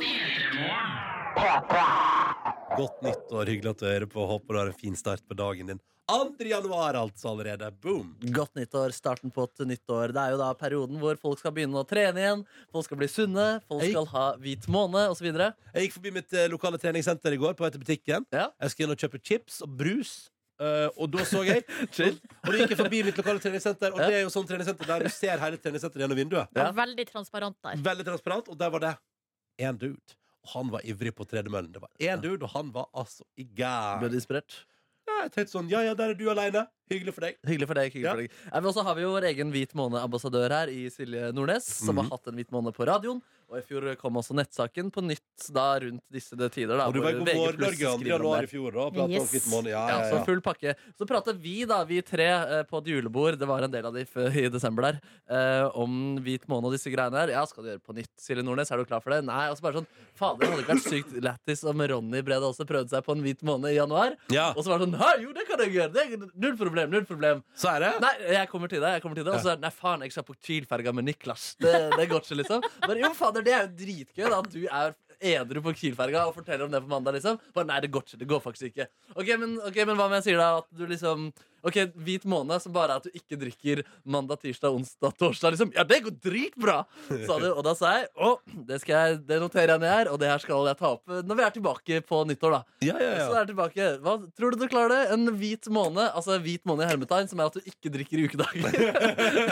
[SPEAKER 3] Godt nyttår. Hyggelig at du hører på. Håper du har en fin start på dagen din. 2. januar, altså, allerede. Boom!
[SPEAKER 2] Godt nyttår. Starten på et nytt år. Det er jo da perioden hvor folk skal begynne å trene igjen. Folk skal bli sunne, folk skal ha hvit måne osv.
[SPEAKER 3] Jeg gikk forbi mitt eh, lokale treningssenter i går på vei til butikken. Jeg skal inn og kjøpe chips og brus. eh, og da så jeg Og da gikk jeg forbi mitt lokale treningssenter, og det er jo sånn treningssenter der du ser hele treningssenteret gjennom vinduet.
[SPEAKER 5] Ja. Veldig transparent der.
[SPEAKER 3] Veldig transparent, og der var det én dude. Og han var ivrig på tredemøllen. Det var én dude, og han var altså i gang.
[SPEAKER 2] Ble du inspirert?
[SPEAKER 3] Ja, jeg tenkte sånn Ja ja, der er du aleine. Hyggelig for deg.
[SPEAKER 2] Hyggelig for deg. hyggelig
[SPEAKER 3] Ja.
[SPEAKER 2] for deg Eh, Men også har vi jo vår egen Hvit måne-ambassadør her i Silje Nordnes, som
[SPEAKER 3] Mhm.
[SPEAKER 2] har hatt en hvit måne på radioen. Og i fjor kom også nettsaken på nytt da rundt disse tider. Da,
[SPEAKER 3] Og du var i
[SPEAKER 2] hvor
[SPEAKER 3] God morgen, Norge,
[SPEAKER 2] VG+
[SPEAKER 3] andre
[SPEAKER 2] skriver om
[SPEAKER 3] januar
[SPEAKER 2] det.
[SPEAKER 3] i fjor, da, og pratet om Yes. Hvit måne. Ja, ja, ja.
[SPEAKER 2] så full pakke. Så prater vi, da, vi tre eh, på et julebord, det var en del av de f- i desember der, eh, om hvit måne og disse greiene her. Ja, skal du gjøre det på nytt, Silje Nordnes? Er du klar for det? Nei. Og så bare sånn Fader, det hadde ikke vært sykt lættis om Ronny Brede også prøvde seg på en hvit måne i januar. Og så var det sånn Hæ, jo, det kan jeg gjøre! Det er null problem, null problem.
[SPEAKER 3] Så er det?
[SPEAKER 2] Nei, jeg kommer til det. jeg kommer til det Og så er det, nei, faen, jeg skal på Kiel-ferga med Niklas. Det, det går ikke, liksom. Bare, jo, fader, det er jo dritgøy da, at du er edru på Kiel-ferga og forteller om det på mandag, liksom. Bare, nei, det går ikke. Det går faktisk ikke. Ok, men, ok, men hva om jeg sier da at du liksom Ok, hvit måned som bare er at du ikke drikker mandag, tirsdag, onsdag, torsdag, liksom. Ja, det går dritbra! Sa du. Og da sa jeg å, det, skal jeg, det noterer jeg ned her, og det her skal jeg ta opp når vi er tilbake på nyttår, da.
[SPEAKER 3] Ja, ja, ja.
[SPEAKER 2] Så er jeg tilbake. Hva, tror du du klarer det? En hvit måned, altså hvit måned i hermetegn, som er at du ikke drikker i ukedager.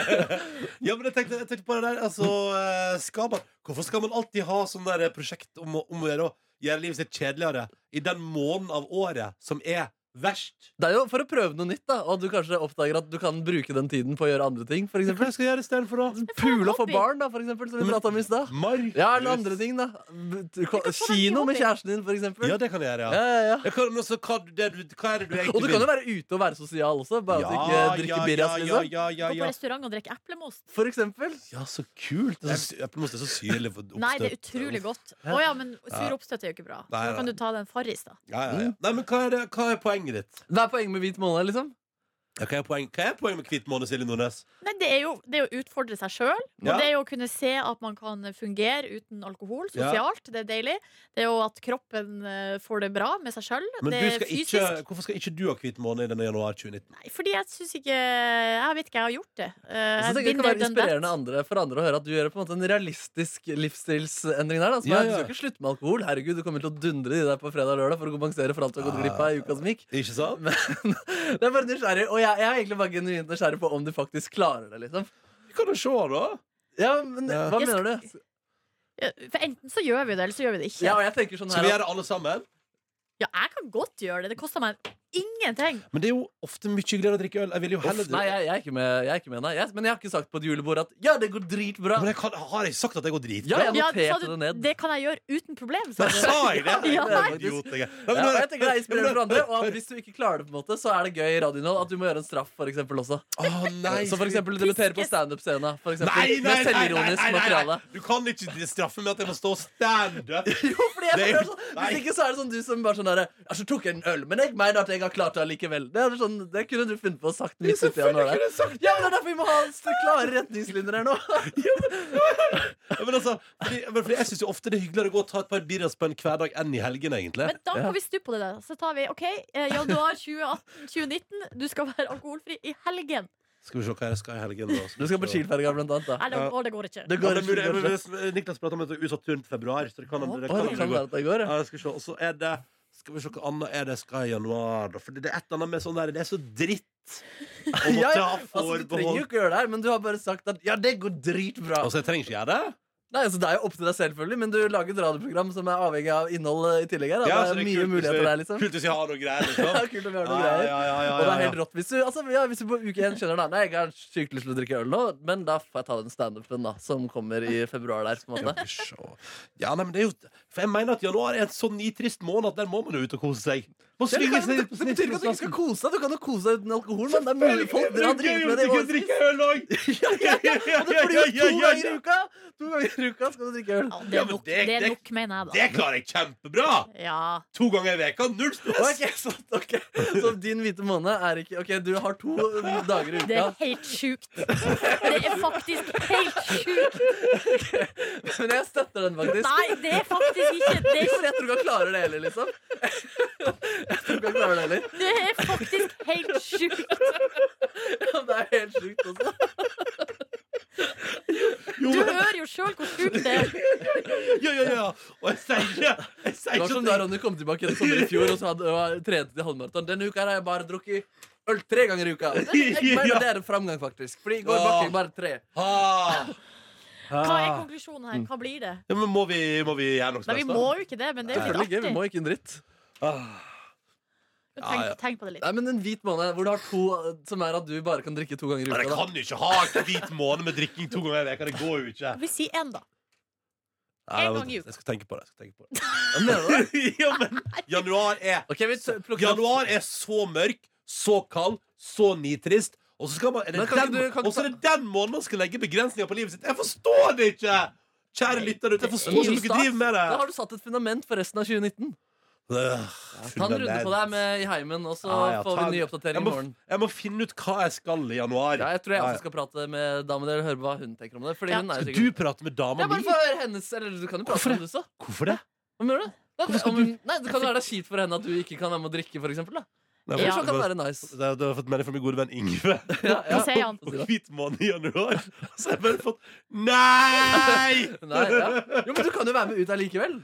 [SPEAKER 3] Ja, men jeg tenkte, jeg tenkte på det der altså, eh, skal man, Hvorfor skal man alltid ha sånn der prosjekt om, å- om å gjøre, å gjøre livet sitt kjedeligere i den måneden av året som er verst?
[SPEAKER 2] Det er jo for å prøve noe nytt, da. Og at du kanskje oppdager at du kan bruke den tiden på å gjøre andre ting. For eksempel.
[SPEAKER 3] Hva skal jeg gjøre istedenfor, da?
[SPEAKER 2] Pule og få barn, da, for eksempel, som vi pratet om i stad. Ja, eller andre ting, da. Kino med kjæresten din, for eksempel.
[SPEAKER 3] Ja, det kan jeg gjøre, ja.
[SPEAKER 2] Ja, ja, ja.
[SPEAKER 3] Jeg kan, men også, hva, det, du- hva er det du egentlig
[SPEAKER 2] Og du kan jo være ute og være sosial også. Bare at du ikke
[SPEAKER 3] Ja,
[SPEAKER 2] drikker
[SPEAKER 3] ja,
[SPEAKER 2] birras,
[SPEAKER 3] ja,
[SPEAKER 2] liksom.
[SPEAKER 3] ja, ja,
[SPEAKER 5] Gå på
[SPEAKER 3] ja.
[SPEAKER 5] restaurant og drikke eplemost.
[SPEAKER 2] For eksempel.
[SPEAKER 3] Ja, så kult. Det er så, sy- eplemost er så syrlig. for
[SPEAKER 5] Nei, det er
[SPEAKER 3] oppstøt.
[SPEAKER 5] utrolig godt. Å ja, men
[SPEAKER 3] Ja.
[SPEAKER 5] sur oppstøt er jo ikke bra. Så
[SPEAKER 3] Nei,
[SPEAKER 5] da kan
[SPEAKER 3] nei.
[SPEAKER 5] du ta den farris, da.
[SPEAKER 3] Ja, ja, ja. Nei, men hva er, det, hva er poenget ditt?
[SPEAKER 2] Hva er poenget med hvit måned, liksom?
[SPEAKER 3] Ja, hva er poenget poeng hva er poenget med Hvit måne, Silje Nordnes?
[SPEAKER 5] Nei, det, er jo, det er jo å utfordre seg sjøl.
[SPEAKER 3] Ja.
[SPEAKER 5] Og det er jo å kunne se at man kan fungere uten alkohol
[SPEAKER 3] Ja.
[SPEAKER 5] sosialt. Det er deilig. Det er jo at kroppen eh, får det bra med seg sjøl.
[SPEAKER 3] Men
[SPEAKER 5] Det
[SPEAKER 3] du
[SPEAKER 5] er
[SPEAKER 3] skal
[SPEAKER 5] fysisk.
[SPEAKER 3] ikke, hvorfor skal ikke du ha Hvit måne i denne januar 2019?
[SPEAKER 5] Nei, Fordi jeg syns ikke Jeg vet ikke, jeg har gjort det. Eh,
[SPEAKER 2] Jeg synes
[SPEAKER 5] I've
[SPEAKER 2] det
[SPEAKER 5] been
[SPEAKER 2] kan
[SPEAKER 5] there,
[SPEAKER 2] være
[SPEAKER 5] done that.
[SPEAKER 2] inspirerende andre, for andre å høre at du gjør på en måte en realistisk livsstilsendring der. Da, som
[SPEAKER 3] Ja,
[SPEAKER 2] er, Du
[SPEAKER 3] ja.
[SPEAKER 2] skal ikke slutte med alkohol. Herregud, du kommer til å dundre i deg på fredag og lørdag for å kompensere for alt du har gått glipp av i uka som gikk.
[SPEAKER 3] Ikke sant?
[SPEAKER 2] Men det er bare nysgjerrig, og jeg, jeg er egentlig bare genuint nysgjerrig på om du faktisk klarer det, liksom.
[SPEAKER 3] Vi kan jo se, da.
[SPEAKER 2] Ja, men hva
[SPEAKER 5] Jeg
[SPEAKER 2] mener du?
[SPEAKER 5] Ja, For enten så gjør vi det, eller så gjør vi det ikke.
[SPEAKER 2] Ja, og jeg tenker sånn
[SPEAKER 3] Skal
[SPEAKER 2] her
[SPEAKER 3] vi
[SPEAKER 2] at-
[SPEAKER 3] gjøre det alle sammen?
[SPEAKER 5] Ja, jeg kan godt gjøre det. Det koster meg ingenting.
[SPEAKER 3] Men det er jo ofte mye hyggeligere å drikke øl. Jeg vil jo heller
[SPEAKER 2] Uff, nei, jeg, jeg er ikke med, jeg er ikke med nei. Jeg, Men jeg har ikke sagt på et julebord at ja, det går dritbra.
[SPEAKER 3] Men jeg kan, har jeg sagt at det går dritbra?
[SPEAKER 2] Ja, jeg noterte
[SPEAKER 5] sa du,
[SPEAKER 2] det ned.
[SPEAKER 5] Det kan jeg gjøre uten problem.
[SPEAKER 3] Da
[SPEAKER 5] du.
[SPEAKER 3] sa jeg det!
[SPEAKER 5] Ja,
[SPEAKER 3] Det er
[SPEAKER 5] nei.
[SPEAKER 3] en idiot, jeg. Nei,
[SPEAKER 2] Ja,
[SPEAKER 3] men
[SPEAKER 2] og
[SPEAKER 3] nå-
[SPEAKER 2] jeg tenker det er inspirerende for andre
[SPEAKER 3] Ja,
[SPEAKER 2] Og at hvis du ikke klarer det, på en måte så er det gøy i radioinnhold at du må gjøre en straff. For eksempel, også
[SPEAKER 3] nei.
[SPEAKER 2] Så for eksempel debutere på standup-scena. for eksempel,
[SPEAKER 3] Nei, nei,
[SPEAKER 2] med
[SPEAKER 3] nei, nei, nei,
[SPEAKER 2] selvironisk
[SPEAKER 3] nei,
[SPEAKER 2] materiale.
[SPEAKER 3] Du kan ikke straffe med at jeg må stå og stande.
[SPEAKER 2] Fordi jeg
[SPEAKER 3] Det er
[SPEAKER 2] føler
[SPEAKER 3] jo-
[SPEAKER 2] sånn, Hvis ikke så er det sånn du som bare sånn derre Ja, så tok jeg en øl, men jeg mener at jeg har klart det allikevel. Det, er sånn, det kunne du funnet på å sagt midt uti her nå. der. Ja, men det er derfor vi må ha så klare retningslinjer her nå.
[SPEAKER 3] Ja, men altså, fordi, men fordi jeg syns jo ofte det er hyggeligere å gå og ta et par birras på en hverdag enn i helgene, egentlig.
[SPEAKER 5] Men da kan vi stu på det der. Så tar vi OK, eh, januar 2018-2019. Du skal være alkoholfri i helgen.
[SPEAKER 3] Skal vi se hva jeg skal i helgen. Da.
[SPEAKER 2] Du skal på Kielferga, blant annet.
[SPEAKER 5] Nei, det,
[SPEAKER 3] Ja.
[SPEAKER 5] å, det går ikke.
[SPEAKER 2] Det går
[SPEAKER 3] ja, men,
[SPEAKER 2] ikke,
[SPEAKER 3] men,
[SPEAKER 2] det går
[SPEAKER 3] men, Niklas prater om at det er utsatt turen til februar. Så det kan, det,
[SPEAKER 2] Å,
[SPEAKER 3] kan,
[SPEAKER 2] det kan være at det går,
[SPEAKER 3] ja. skal vi se. Og så er det Skal vi se hva annet er det jeg skal i januar, da. For det er et eller annet med sånn der Det er så dritt å måtte
[SPEAKER 2] Ja, ja.
[SPEAKER 3] ha
[SPEAKER 2] Altså, du trenger jo
[SPEAKER 3] forbehold.
[SPEAKER 2] ikke gjøre det her, men du har bare sagt at ja, det går dritbra.
[SPEAKER 3] Altså, jeg trenger ikke gjøre det.
[SPEAKER 2] Nei, altså, Det er jo opp til deg selv, selvfølgelig, men du lager et radioprogram som er avhengig av innhold eh, i tillegg. her, Da.
[SPEAKER 3] Ja, så
[SPEAKER 2] det er
[SPEAKER 3] det er
[SPEAKER 2] mye
[SPEAKER 3] kult hvis
[SPEAKER 2] muligheter
[SPEAKER 3] vi-
[SPEAKER 2] der, liksom.
[SPEAKER 3] kult hvis vi har noe greier, liksom.
[SPEAKER 2] ja, kult om vi har noe
[SPEAKER 3] Ja,
[SPEAKER 2] greier.
[SPEAKER 3] ja, ja, ja,
[SPEAKER 2] og det
[SPEAKER 3] ja,
[SPEAKER 2] er helt
[SPEAKER 3] ja.
[SPEAKER 2] rått hvis du, altså, ja, hvis du på uke én skjønner da, Nei, jeg har sykt lyst til å drikke øl nå, men da får jeg ta den standupen da, som kommer i februar der. på en måte.
[SPEAKER 3] Ja, nei, men det er jo For jeg mener at januar er en så nitrist måned at der må man jo ut og kose seg. Må
[SPEAKER 2] Ja, det,
[SPEAKER 3] svinge
[SPEAKER 2] kan,
[SPEAKER 3] seg
[SPEAKER 2] det, det betyr ikke at du ikke skal kose deg. Du kan jo kose deg uten alkohol. Men det er mulig folk drar
[SPEAKER 3] Det er
[SPEAKER 2] driter
[SPEAKER 3] jo
[SPEAKER 2] med det.
[SPEAKER 3] ikke
[SPEAKER 2] i
[SPEAKER 3] å
[SPEAKER 2] årevis.
[SPEAKER 3] drikke øl òg!
[SPEAKER 2] Og det blir jo to ganger i uka! To ganger i uka skal du drikke øl.
[SPEAKER 5] Det er nok, det er nok mener
[SPEAKER 3] Det
[SPEAKER 5] jeg, da.
[SPEAKER 3] klarer jeg kjempebra!
[SPEAKER 5] Ja.
[SPEAKER 3] To ganger i veka, null stress!
[SPEAKER 2] Ok, så, ok. så din hvite måned er ikke Ok, du har to dager i
[SPEAKER 5] Det
[SPEAKER 2] uka.
[SPEAKER 5] er helt sjukt. Det er faktisk helt sjukt.
[SPEAKER 2] Men jeg støtter den faktisk.
[SPEAKER 5] Nei, det er faktisk ikke det.
[SPEAKER 2] Jo, jeg tror ikke han klarer det heller, liksom. Jeg tror ikke han klarer det heller.
[SPEAKER 5] Det er faktisk helt sjukt.
[SPEAKER 2] Ja, det er helt sjukt også.
[SPEAKER 5] Du hører jo sjøl hvor sjukt det er.
[SPEAKER 3] Ja, ja, ja. Og jeg sier jeg sier
[SPEAKER 2] Det var
[SPEAKER 3] ikke
[SPEAKER 2] som
[SPEAKER 3] at
[SPEAKER 2] da
[SPEAKER 3] jeg-
[SPEAKER 2] Ronny kom tilbake i sommer i fjor og så hadde, og trente til halvmaraton. Denne uka her har jeg bare drukket øl tre ganger i uka. Jeg mener det er en framgang, faktisk. Fordi i går drakk jeg bare tre.
[SPEAKER 3] Ah.
[SPEAKER 5] Hva er konklusjonen her? Hva blir det?
[SPEAKER 3] ja, men må vi, må vi gjøre noe
[SPEAKER 5] Nei, vi
[SPEAKER 3] stress,
[SPEAKER 5] må jo ikke det, men det er jo
[SPEAKER 2] Selvfølgelig ikke.
[SPEAKER 5] litt
[SPEAKER 2] Vi må
[SPEAKER 5] artig.
[SPEAKER 2] ikke en dritt.
[SPEAKER 3] Ah.
[SPEAKER 5] Tenk, tenk på det litt.
[SPEAKER 2] Nei, men En hvit måned hvor du har to eh, som er at du bare kan drikke to ganger i
[SPEAKER 3] Men
[SPEAKER 2] uka.
[SPEAKER 3] jeg
[SPEAKER 2] da.
[SPEAKER 3] kan jo ikke ha en hvit måned med drikking to ganger i veka. Det går jo ikke.
[SPEAKER 5] Vi sier én, da.
[SPEAKER 3] Nei,
[SPEAKER 5] En
[SPEAKER 3] men
[SPEAKER 5] gang i uka.
[SPEAKER 3] Jeg skal tenke på det. Jeg skal tenke på det.
[SPEAKER 2] Hva mener du?
[SPEAKER 3] ja, men januar er Januar er så mørk, så kald, så nitrist. Og så skal man, er det
[SPEAKER 2] Men kan ikke
[SPEAKER 3] den,
[SPEAKER 2] du- kan ikke
[SPEAKER 3] og så er det den måneden man skal legge begrensninger på livet sitt. Jeg forstår det ikke! Kjære lytter ute, jeg forstår ikke at dere driver med
[SPEAKER 2] Da har
[SPEAKER 3] det.
[SPEAKER 2] du satt et fundament for resten av 2019.
[SPEAKER 3] Øh,
[SPEAKER 2] Ta en runde
[SPEAKER 3] fundament.
[SPEAKER 2] på
[SPEAKER 3] Ah,
[SPEAKER 2] deg med i heimen, og så
[SPEAKER 3] Ja, ja,
[SPEAKER 2] får vi
[SPEAKER 3] ta-
[SPEAKER 2] en ny oppdatering
[SPEAKER 3] jeg
[SPEAKER 2] i
[SPEAKER 3] må-
[SPEAKER 2] morgen.
[SPEAKER 3] Jeg må finne ut hva jeg skal i januar.
[SPEAKER 2] Ja, jeg tror jeg
[SPEAKER 3] Ja, ja.
[SPEAKER 2] også skal prate med dama di og høre hva hun tenker om det. Fordi hun er jo
[SPEAKER 3] Skal
[SPEAKER 2] sikkert
[SPEAKER 3] du prate med dama
[SPEAKER 2] Ja, bare
[SPEAKER 3] mi?
[SPEAKER 2] få høre hennes Eller du kan jo prate om det også.
[SPEAKER 3] Hvorfor det?
[SPEAKER 2] Hva mener du? Da,
[SPEAKER 3] Hvorfor skal
[SPEAKER 2] om hun, nei, Det kan være det er kjipt for henne at du ikke kan være med å drikke, for eksempel. Da.
[SPEAKER 3] Nei,
[SPEAKER 2] Eller
[SPEAKER 3] men-
[SPEAKER 2] så kan det være nice.
[SPEAKER 3] Det- Du har fått melding fra min gode venn Ingve.
[SPEAKER 5] Hva sier han?
[SPEAKER 3] Og hvit måned i januar. Så har jeg bare fått Nei!
[SPEAKER 2] Nei, ja. Jo, men du kan jo være med ut allikevel.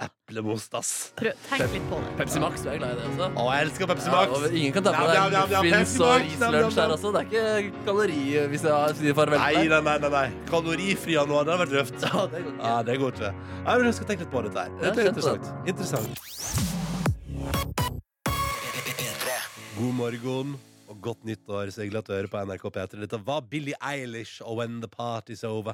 [SPEAKER 3] Eplemost, ass.
[SPEAKER 5] Prøv, tenk litt på det.
[SPEAKER 2] Pepsi Max, du er glad i det også.
[SPEAKER 3] Å, jeg elsker Pepsi
[SPEAKER 2] Ja,
[SPEAKER 3] Max.
[SPEAKER 2] og ingen kan ta på
[SPEAKER 3] Nam, nam, nam,
[SPEAKER 2] deg
[SPEAKER 3] nam,
[SPEAKER 2] muffins
[SPEAKER 3] Pepsi
[SPEAKER 2] og
[SPEAKER 3] Max, nam, nam,
[SPEAKER 2] islunsj her
[SPEAKER 3] nam.
[SPEAKER 2] også. Det er ikke kalori hvis jeg sier farvel
[SPEAKER 3] Nei,
[SPEAKER 2] til deg.
[SPEAKER 3] nei, nei, nei, nei. Kalorifri januar, det har vært røft.
[SPEAKER 2] Ja, det går ikke.
[SPEAKER 3] Ja, det går ikke. Nei, men jeg skal tenke litt på dette her. Dette
[SPEAKER 2] Ja,
[SPEAKER 3] er
[SPEAKER 2] kjenn på
[SPEAKER 3] interessant. interessant. God morgen og godt nyttår. Så hyggelig at du hører på NRK P3. Dette var Billie Eilish og When the Party's Over.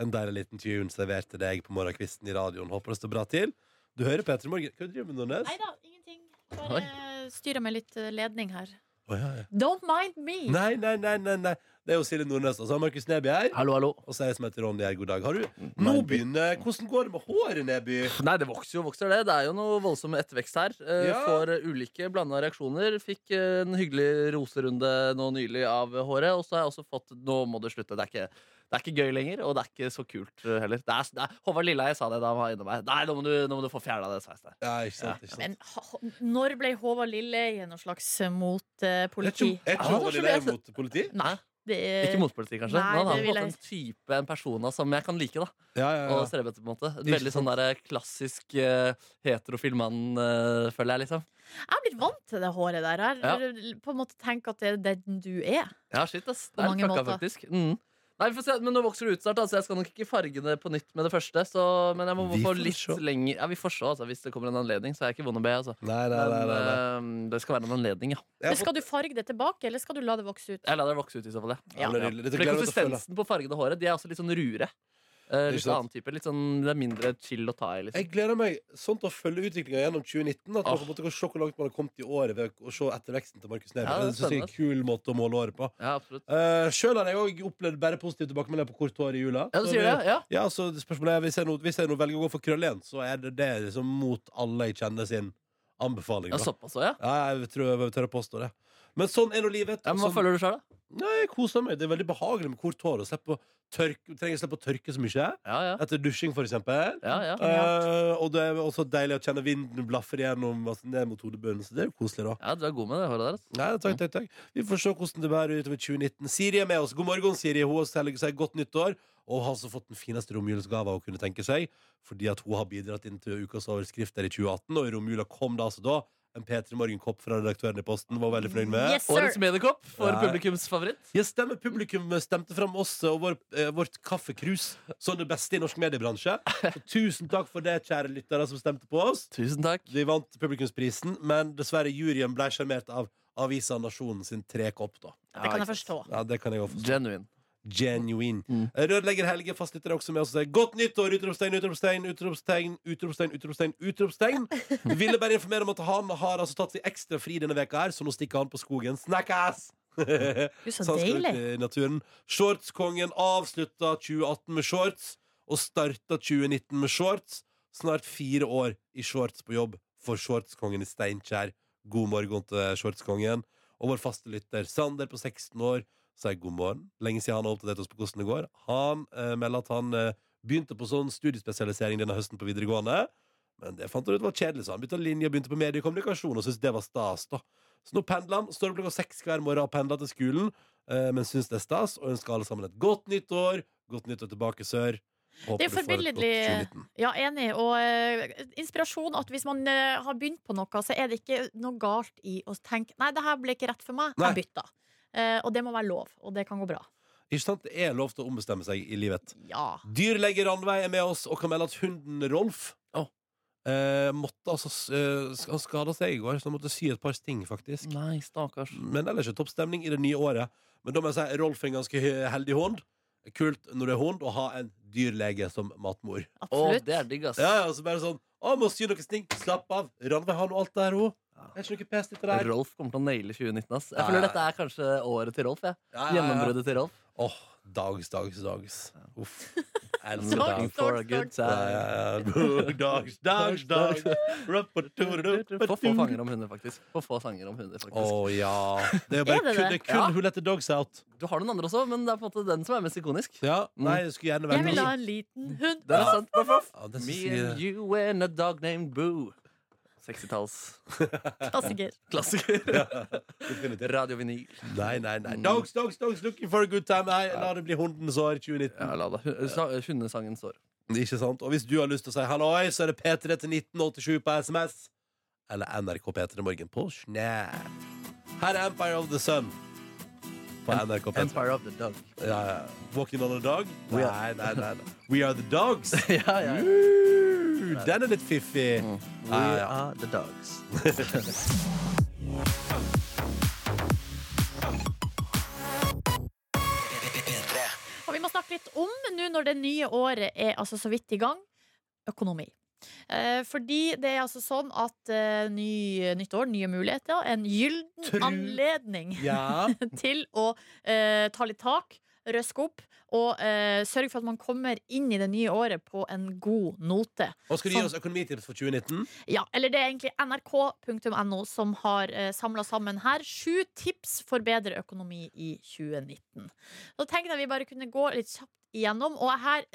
[SPEAKER 3] En deilig liten tune servert til deg på morgenkvisten i radioen. Håper det står bra til. Du hører P3 Morgen. Hva driver du med, Nordnes?
[SPEAKER 5] Nei da, ingenting. Bare styrer med litt eh, ledning her.
[SPEAKER 3] Å, ja, ja.
[SPEAKER 5] Don't mind me.
[SPEAKER 3] Nei, nei, nei, nei, nei. Det er jo Silje Nordnes. Og så har Markus Neby her. Og så er jeg som heter Ronny her. God dag. Har du? Nå begynner Hvordan går det med håret, Neby?
[SPEAKER 2] Nei, det vokser jo vokser, det. Det er jo noe voldsom ettervekst her. Eh,
[SPEAKER 3] Ja.
[SPEAKER 2] Får eh, ulike blanda reaksjoner. Fikk eh, en hyggelig roserunde nå nylig av håret. Og så har jeg også fått Nå må det slutte. Det er ikke, det er ikke gøy lenger, og det er ikke så kult eh, heller. Det er, det er, Håvard Lilleheie sa det da han var innom meg. Nei, nå må du, nå må du få fjerna det sveisen der.
[SPEAKER 3] Ja, ikke sant, ikke sant.
[SPEAKER 5] Men ha- ha- når ble Håvard Lilleheie noe slags eh, motpoliti? eh,
[SPEAKER 2] Er ikke- er ikke Håvard Lilleheie
[SPEAKER 3] mot politi?
[SPEAKER 2] Nei. Ikke motpoliti, kanskje.
[SPEAKER 5] Nei,
[SPEAKER 2] men han
[SPEAKER 5] det
[SPEAKER 2] har på
[SPEAKER 5] vil
[SPEAKER 2] en måte en type en persona som jeg kan like. da
[SPEAKER 3] ja.
[SPEAKER 2] altså. Og strebe etter, på en måte. En
[SPEAKER 3] Ikke
[SPEAKER 2] Veldig sånn der klassisk eh, heterofil mann, eh, føler jeg, liksom.
[SPEAKER 5] Jeg er blitt vant til det håret der. Jeg har på en måte tenkt at det er den du er.
[SPEAKER 2] Ja, shit, ass.
[SPEAKER 5] På
[SPEAKER 2] Det er
[SPEAKER 5] mange
[SPEAKER 2] litt fucka,
[SPEAKER 5] måter.
[SPEAKER 2] faktisk. Mm. Nei, vi får se, men Nå vokser det ut snart, da, så jeg skal nok ikke farge det på nytt med det første. Så, men jeg må
[SPEAKER 3] Vi
[SPEAKER 2] få
[SPEAKER 3] får
[SPEAKER 2] litt lenger ja, Vi får se altså, hvis det kommer en anledning. Så er jeg ikke vond å be. Altså.
[SPEAKER 3] nei, nei,
[SPEAKER 2] men
[SPEAKER 3] nei,
[SPEAKER 2] eh, det skal være en anledning, ja.
[SPEAKER 5] Men skal du farge det tilbake, eller skal du la det vokse ut?
[SPEAKER 2] Jeg lar det vokse ut i så fall, jeg.
[SPEAKER 5] Ja. Ja,
[SPEAKER 3] det er nydelig. Dette
[SPEAKER 2] Fordi
[SPEAKER 3] gleder jeg meg til å følge.
[SPEAKER 2] konsistensen på fargede håret De er også litt sånn rure. Eh,
[SPEAKER 3] Ikke
[SPEAKER 2] litt
[SPEAKER 3] sant?
[SPEAKER 2] annen type. Litt sånn, det er mindre chill å ta i. Liksom.
[SPEAKER 3] Jeg gleder meg sånn til å følge utviklinga gjennom 2019. At man
[SPEAKER 2] Åh.
[SPEAKER 3] på en måte kan se hvor langt man har kommet i året ved å se etterveksten til Markus Neby.
[SPEAKER 2] Ja, det er
[SPEAKER 3] det synes jeg er en kul måte å måle året på.
[SPEAKER 2] Ja, absolutt.
[SPEAKER 3] Eh, Sjøl har jeg òg opplevd bare positive tilbakemeldinger på kort hår i jula.
[SPEAKER 2] Ja, du
[SPEAKER 3] Så
[SPEAKER 2] sier det, ja.
[SPEAKER 3] så spørsmålet er, Hvis jeg nå, hvis jeg nå velger å gå for krøll igjen, så er det det liksom mot alle jeg kjenner sin anbefaling.
[SPEAKER 2] Ja,
[SPEAKER 3] da.
[SPEAKER 2] såpass også, ja.
[SPEAKER 3] jeg tror jeg tør å påstå det. Men sånn er nå livet.
[SPEAKER 2] Ja, men hva føler du selv, da?
[SPEAKER 3] Nei, jeg koser meg. Det er veldig behagelig med kort hår. Og slippe å tørke, trenger slippe å tørke så mye. Etter dusjing, for eksempel.
[SPEAKER 2] Ja, ja.
[SPEAKER 3] Eh, og det er også deilig å kjenne vinden blaffer gjennom altså, ned mot hodebunnen. Så det er jo koselig, da.
[SPEAKER 2] Ja, du er god med det håret der.
[SPEAKER 3] Nei, takk, takk, takk. Vi får se hvordan det bærer utover 2019. Siri er med oss. God morgen, Siri. Hun har selv- sier godt nyttår. Og har altså fått den fineste romjulsgava hun kunne tenke seg, fordi at hun har bidratt inn til ukas overskrifter i 2018, og i romjula kom det altså da en P3 Morgen-kopp fra redaktøren i Posten. Var hun veldig fornøyd med.
[SPEAKER 2] Yes, sir. Årets mediekopp for
[SPEAKER 3] Ja.
[SPEAKER 2] publikums favoritt.
[SPEAKER 3] Ja, stemmer. Publikum stemte fram oss og vår, eh, vårt kaffekrus som det beste i norsk mediebransje. Så tusen takk for det, kjære lyttere som stemte på oss.
[SPEAKER 2] Tusen takk
[SPEAKER 3] Vi vant publikumsprisen, men dessverre juryen ble sjarmert av avisa Nasjonen sin trekopp. da
[SPEAKER 5] Det kan jeg forstå.
[SPEAKER 3] Ja, det kan jeg også forstå.
[SPEAKER 2] Genuine.
[SPEAKER 3] Genuine. Rørlegger Helge fastlytter også med oss og sier godt nyttår! Utropstegn, utropstegn, utropstegn, utropstegn, utropstegn, utropstegn. Vi Ville bare informere om at han har altså tatt seg ekstra fri denne veka her, så nå stikker han på skogen. Snackass!
[SPEAKER 5] så
[SPEAKER 3] han skal ut
[SPEAKER 5] deilig.
[SPEAKER 3] i naturen. Shortskongen avslutta 2018 med shorts og starta 2019 med shorts. Snart fire år i shorts på jobb for shortskongen i Steinkjer. God morgen til shortskongen. Og vår faste lytter Sander på 16 år sier god morgen. Lenge siden han har oppdatert oss på hvordan det går. Han eh, melder at han eh, begynte på sånn studiespesialisering denne høsten på videregående. Men det fant han ut var kjedelig, så han bytta linje og begynte på mediekommunikasjon. og syntes det var stas da. Så nå pendler han. Står opp klokka seks hver morgen og pendler til skolen, eh, men syns det er stas, og ønsker alle sammen et godt nytt år. Godt nytt år tilbake sør. Håper du får
[SPEAKER 5] Det er
[SPEAKER 3] et godt
[SPEAKER 5] forbilledlig.
[SPEAKER 3] 2019.
[SPEAKER 5] Ja, enig. Og eh, inspirasjon at hvis man eh, har begynt på noe, så er det ikke noe galt i å tenke Nei, det her ble ikke rett for meg.
[SPEAKER 3] Nei.
[SPEAKER 5] Jeg bytta. Eh, og det må være lov. Og det kan gå bra.
[SPEAKER 3] Ikke sant? Det er lov til å ombestemme seg i livet.
[SPEAKER 5] Ja.
[SPEAKER 3] Dyrlege Randveig er med oss og kan melde at hunden Rolf eh, måtte altså s- eh, sk- Han skada seg i går, så han måtte sy et par sting, faktisk.
[SPEAKER 2] Nei, stakkars
[SPEAKER 3] Men ellers er toppstemning i det nye året. Men da må jeg si Rolf er en ganske he- heldig hund. Kult når det er hund, å ha en dyrlege som matmor.
[SPEAKER 2] Absolutt. Å, det er digg, ass.
[SPEAKER 3] Ja, ja, så bare sånn Å, må sy noe sting. Slapp av. Randveig har nå alt der, hun. Er ikke noe pest etter der.
[SPEAKER 2] Rolf kommer til å naile 2019. ass Jeg
[SPEAKER 3] Ja,
[SPEAKER 2] føler
[SPEAKER 3] ja,
[SPEAKER 2] dette er kanskje året til Rolf. jeg.
[SPEAKER 3] Ja, ja, ja.
[SPEAKER 2] Gjennombruddet til Rolf.
[SPEAKER 3] Åh, dags, dags, dags. Uff. Jeg elsker
[SPEAKER 2] Dags,
[SPEAKER 3] dags.
[SPEAKER 2] dags, For a good dags. time.
[SPEAKER 3] Ja, ja, ja. Dags, dags, dags.
[SPEAKER 2] For få fanger om hunder, faktisk. For få sanger om hunder, faktisk.
[SPEAKER 3] Å ja. Det er jo bare
[SPEAKER 2] Er det
[SPEAKER 3] kun, det
[SPEAKER 2] det?
[SPEAKER 3] er kun
[SPEAKER 2] Ja.
[SPEAKER 3] Who Let The Dogs Out.
[SPEAKER 2] Du har noen andre også, men det er på en måte den som er mest ikonisk.
[SPEAKER 3] Ja, nei, jeg skulle gjerne vært
[SPEAKER 5] Jeg vil ha
[SPEAKER 3] med.
[SPEAKER 5] en liten hund.
[SPEAKER 2] Den er sant. Voff, voff.
[SPEAKER 3] Ja, det
[SPEAKER 2] Me
[SPEAKER 3] sier-
[SPEAKER 2] and you and a dog named Boo. 60-talls.
[SPEAKER 5] Klassiker.
[SPEAKER 2] Klassiker. Radio Vinyl.
[SPEAKER 3] Nei, nei, nei. Dogs, dogs, dogs, looking for a good time. Nei, la det bli hundens år 2019.
[SPEAKER 2] Ja, la det. Hun- sa- Hundesangens år.
[SPEAKER 3] Ikke sant? Og hvis du har lyst til å si halloi, så er det P3 til 1987 på SMS. Eller NRK P3 Morgen på Snap. Her er Empire of the Sun på NRK P3.
[SPEAKER 2] Empire of the Dog.
[SPEAKER 3] Ja, ja. Walking on a dog?
[SPEAKER 2] We
[SPEAKER 3] Nei,
[SPEAKER 2] are-
[SPEAKER 3] nei, nei. nei. We are the dogs.
[SPEAKER 2] ja, ja.
[SPEAKER 3] Uh, den er litt fiffig.
[SPEAKER 2] We
[SPEAKER 3] Ja, ja.
[SPEAKER 2] are the dogs.
[SPEAKER 5] Og vi må snakke litt om, nå når det nye året er altså så vidt i gang, økonomi. Eh, fordi det er altså sånn at eh, ny, nytt år, nye muligheter, en gylden anledning
[SPEAKER 2] Ja.
[SPEAKER 5] til å eh, ta litt tak, røske opp og eh, sørge for at man kommer inn i det nye året på en god note.
[SPEAKER 3] Og skal du gi
[SPEAKER 5] Sånn-
[SPEAKER 3] oss økonomitips for 2019?
[SPEAKER 5] ja, eller det er egentlig nrk.no som har eh, samla sammen her sju tips for bedre økonomi i 2019. Da tenkte jeg vi bare kunne gå litt kjapt igjennom. Og her,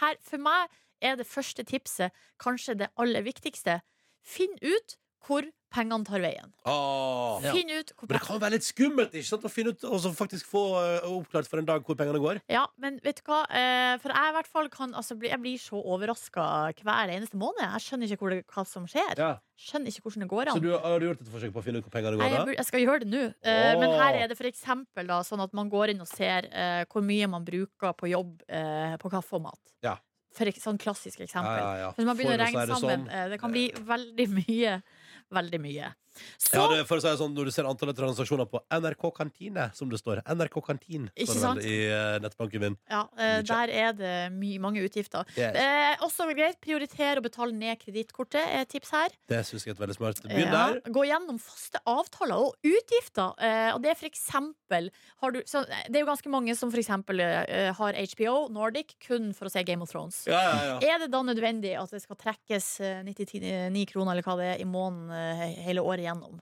[SPEAKER 5] her for meg er det første tipset kanskje det aller viktigste. Finn ut hvor pengene tar veien.
[SPEAKER 3] Åh.
[SPEAKER 5] Finn ut hvor
[SPEAKER 3] Men det kan jo være litt skummelt ikke sant? å finne ut og så faktisk få eh, oppklart for en dag hvor pengene går.
[SPEAKER 5] Ja, men vet du hva? Eh, For jeg i hvert fall kan altså, bli, Jeg blir så overraska hver eneste måned. Jeg skjønner ikke hvor det, hva som skjer. Skjønner ikke hvordan det går an.
[SPEAKER 3] Så du, har du gjort et forsøk på å finne ut hvor pengene
[SPEAKER 5] Nei, jeg,
[SPEAKER 3] går?
[SPEAKER 5] bur-
[SPEAKER 3] da?
[SPEAKER 5] jeg skal gjøre det nå. Eh, Men
[SPEAKER 3] Åh.
[SPEAKER 5] her er det for eksempel da, sånn at man går inn og ser eh, hvor mye man bruker på jobb eh, på kaffe og mat.
[SPEAKER 3] Ja.
[SPEAKER 5] For ek, sånn klassisk eksempel.
[SPEAKER 3] Ja, ja, ja.
[SPEAKER 5] Hvis man
[SPEAKER 3] For
[SPEAKER 5] begynner å
[SPEAKER 3] oss er
[SPEAKER 5] regne
[SPEAKER 3] det
[SPEAKER 5] sammen,
[SPEAKER 3] sånn.
[SPEAKER 5] eh, det kan bli veldig mye. Veldig mye.
[SPEAKER 3] Ja, det, for å si det sånn, Når du ser antallet transaksjoner på NRK Kantine, som det står NRK Kantin,
[SPEAKER 5] Ikke
[SPEAKER 3] står det
[SPEAKER 5] sant?
[SPEAKER 3] vel i eh, nettbanken min.
[SPEAKER 5] Ja, eh, der er det my mange utgifter.
[SPEAKER 3] Yes.
[SPEAKER 5] Eh, også greit, prioritere å betale ned kredittkortet er et tips her.
[SPEAKER 3] Det syns jeg er et veldig smart. Begynn
[SPEAKER 5] Ja,
[SPEAKER 3] der.
[SPEAKER 5] Gå gjennom faste avtaler og utgifter. Eh, og det er for eksempel har du, så, eh, Det er jo ganske mange som for eksempel eh, har HBO Nordic kun for å se Game of Thrones.
[SPEAKER 20] Ja, ja, ja.
[SPEAKER 5] Er det da nødvendig at det skal trekkes eh, 99 kroner eller hva det er i måneden eh, he- hele året gjennom?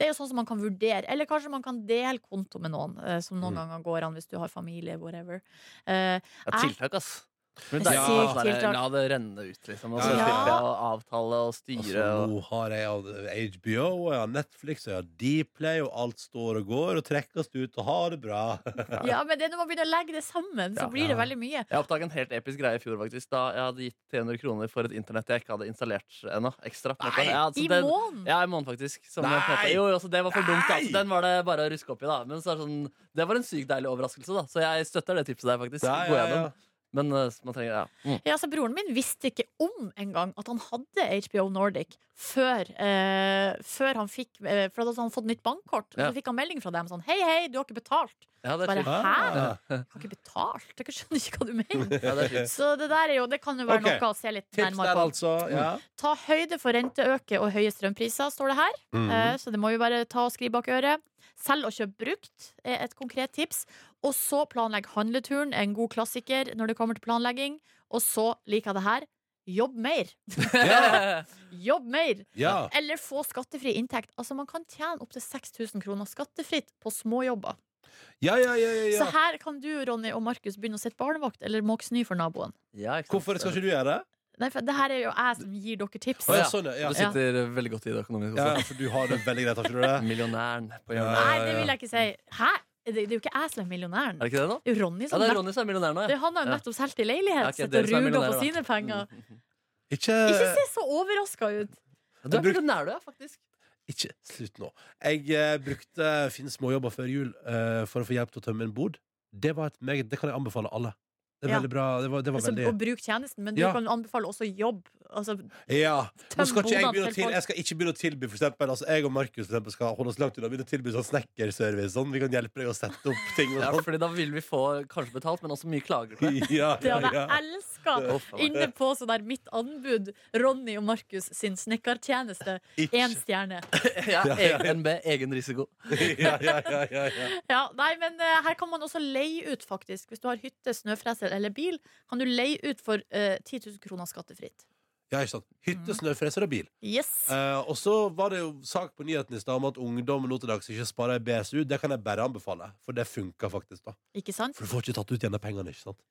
[SPEAKER 5] Det er jo sånn som man kan vurdere. Eller kanskje man kan dele konto med noen, eh, som noen
[SPEAKER 2] Mm.
[SPEAKER 5] ganger går an hvis du har familie, whatever. Eh,
[SPEAKER 2] Ja,
[SPEAKER 5] jeg-
[SPEAKER 2] tiltak, ass.
[SPEAKER 5] Det er
[SPEAKER 2] deilig
[SPEAKER 5] sykt
[SPEAKER 2] å bare
[SPEAKER 5] tiltak.
[SPEAKER 2] sånn La det renne ut, liksom. Og
[SPEAKER 3] Ja,
[SPEAKER 2] så
[SPEAKER 3] ja.
[SPEAKER 2] slipper jeg å avtale og styre.
[SPEAKER 3] Altså,
[SPEAKER 2] Og...
[SPEAKER 3] nå har jeg av HBO, og jeg har Netflix, og jeg har Dplay, og alt står og går, og trekkes ut, og har det bra.
[SPEAKER 5] Ja, men det er når man begynner å legge det sammen, så
[SPEAKER 2] Ja.
[SPEAKER 5] blir det veldig mye.
[SPEAKER 2] Jeg oppdaget en helt episk greie i fjor, faktisk. Da jeg hadde gitt 300 kroner for et internett jeg ikke hadde installert ennå. Ekstra. på
[SPEAKER 3] Nei!
[SPEAKER 2] nettet. Ja, altså,
[SPEAKER 5] I
[SPEAKER 2] den-
[SPEAKER 5] måneden?
[SPEAKER 2] Ja, i måneden, faktisk. Som
[SPEAKER 3] Nei!
[SPEAKER 2] jeg på en måte- Jo, jo, så det var for dumt. da. Så Den var det bare å ruske opp i, da. Men så er det sånn, det var en sykt deilig overraskelse, da. Så jeg støtter det tipset der, faktisk.
[SPEAKER 3] Ja,
[SPEAKER 2] Gå
[SPEAKER 3] ja, ja.
[SPEAKER 2] gjennom. Men eh, man trenger ja. Mm.
[SPEAKER 5] Ja, altså Broren min visste ikke om engang at han hadde HBO Nordic før, eh, før han fikk eh, For da hadde han fått nytt bankkort. Og
[SPEAKER 2] Ja.
[SPEAKER 5] Så fikk han melding fra dem sånn Hei, hei, du har ikke betalt.
[SPEAKER 2] Ja, det er Ah.
[SPEAKER 5] Bare,
[SPEAKER 2] sjukt.
[SPEAKER 5] hæ? Jeg har ikke betalt? Jeg skjønner ikke hva du mener.
[SPEAKER 2] Ja, det er sjukt.
[SPEAKER 5] Så det der er jo, det kan jo være
[SPEAKER 3] Ok.
[SPEAKER 5] noe å se litt
[SPEAKER 3] Tips
[SPEAKER 5] nærmere
[SPEAKER 3] der,
[SPEAKER 5] på.
[SPEAKER 3] altså. Ja.
[SPEAKER 5] Ta høyde for renteøke og høye strømpriser, står det her.
[SPEAKER 3] Mhm.
[SPEAKER 2] Mm.
[SPEAKER 5] Eh, Så det må vi bare ta og skrive bak øret. Selg og kjøp brukt er et konkret tips. Og så planlegg handleturen, en god klassiker når det kommer til planlegging. Og så liker jeg det her. Jobb mer. Eh. Jobb mer.
[SPEAKER 3] Ja.
[SPEAKER 5] Eller få skattefri inntekt. Altså Man kan tjene opptil 6000 kroner skattefritt på småjobber.
[SPEAKER 3] Ja, ja, ja, ja,
[SPEAKER 5] Så
[SPEAKER 3] ja.
[SPEAKER 5] her kan du, Ronny og Markus, begynne å sitte barnevakt eller måke snø for naboen.
[SPEAKER 3] Hvorfor skal ikke du gjøre det?
[SPEAKER 5] Nei, for det her er jo jeg som gir dere tips.
[SPEAKER 3] Å, ja, sånn, ja.
[SPEAKER 2] Du sitter veldig godt i det økonomiske
[SPEAKER 3] Ja,
[SPEAKER 2] også.
[SPEAKER 3] for du har det veldig greit, har ikke du det?
[SPEAKER 2] Millionæren på hjørnet.
[SPEAKER 5] Nei, det vil jeg ikke si. Hæ? Det, det er jo ikke jeg som er millionæren.
[SPEAKER 2] Er det ikke det, da?
[SPEAKER 5] Det er jo Ronny
[SPEAKER 2] Ja,
[SPEAKER 5] som
[SPEAKER 2] det er
[SPEAKER 5] nett-
[SPEAKER 2] Ronny som er millionær nå.
[SPEAKER 5] det er han har jo nettopp solgt i leilighet.
[SPEAKER 2] Ja, ok,
[SPEAKER 5] Sitter
[SPEAKER 2] dere som er
[SPEAKER 5] og ruger på
[SPEAKER 2] millionærer, da. Mm.
[SPEAKER 5] sine penger.
[SPEAKER 3] Ikke,
[SPEAKER 5] Ikke se så overraska ut.
[SPEAKER 3] Du er millionær,
[SPEAKER 2] du, ja, faktisk.
[SPEAKER 3] ikke Slutt nå. Jeg eh, brukte Finn småjobber før jul eh, for å få hjelp til å tømme en bod. Det, var et meget, det kan jeg anbefale alle. Det er
[SPEAKER 5] Ja.
[SPEAKER 3] veldig bra. Det var, det var
[SPEAKER 5] Altså, og
[SPEAKER 3] veldig
[SPEAKER 5] bruk tjenesten, men du
[SPEAKER 3] Ja.
[SPEAKER 5] kan anbefale også jobb. Altså,
[SPEAKER 3] ja. Nå
[SPEAKER 5] Tøm
[SPEAKER 3] skal ikke jeg,
[SPEAKER 5] bodene
[SPEAKER 3] begynne å
[SPEAKER 5] til
[SPEAKER 3] til,
[SPEAKER 5] folk.
[SPEAKER 3] jeg skal ikke begynne å tilby for eksempel, altså, Jeg og Markus for eksempel, skal holde oss langt unna begynne å tilby sånn snekkerservice. Sånn. Vi kan hjelpe deg å sette opp ting. Og
[SPEAKER 2] Ja,
[SPEAKER 3] sånn.
[SPEAKER 2] fordi da vil vi få kanskje betalt, men også mye klager. tror jeg.
[SPEAKER 3] Ja,
[SPEAKER 5] det hadde jeg
[SPEAKER 2] Ja.
[SPEAKER 5] elska inne på sånn der mitt anbud. Ronny og Markus sin snekkertjeneste.
[SPEAKER 2] Ikke.
[SPEAKER 5] Én stjerne.
[SPEAKER 2] Ja, ENB, egen risiko.
[SPEAKER 3] ja, ja, ja, ja, ja.
[SPEAKER 5] Ja, nei, men eh, her kan man også leie ut, faktisk. Hvis du har hytte, snøfreser eller bil, kan du leie ut for eh, 10 000 kroner skattefritt.
[SPEAKER 3] Ja, ikke sant. Hytte, snøfreser og bil.
[SPEAKER 5] Yes.
[SPEAKER 3] Eh, og så var det jo sak på nyheten i stad om at ungdom nå til dags ikke sparer i BSU. Det kan jeg bare anbefale, for det funka faktisk, da.
[SPEAKER 5] Ikke sant?
[SPEAKER 3] For du får ikke tatt ut igjen de pengene, ikke sant?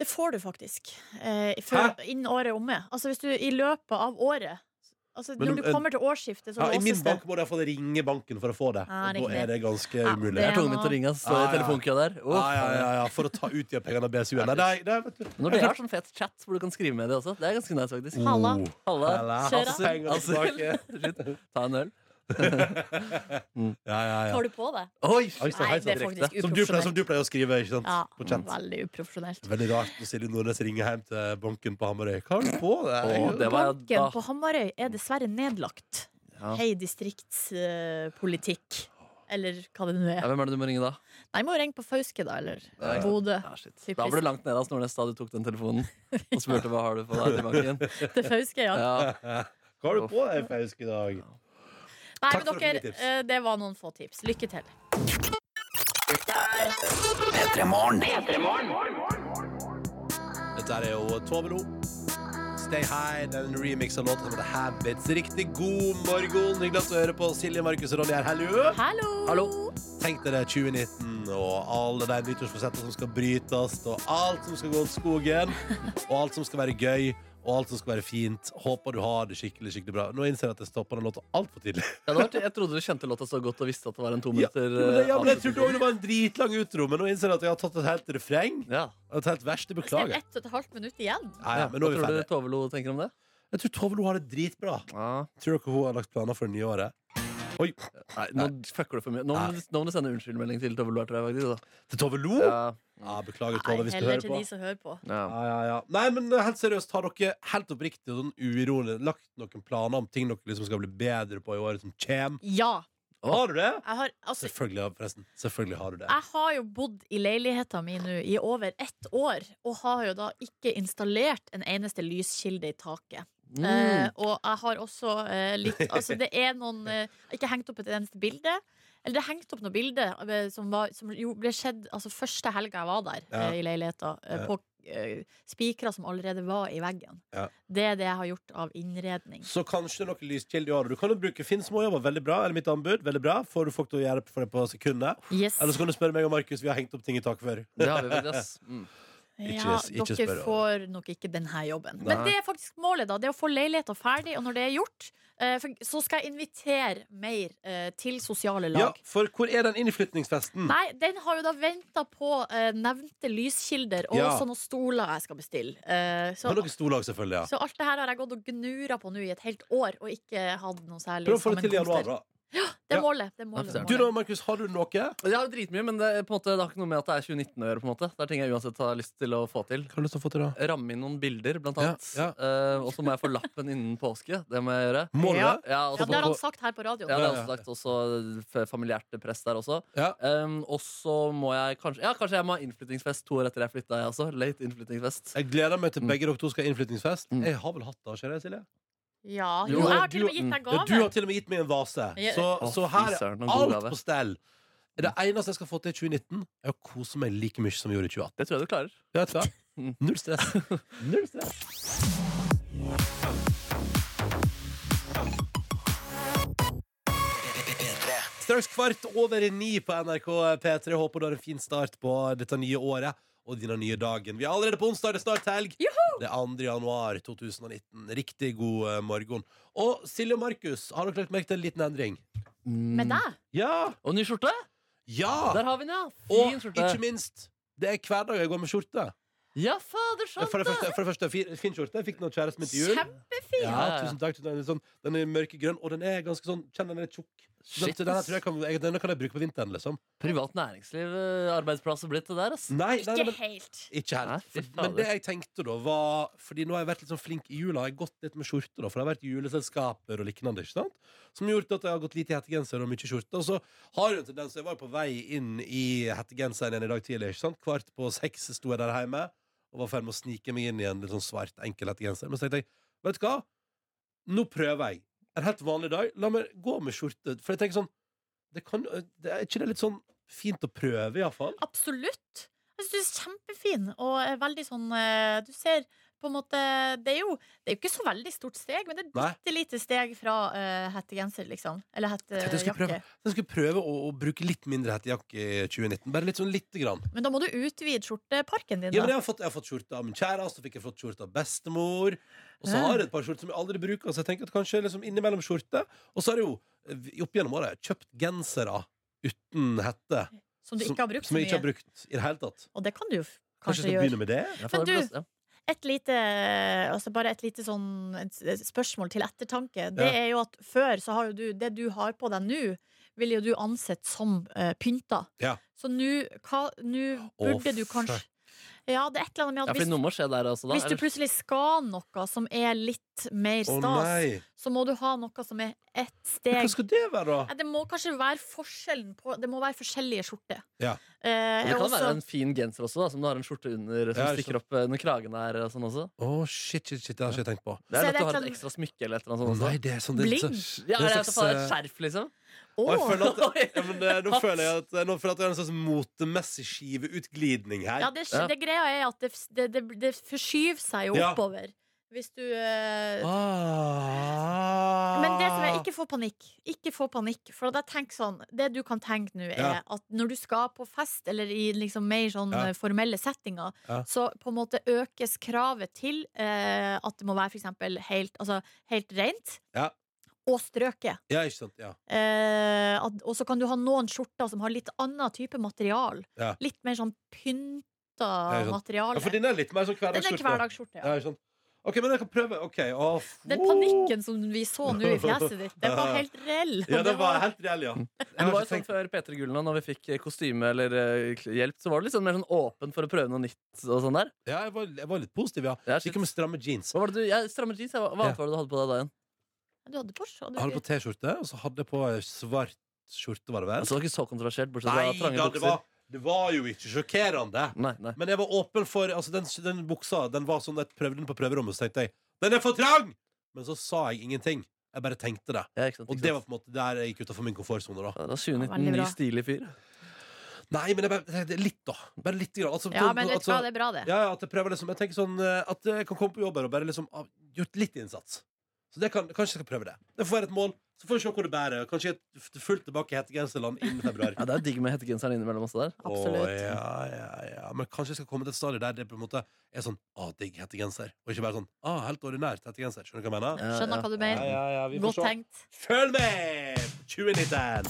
[SPEAKER 5] Det får du faktisk. Eh, før, innen året er omme. Altså hvis du i løpet av året Altså
[SPEAKER 3] Men,
[SPEAKER 5] Når du
[SPEAKER 3] eh,
[SPEAKER 5] kommer til årsskiftet, så
[SPEAKER 3] Ja, I min
[SPEAKER 5] låses det.
[SPEAKER 3] bank må du iallfall ringe banken for å få det.
[SPEAKER 5] Ja,
[SPEAKER 3] og
[SPEAKER 5] riktig.
[SPEAKER 3] da er det ganske umulig.
[SPEAKER 5] det er Jeg er tvungen noe-
[SPEAKER 2] til å ringe, ass. Står i telefonkø der. Uff.
[SPEAKER 3] Ja, ja, ja, ja, for å ta ut de pengene av BSU. Nei, nei, nei, vet du.
[SPEAKER 2] Når
[SPEAKER 3] Jeg
[SPEAKER 2] dere
[SPEAKER 3] klarte-
[SPEAKER 2] har sånn fet chat hvor du kan skrive med det også. Det er ganske nice, faktisk.
[SPEAKER 3] Halla.
[SPEAKER 2] Oh. Halla.
[SPEAKER 3] Halla.
[SPEAKER 2] Kjør, da.
[SPEAKER 3] Hasse, penger
[SPEAKER 2] Hasse.
[SPEAKER 3] tilbake.
[SPEAKER 2] Shit. Ta en øl.
[SPEAKER 3] ja, ja, ja.
[SPEAKER 5] Tar du på det?
[SPEAKER 2] Oi!
[SPEAKER 3] Oi, så hei,
[SPEAKER 5] Nei, det er
[SPEAKER 3] så direkte.
[SPEAKER 5] faktisk
[SPEAKER 3] altså. som, du pleier, som
[SPEAKER 5] uprofesjonelt.
[SPEAKER 3] du pleier å skrive, ikke sant?
[SPEAKER 5] Ja,
[SPEAKER 3] på chat.
[SPEAKER 5] veldig uprofesjonelt.
[SPEAKER 3] Veldig rart når Silje Nordnes ringer hjem til banken på Hamarøy. Hva har du på
[SPEAKER 2] Å,
[SPEAKER 3] deg?
[SPEAKER 2] det var-
[SPEAKER 5] Banken på Hamarøy er dessverre nedlagt.
[SPEAKER 2] Ja.
[SPEAKER 5] Hei, distriktspolitikk. eh, Eller hva det nå
[SPEAKER 2] Ja,
[SPEAKER 5] er.
[SPEAKER 2] hvem er det du må ringe da?
[SPEAKER 5] Nei, må jo ringe på Fauske, da, eller
[SPEAKER 2] Ja, ja.
[SPEAKER 5] Bodø.
[SPEAKER 2] Da ble det langt nede av Snornes da du tok den telefonen og spurte hva har du på deg til banken.
[SPEAKER 5] Til Fauske, ja.
[SPEAKER 3] Hva har du på deg, Fausk, i dag?
[SPEAKER 5] Nei,
[SPEAKER 3] Takk
[SPEAKER 5] men
[SPEAKER 3] for at du fikk
[SPEAKER 5] dere,
[SPEAKER 3] tips.
[SPEAKER 5] eh, det var noen få tips. Lykke til.
[SPEAKER 3] Dette er jo Tove Lo. Stay High, den remix av låta som heter Habits. Riktig god morgen. Hyggelig at du hører på. Silje, Markus og Ronny her. Hallo.
[SPEAKER 5] Hallo.
[SPEAKER 3] Tenk dere 2019 og alle de nyttårsforsettene som skal brytes, og alt som skal gå til skogen, og alt som skal være gøy, og alt som skal være fint. Håper du har det skikkelig skikkelig bra. Nå innser jeg at jeg stoppa den låta altfor tidlig.
[SPEAKER 2] Ja, det var, jeg trodde du kjente låta så godt og visste at det var en to
[SPEAKER 3] Ja,
[SPEAKER 2] minutter
[SPEAKER 3] jo, men det, ja, men jeg
[SPEAKER 2] eh,
[SPEAKER 3] trodde også det var en dritlang utro, men nå innser jeg at jeg har tatt et helt refreng. Et helt vers. Det
[SPEAKER 5] Det er
[SPEAKER 3] beklager jeg.
[SPEAKER 5] ett og et halvt minutt igjen.
[SPEAKER 3] Ja, ja, men nå er vi
[SPEAKER 2] Hva tror du
[SPEAKER 3] ferdige.
[SPEAKER 2] Tove Lo tenker om det?
[SPEAKER 3] Jeg tror Tove Lo har det dritbra. Tror dere hun har lagt planer for det nye året? Oi.
[SPEAKER 2] Nei, nå fucker du for mye. Nå må, du- nå må du sende unnskyldmelding til Tove Lo. Tror jeg, faktisk, da.
[SPEAKER 3] Til Tove Lo?
[SPEAKER 2] Ja.
[SPEAKER 3] Ja, beklager, Tove, hvis du
[SPEAKER 5] Heller
[SPEAKER 3] hører
[SPEAKER 5] til
[SPEAKER 3] på.
[SPEAKER 5] de som hører på.
[SPEAKER 2] Ja.
[SPEAKER 3] Ja, ja, ja. Nei, men eh, helt seriøst, har dere helt oppriktig og sånn uironisk lagt noen planer om ting dere liksom skal bli bedre på i året som kommer?
[SPEAKER 5] Ja.
[SPEAKER 3] Har du det?
[SPEAKER 5] Jeg har, altså,
[SPEAKER 3] Selvfølgelig, har- forresten. Selvfølgelig har du det.
[SPEAKER 5] jeg har jo bodd i leiligheta mi nå i over ett år, og har jo da ikke installert en eneste lyskilde i taket.
[SPEAKER 14] Mm.
[SPEAKER 5] Eh, og jeg har også eh, litt Altså, det er noen eh, Ikke hengt opp et eneste bilde. Eller det er hengt opp noen bilder eh, som, var, som jo ble skjedd altså, første helga jeg var der
[SPEAKER 14] Ja.
[SPEAKER 5] eh, i leiligheta, eh,
[SPEAKER 14] Ja.
[SPEAKER 5] på eh, spikra som allerede var i veggen.
[SPEAKER 3] Ja.
[SPEAKER 5] Det er det jeg har gjort av innredning.
[SPEAKER 3] Så kanskje noen lyskilder i året. Du kan jo bruke Finn småjobber, veldig bra. Eller mitt anbud, veldig bra. Får du folk til å gjøre det for deg på sekundet.
[SPEAKER 5] Yes.
[SPEAKER 3] Eller så kan du spørre meg og Markus, vi har hengt opp ting i taket før.
[SPEAKER 2] Det har vi vel, ass. Mm.
[SPEAKER 3] Ikke-
[SPEAKER 5] Ja,
[SPEAKER 3] ikke
[SPEAKER 5] dere
[SPEAKER 3] spør
[SPEAKER 5] får nok ikke denne jobben. Men
[SPEAKER 3] Nei.
[SPEAKER 5] det er faktisk målet, da. Det er å få leiligheta ferdig, og når det er gjort, eh, for- så skal jeg invitere mer eh, til sosiale
[SPEAKER 3] Ja,
[SPEAKER 5] lag.
[SPEAKER 3] for hvor er den innflytningsfesten?
[SPEAKER 5] Nei, den har jo da venta på eh, nevnte lyskilder og
[SPEAKER 3] Ja.
[SPEAKER 5] også noen stoler jeg skal bestille. Eh, så,
[SPEAKER 3] På noen storlag, selvfølgelig.
[SPEAKER 5] så
[SPEAKER 3] ja
[SPEAKER 5] alt det her har jeg gått og gnura på nå i et helt år og ikke hatt noe særlig
[SPEAKER 3] Prøv å få det til i januar, da.
[SPEAKER 5] sammenkomster. Det
[SPEAKER 3] Ja.
[SPEAKER 5] er målet. Det er målet, det er målet.
[SPEAKER 2] Du da,
[SPEAKER 3] Markus, har du noe? Jeg
[SPEAKER 2] har dritmye, men det, er på en måte, det har ikke noe med at det er 2019 å gjøre. på en måte Det er ting jeg uansett har lyst til å få til.
[SPEAKER 3] Hva har du lyst til å få til da?
[SPEAKER 2] Ramme inn noen bilder, blant annet. Eh, og så må jeg få lappen innen påske. Det må jeg gjøre.
[SPEAKER 3] Må du
[SPEAKER 2] ja.
[SPEAKER 3] det?
[SPEAKER 2] Ja,
[SPEAKER 5] Ja,
[SPEAKER 2] og så
[SPEAKER 5] det har
[SPEAKER 2] på-
[SPEAKER 5] han sagt her på radioen.
[SPEAKER 2] ja, det er også sagt også f- familiært press der også. Um, og så må jeg kanskje Ja, kanskje jeg må ha innflyttingsfest to år etter jeg flytta, jeg også. Late innflyttingsfest.
[SPEAKER 3] Jeg gleder meg til begge dere to skal ha innflyttingsfest.
[SPEAKER 2] Mm.
[SPEAKER 3] Jeg har vel hatt det, ikke jeg, Silje?
[SPEAKER 5] Ja, jo, jeg har til og med gitt deg
[SPEAKER 3] Ja, du har
[SPEAKER 5] gave.
[SPEAKER 3] til og med gitt meg en vase.
[SPEAKER 5] Ja.
[SPEAKER 3] Så,
[SPEAKER 2] Å,
[SPEAKER 3] så
[SPEAKER 2] fy
[SPEAKER 3] her
[SPEAKER 2] søren,
[SPEAKER 3] er
[SPEAKER 2] en god
[SPEAKER 3] alt
[SPEAKER 2] gave.
[SPEAKER 3] på stell. Det eneste jeg skal få til i 2019, er å kose meg like mye som jeg gjorde i 2018.
[SPEAKER 2] Det tror jeg du klarer.
[SPEAKER 3] Ja, vet du hva? Null stress. Null stress. Straks kvart over ni på NRK P3. Håper du har en fin start på dette nye året og denne nye dagen. Vi er allerede på onsdag, det er snart helg. Det er 2. januar 2019. Riktig god eh, morgen. Og Silje og Markus, har dere lagt merke til en liten endring? Mm.
[SPEAKER 5] Med deg?
[SPEAKER 3] Ja!
[SPEAKER 2] Og ny skjorte?
[SPEAKER 3] Ja!
[SPEAKER 2] Der har vi den, ja.
[SPEAKER 3] Og
[SPEAKER 2] Fin skjorte.
[SPEAKER 3] ikke minst, det er hver dag jeg går med skjorte.
[SPEAKER 2] Ja, fader, sant
[SPEAKER 3] For det første, for det første fin, fin skjorte. Jeg fikk den av kjæresten min til jul.
[SPEAKER 5] Kjempefin!
[SPEAKER 3] Ja, tusen takk. Tusen takk. Den, er sånn, den er mørkegrønn, og den er ganske sånn Kjenn, den er tjukk. Den,
[SPEAKER 2] Shit,
[SPEAKER 3] den, her
[SPEAKER 2] ass.
[SPEAKER 3] tror jeg kan, jeg, denne kan jeg bruke på vinteren, liksom.
[SPEAKER 2] Privat næringsliv, eh, arbeidsplass har blitt det der, ass.
[SPEAKER 3] Nei, nei, nei, men-
[SPEAKER 5] helt.
[SPEAKER 3] Ikke helt. For- Men det jeg tenkte da, var Fordi nå har jeg vært litt sånn flink i jula. Jeg har gått litt med skjorte, da, for jeg har vært i juleselskaper og liknande, ikke sant? Som gjorde at jeg har gått lite i hettegenser og mye skjorte. Og så har jeg jo en tendens Jeg var jo på vei inn i hettegenseren igjen i dag tidlig, ikke sant? Kvart på seks sto jeg der hjemme og var i ferd med å snike meg inn i en litt sånn svart, enkel hettegenser. Men så tenkte jeg, vet du hva? Nå prøver jeg. En helt vanlig dag. La meg gå med skjorte. For jeg tenker sånn det kan, det Er ikke det litt sånn fint å prøve, iallfall?
[SPEAKER 5] Absolutt. Jeg synes du er kjempefin og er veldig sånn eh, Du ser på en måte Det er jo, det er jo ikke så veldig stort steg, men det er et
[SPEAKER 3] Nei.
[SPEAKER 5] bitte lite steg fra eh, hettegenser, liksom. Eller
[SPEAKER 3] Tenkte jeg skulle prøve,
[SPEAKER 5] hettejakke.
[SPEAKER 3] jeg skulle prøve å, å bruke litt mindre hettejakke i 2019. Bare litt sånn lite grann.
[SPEAKER 5] Men da må du utvide skjorteparken din,
[SPEAKER 3] Ja, men jeg
[SPEAKER 5] da.
[SPEAKER 3] har fått, jeg har fått skjorte av min kjæreste, så fikk jeg fått skjorte av bestemor. Og så
[SPEAKER 5] Ja.
[SPEAKER 3] har jeg et par skjorter som jeg aldri bruker, så jeg tenker at kanskje liksom innimellom skjorte. Og så har jeg jo eh, opp gjennom året kjøpt gensere uten hette.
[SPEAKER 5] Som du ikke har brukt
[SPEAKER 3] som, som jeg
[SPEAKER 5] så
[SPEAKER 3] ikke har
[SPEAKER 5] mye.
[SPEAKER 3] brukt i det hele tatt.
[SPEAKER 5] Og det kan du jo f-
[SPEAKER 3] Kanskje jeg
[SPEAKER 5] kanskje
[SPEAKER 3] skal
[SPEAKER 5] gjøre.
[SPEAKER 3] begynne med det?
[SPEAKER 5] Men du, et lite, altså bare et lite sånn et et spørsmål til ettertanke. Det
[SPEAKER 3] Ja.
[SPEAKER 5] er jo at før så har jo du Det du har på deg nå, ville jo du ansett som eh, pynta.
[SPEAKER 3] Ja.
[SPEAKER 5] Så nå hva- nå
[SPEAKER 3] Å,
[SPEAKER 5] burde du kanskje
[SPEAKER 3] fuck.
[SPEAKER 5] Ja, det er et eller annet med
[SPEAKER 2] Ja,
[SPEAKER 5] at
[SPEAKER 2] for
[SPEAKER 5] hvis,
[SPEAKER 2] noe må skje der også, da.
[SPEAKER 5] hvis du
[SPEAKER 2] ellers-
[SPEAKER 5] plutselig skal noe som er litt mer
[SPEAKER 2] Å,
[SPEAKER 5] stas,
[SPEAKER 2] nei.
[SPEAKER 5] så må du ha noe som er ett
[SPEAKER 3] Men
[SPEAKER 5] steg
[SPEAKER 3] Hva skal det være,
[SPEAKER 5] Nei,
[SPEAKER 3] da?
[SPEAKER 5] Det må kanskje være forskjellen på Det må være forskjellige skjorter.
[SPEAKER 3] Ja.
[SPEAKER 5] Eh,
[SPEAKER 2] Og det kan
[SPEAKER 5] også-
[SPEAKER 2] være en fin genser også, da, som du har en skjorte under som
[SPEAKER 3] Ja, ikke
[SPEAKER 2] stikker opp eh, under kragen her. Og sånn også.
[SPEAKER 3] Å, shit, shit, shit, det har ikke jeg tenkt på.
[SPEAKER 2] Det er
[SPEAKER 5] Så er
[SPEAKER 2] at
[SPEAKER 5] det sånn-
[SPEAKER 2] du har
[SPEAKER 5] et
[SPEAKER 2] et
[SPEAKER 5] eller
[SPEAKER 2] ekstra smykke eller et eller annet sånt.
[SPEAKER 3] Nei, det er sånn- det er litt
[SPEAKER 2] Bling!
[SPEAKER 3] sånn-
[SPEAKER 2] Ja,
[SPEAKER 3] det er
[SPEAKER 2] det er
[SPEAKER 3] slags,
[SPEAKER 5] altså
[SPEAKER 2] sånn faen,
[SPEAKER 3] eh,
[SPEAKER 2] et skjerf, liksom.
[SPEAKER 3] Og jeg føler at, ja, men, eh, nå
[SPEAKER 2] Hatt.
[SPEAKER 3] føler jeg at, nå føler jeg at jeg har en slags motemessig skiveutglidning her.
[SPEAKER 5] Ja, det, det greia er at det, det, det, det forskyver seg jo
[SPEAKER 3] Ja.
[SPEAKER 5] oppover. Hvis du eh,
[SPEAKER 3] Ah.
[SPEAKER 5] Men det som er, ikke få panikk. Ikke få panikk. For da tenk sånn, det du kan tenke nå, er
[SPEAKER 3] Ja.
[SPEAKER 5] at når du skal på fest, eller i liksom mer sånn
[SPEAKER 3] Ja.
[SPEAKER 5] eh, formelle settinger,
[SPEAKER 3] Ja.
[SPEAKER 5] så på en måte økes kravet til eh, at det må være for eksempel helt, altså, helt rent
[SPEAKER 3] Ja.
[SPEAKER 5] og strøket.
[SPEAKER 3] ja, ikke sant? Ja.
[SPEAKER 5] Eh, at- og så kan du ha noen skjorter som har litt annen type material.
[SPEAKER 3] Ja.
[SPEAKER 5] Litt mer sånn pynta
[SPEAKER 3] sånn- Ja, ikke sant.
[SPEAKER 5] materiale.
[SPEAKER 3] Ja, for din er litt mer sånn
[SPEAKER 5] Den er
[SPEAKER 3] hverdagsskjorte.
[SPEAKER 5] hverdagsskjorte, ja.
[SPEAKER 3] ikke sant? OK, men jeg kan prøve. OK. å, f-
[SPEAKER 5] Den panikken som vi så nå i fjeset ditt, den var helt reell.
[SPEAKER 3] Ja, det var helt reell, ja.
[SPEAKER 2] Men det var jo sånn Før Peter Gull nå, når vi fikk eh, kostyme eller eh, kl- hjelp, så var du litt sånn mer sånn åpen for å prøve noe nytt og sånn der.
[SPEAKER 3] Ja, jeg var, jeg var litt positiv, ja. Ikke med stramme jeans.
[SPEAKER 2] Hva var det du, jeg, stramme jeans, jeg, hva hva
[SPEAKER 3] Ja.
[SPEAKER 2] var det du hadde på deg da igjen?
[SPEAKER 5] Du hadde på så
[SPEAKER 3] Jeg hadde på T-skjorte, og så hadde jeg på eh, svart skjorte, var det vel?
[SPEAKER 2] Altså, det var ikke så kontroversielt, bortsett fra
[SPEAKER 3] Nei
[SPEAKER 2] trange
[SPEAKER 3] da, det
[SPEAKER 2] bukser.
[SPEAKER 3] var, det var jo ikke sjokkerende. Men jeg var åpen for altså, den, den buksa den var sånn jeg prøvde den på prøverommet, så tenkte jeg den er for trang! Men så sa jeg ingenting. Jeg bare tenkte det.
[SPEAKER 2] sånn
[SPEAKER 3] Og det var på en måte der jeg gikk utafor min komfortsone. Da.
[SPEAKER 2] Da 2019,
[SPEAKER 3] Veldig bra.
[SPEAKER 2] ny stilig fyr.
[SPEAKER 3] Nei, men jeg bare, det- det- litt, da. Bare litt. Grann. Altså,
[SPEAKER 5] Ja, men vet du hva, det er bra, det.
[SPEAKER 3] Ja, ja, at jeg prøver liksom Jeg tenker sånn eh, at jeg kan komme på jobb her og bare liksom ah, gjort litt innsats. Så det kan, kanskje jeg skal prøve det. Det får være et mål. Så får vi se hvor det bærer. Kanskje jeg er f- fullt tilbake i hettegenserland innen februar.
[SPEAKER 2] Ja, det er digg med hettegenseren innimellom også der.
[SPEAKER 3] Å, ja, ja, ja. Men kanskje jeg skal komme til et stadium der det på en måte er sånn ah, digg hettegenser, og ikke bare sånn ah, helt ordinært hettegenser. Skjønner du hva jeg mener?
[SPEAKER 5] Skjønner
[SPEAKER 2] Eh,
[SPEAKER 5] hva du mener.
[SPEAKER 3] Ja, ja, ja, vi får
[SPEAKER 5] Godt
[SPEAKER 3] se.
[SPEAKER 5] tenkt.
[SPEAKER 3] Følg med! 2019!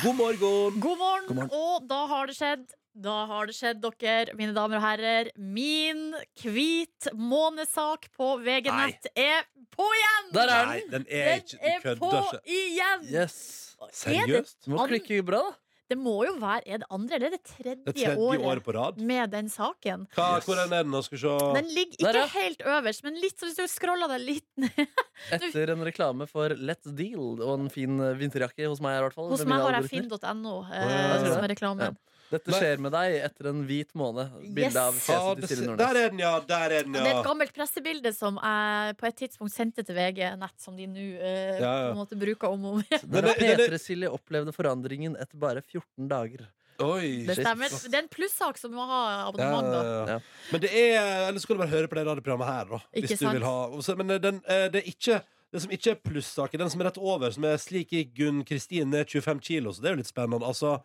[SPEAKER 3] God morgen!
[SPEAKER 5] God morgen.
[SPEAKER 3] God morgen.
[SPEAKER 5] Og da har det skjedd. Da har det skjedd, dere, mine damer og herrer. Min hvit månesak på VG-nett er på igjen!
[SPEAKER 2] Der er
[SPEAKER 3] Nei,
[SPEAKER 2] den!
[SPEAKER 3] den er ikke Du
[SPEAKER 5] er på
[SPEAKER 3] kødder ikke.
[SPEAKER 5] igjen!
[SPEAKER 2] Yes.
[SPEAKER 5] Er det
[SPEAKER 3] Seriøst?
[SPEAKER 5] Må an- klikke
[SPEAKER 2] bra, da.
[SPEAKER 5] Det må jo være Er det andre eller er det tredje,
[SPEAKER 3] Det tredje året på rad.
[SPEAKER 5] med den saken?
[SPEAKER 3] Hva, Hvordan er den? nå? Skal vi se
[SPEAKER 5] Den ligger ikke helt øverst, men litt, så hvis du scroller deg litt ned
[SPEAKER 2] Etter en reklame for Let's Deal og en fin eh, vinterjakke hos meg. i hvert fall
[SPEAKER 5] Hos
[SPEAKER 2] med
[SPEAKER 5] meg
[SPEAKER 2] mine
[SPEAKER 5] har jeg
[SPEAKER 2] algoritmer.
[SPEAKER 5] finn.no
[SPEAKER 2] Ja,
[SPEAKER 5] eh,
[SPEAKER 2] jeg tror
[SPEAKER 5] som er
[SPEAKER 2] det.
[SPEAKER 5] reklamen.
[SPEAKER 2] Ja. Dette skjer med deg etter en hvit måned. Bilde
[SPEAKER 5] Yes.
[SPEAKER 3] Ah,
[SPEAKER 2] av fjeset
[SPEAKER 3] det
[SPEAKER 2] til Silje
[SPEAKER 3] ser-
[SPEAKER 2] Nordnes.
[SPEAKER 3] Der er den, ja! Der er den,
[SPEAKER 5] Det er et
[SPEAKER 3] ja.
[SPEAKER 5] gammelt pressebilde som jeg på et tidspunkt sendte til VG Nett, som de nå eh,
[SPEAKER 2] Ja, ja.
[SPEAKER 5] på en måte bruker om og om igjen.
[SPEAKER 2] Der har P3-Silje opplevde forandringen etter bare 14 dager.
[SPEAKER 3] Oi,
[SPEAKER 5] Det stemmer. Det er en plussak som må ha abonnement, da.
[SPEAKER 3] Ja, ja, ja. Men det er Eller skal du bare høre på det radioprogrammet her, da.
[SPEAKER 5] Ikke
[SPEAKER 3] hvis du
[SPEAKER 5] sant?
[SPEAKER 3] vil ha. Og så- Men den, eh, det er ikke det som ikke er plussaker, den som er rett over, som er slik gikk Gunn Kristin ned 25 kilo, så det er jo litt spennende. Altså,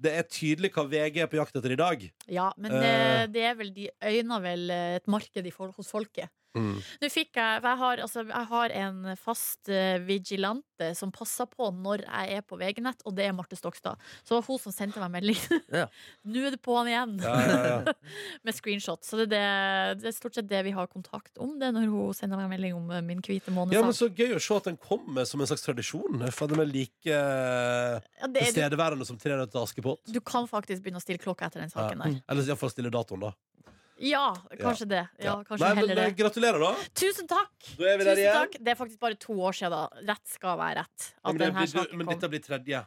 [SPEAKER 3] det er tydelig hva VG er på jakt etter i dag.
[SPEAKER 5] Ja, men
[SPEAKER 3] Eh.
[SPEAKER 5] eh, det er vel de øyner vel eh, et marked i for, hos folket. Nå fikk jeg, for jeg har, altså, jeg har en fast eh, vigilante som passer på når jeg er på VG-nett, og det er Marte Stokstad. Så det var hun som sendte meg melding.
[SPEAKER 2] Ja.
[SPEAKER 5] Nå er det på'n igjen!
[SPEAKER 2] Ja, ja, ja.
[SPEAKER 5] Med screenshot. Så det er, det, det er stort sett det vi har kontakt om, det er når hun sender meg melding om eh, min hvite månesak.
[SPEAKER 3] Ja, men Så gøy å se at den kommer som en slags tradisjon. For den er like eh,
[SPEAKER 5] det er-
[SPEAKER 3] tilstedeværende som Tre nøtter til Askepott.
[SPEAKER 5] Du kan faktisk begynne å stille klokka etter den
[SPEAKER 3] Ja.
[SPEAKER 5] saken der.
[SPEAKER 3] Eller iallfall stille datoen, da.
[SPEAKER 5] Ja, kanskje det. Ja,
[SPEAKER 3] Ja.
[SPEAKER 5] kanskje
[SPEAKER 3] Nei, men,
[SPEAKER 5] heller det.
[SPEAKER 3] eh, Gratulerer, da.
[SPEAKER 5] Tusen takk!
[SPEAKER 3] Da er vi der
[SPEAKER 5] Tusen
[SPEAKER 3] igjen.
[SPEAKER 5] takk. Det er faktisk bare to år siden, da. Rett skal være rett.
[SPEAKER 3] Ja,
[SPEAKER 5] At
[SPEAKER 3] men, det
[SPEAKER 5] denne
[SPEAKER 3] blir,
[SPEAKER 5] saken
[SPEAKER 3] men
[SPEAKER 5] kom.
[SPEAKER 3] dette blir tredje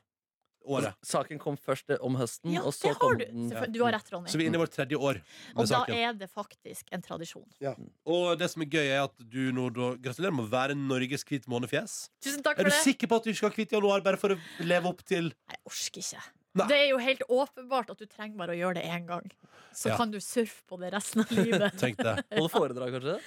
[SPEAKER 3] året.
[SPEAKER 2] Saken kom først eh, om høsten,
[SPEAKER 5] Ja,
[SPEAKER 2] og så
[SPEAKER 5] det har
[SPEAKER 2] kom
[SPEAKER 5] du.
[SPEAKER 2] den
[SPEAKER 5] Selvfø- du har rett, Ronny.
[SPEAKER 3] Så vi er inne i vårt tredje år. med
[SPEAKER 5] Og da
[SPEAKER 3] saken.
[SPEAKER 5] er det faktisk en tradisjon.
[SPEAKER 3] Og det som er gøy, er at du nå da, gratulerer med å være Norges hvit månefjes.
[SPEAKER 5] Tusen takk
[SPEAKER 3] Er
[SPEAKER 5] for
[SPEAKER 3] du
[SPEAKER 5] det.
[SPEAKER 3] sikker på at du ikke skal ha hvitt januar bare for å leve opp til
[SPEAKER 5] Jeg orker ikke.
[SPEAKER 3] Nei.
[SPEAKER 5] Det er jo helt åpenbart at du trenger bare å gjøre det én gang. Så
[SPEAKER 3] Ja.
[SPEAKER 5] kan du surfe på det resten av livet.
[SPEAKER 3] Tenk det.
[SPEAKER 2] Holde foredrag, kanskje?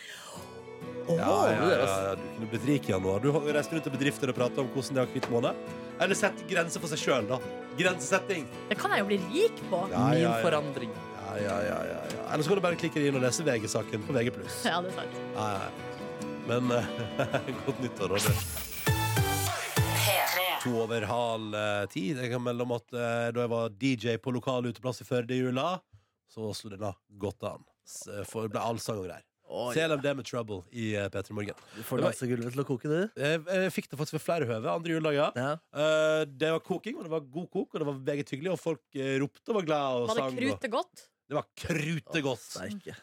[SPEAKER 3] ja, ja,
[SPEAKER 2] det er
[SPEAKER 3] ja,
[SPEAKER 2] oss.
[SPEAKER 3] ja, Du kunne blitt rik i januar. Du har jo reist rundt til bedrifter og prata om hvordan de har hvit måned. Eller sett grenser for seg sjøl, da. Grensesetting.
[SPEAKER 5] Det kan jeg jo bli rik på.
[SPEAKER 3] Ja, ja, ja.
[SPEAKER 2] Min forandring.
[SPEAKER 3] Ja, ja, ja, ja, ja. Eller så kan du bare klikke deg inn og lese VG-saken på VG+.
[SPEAKER 5] Ja, det er sant.
[SPEAKER 3] Ja, ja. Men eh, godt nyttår, Ronny. To over halv eh, ti. Jeg kan melde om at eh, da jeg var DJ på lokal uteplass i Førde i jula, så slo denne godt an. S- For eh, det ble allsang og greier. Oi. Selv om det er med trouble i eh, P3 Morgen.
[SPEAKER 2] Du får dansegulvet til å koke, du.
[SPEAKER 3] Jeg, jeg fikk det faktisk ved flere høve andre juledager. Eh, det var koking, og det var god kok, og det var meget hyggelig, og folk eh, ropte og var glad og
[SPEAKER 5] Var det
[SPEAKER 3] sang. og-
[SPEAKER 5] krutet godt?
[SPEAKER 3] Det var krutegodt.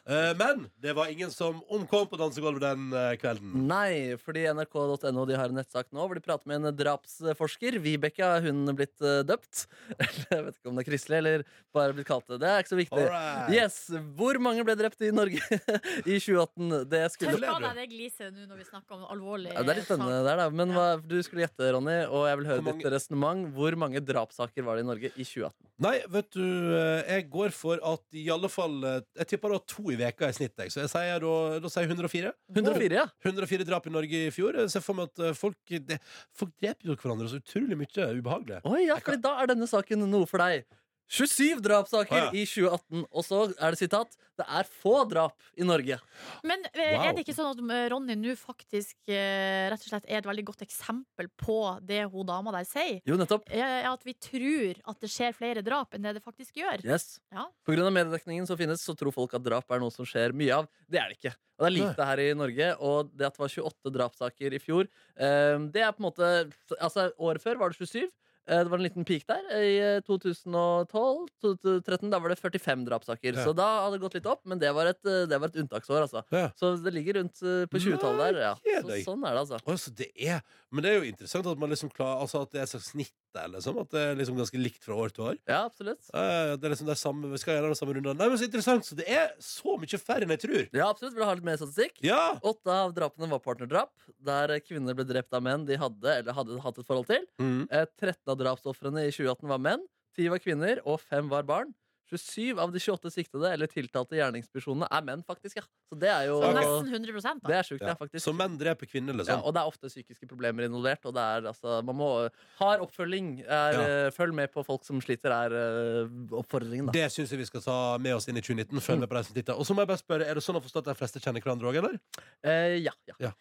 [SPEAKER 3] Eh, men det var ingen som omkom på dansegulvet den eh, kvelden.
[SPEAKER 2] Nei, fordi nrk.no de har en nettsak nå hvor de prater med en drapsforsker. Vibeke har hun blitt eh, døpt. Eller jeg vet ikke om det er kristelig, eller bare blitt kalt det. Det er ikke så viktig.
[SPEAKER 5] Alright.
[SPEAKER 2] Yes, Hvor mange ble drept i Norge i 2018? Det skulle
[SPEAKER 5] Tørk av deg det gliset nå når vi snakker om alvorlig eh,
[SPEAKER 2] Ja, det er litt spennende der, da. Men hva, du skulle gjette, Ronny, og jeg vil høre ditt resonnement. Hvor mange drapssaker var det i Norge i 2018?
[SPEAKER 3] Nei, vet du, eh, jeg går for at i alle fall eh, Jeg tipper det var to i veka i snitt, jeg. Så jeg sier da, da sier jeg 104.
[SPEAKER 2] 104, ja.
[SPEAKER 3] 104 drap i Norge i fjor. Jeg ser for meg at eh, folk det, Folk dreper jo hverandre så utrolig mye ubehagelig.
[SPEAKER 2] Oi, ja, fordi da er denne saken noe for deg. 27
[SPEAKER 3] Å,
[SPEAKER 2] drapssaker
[SPEAKER 3] ja.
[SPEAKER 2] i 2018. Og så er det sitat Det er få drap i Norge.
[SPEAKER 5] Men eh,
[SPEAKER 2] Wow.
[SPEAKER 5] er det ikke sånn at eh, Ronny nå faktisk eh, rett og slett er et veldig godt eksempel på det hun dama der sier?
[SPEAKER 2] Jo, nettopp.
[SPEAKER 5] Eh, At vi tror at det skjer flere drap enn det det faktisk gjør.
[SPEAKER 2] Yes.
[SPEAKER 5] Ja.
[SPEAKER 2] På grunn av mediedekningen som finnes, så tror folk at drap er noe som skjer mye av. Det er det ikke. Og det er lite her i Norge. Og det at det var 28 drapssaker i fjor, eh, det er på en måte Altså, året før var det 27. eh, Det var en liten peak der. I eh, 2012 2013 da var det 45 drapssaker.
[SPEAKER 3] Ja.
[SPEAKER 2] Så da hadde det gått litt opp, men det var et, eh, det var et unntaksår, altså. Så det ligger rundt eh, på 20-tallet der. Ja.
[SPEAKER 3] Nei,
[SPEAKER 2] Så,
[SPEAKER 3] kjedelig.
[SPEAKER 2] sånn er det, altså.
[SPEAKER 3] Å, så det er, men det er jo interessant at, man liksom klarer, altså at det er et slags snitt der, liksom. At det er liksom ganske likt fra år til år.
[SPEAKER 2] Ja, absolutt.
[SPEAKER 3] Eh, det er liksom det er samme, vi skal gjøre det samme rundene. Nei, men så interessant! Så det er så mye færre enn jeg tror.
[SPEAKER 2] Ja, absolutt. Vil du ha litt mer statistikk?
[SPEAKER 3] Ja!
[SPEAKER 2] Åtte av drapene var partnerdrap, der kvinner ble drept av menn de hadde eller hadde hatt et forhold til. Eh, 13 av drapsofrene i 2018 var menn, 10 var kvinner, og 5 var barn. 27 av de 28 siktede eller tiltalte gjerningspersonene er menn, faktisk. ja Så det er jo
[SPEAKER 5] Så nesten 100 da.
[SPEAKER 2] Det er sjukt,
[SPEAKER 3] Ja.
[SPEAKER 2] ja, faktisk.
[SPEAKER 3] Så menn dreper kvinner,
[SPEAKER 2] Ja,
[SPEAKER 3] liksom.
[SPEAKER 2] og det er ofte psykiske problemer involvert. Og det er, altså, man må Hard oppfølging. Er, eh, Følg med på folk som sliter, er eh, oppfordringen, da.
[SPEAKER 3] Det syns jeg vi skal ta med oss inn i 2019. Følg med på de som titter. Og så må jeg bare spørre, er det sånn å forstå at de fleste kjenner hverandre òg, eller?
[SPEAKER 2] Eh, ja, ja.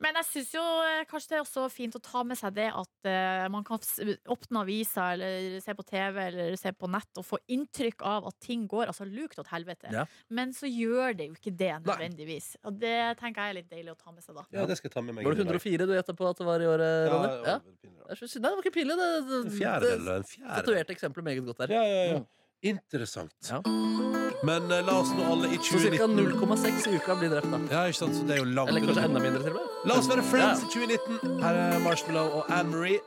[SPEAKER 5] Men jeg syns jo eh, kanskje det er også fint å ta med seg det at eh, man kan s- åpne avisa eller se på TV eller se på nett og få inntrykk av at ting går altså lukt til helvete.
[SPEAKER 3] Ja.
[SPEAKER 5] Men så gjør det jo ikke det nødvendigvis. Og det tenker jeg er litt deilig å ta med seg da.
[SPEAKER 3] Ja, det skal jeg ta med meg.
[SPEAKER 2] Var det 104 du gjetta på at det var i året,
[SPEAKER 3] Ja,
[SPEAKER 2] Ronny?
[SPEAKER 3] det var
[SPEAKER 2] Ja. Det er så synd. Nei, det var ikke pinlig. Det, det,
[SPEAKER 3] En fjerdedel,
[SPEAKER 2] det-
[SPEAKER 3] en fjerdedel.
[SPEAKER 2] Statuerte eksempelet meget godt der. Mm.
[SPEAKER 3] Ja, ja, ja. Interessant. Men eh, la oss nå alle i
[SPEAKER 2] Så
[SPEAKER 3] 2019
[SPEAKER 2] ca. 0,6 i uka blir drept, da.
[SPEAKER 3] Ja, ikke sant, så det er jo langt
[SPEAKER 2] Eller kanskje
[SPEAKER 3] unna.
[SPEAKER 2] enda mindre, til og med.
[SPEAKER 3] La oss være friends
[SPEAKER 2] Ja.
[SPEAKER 3] i 2019. Her er Marshmallow og Anne-Marie.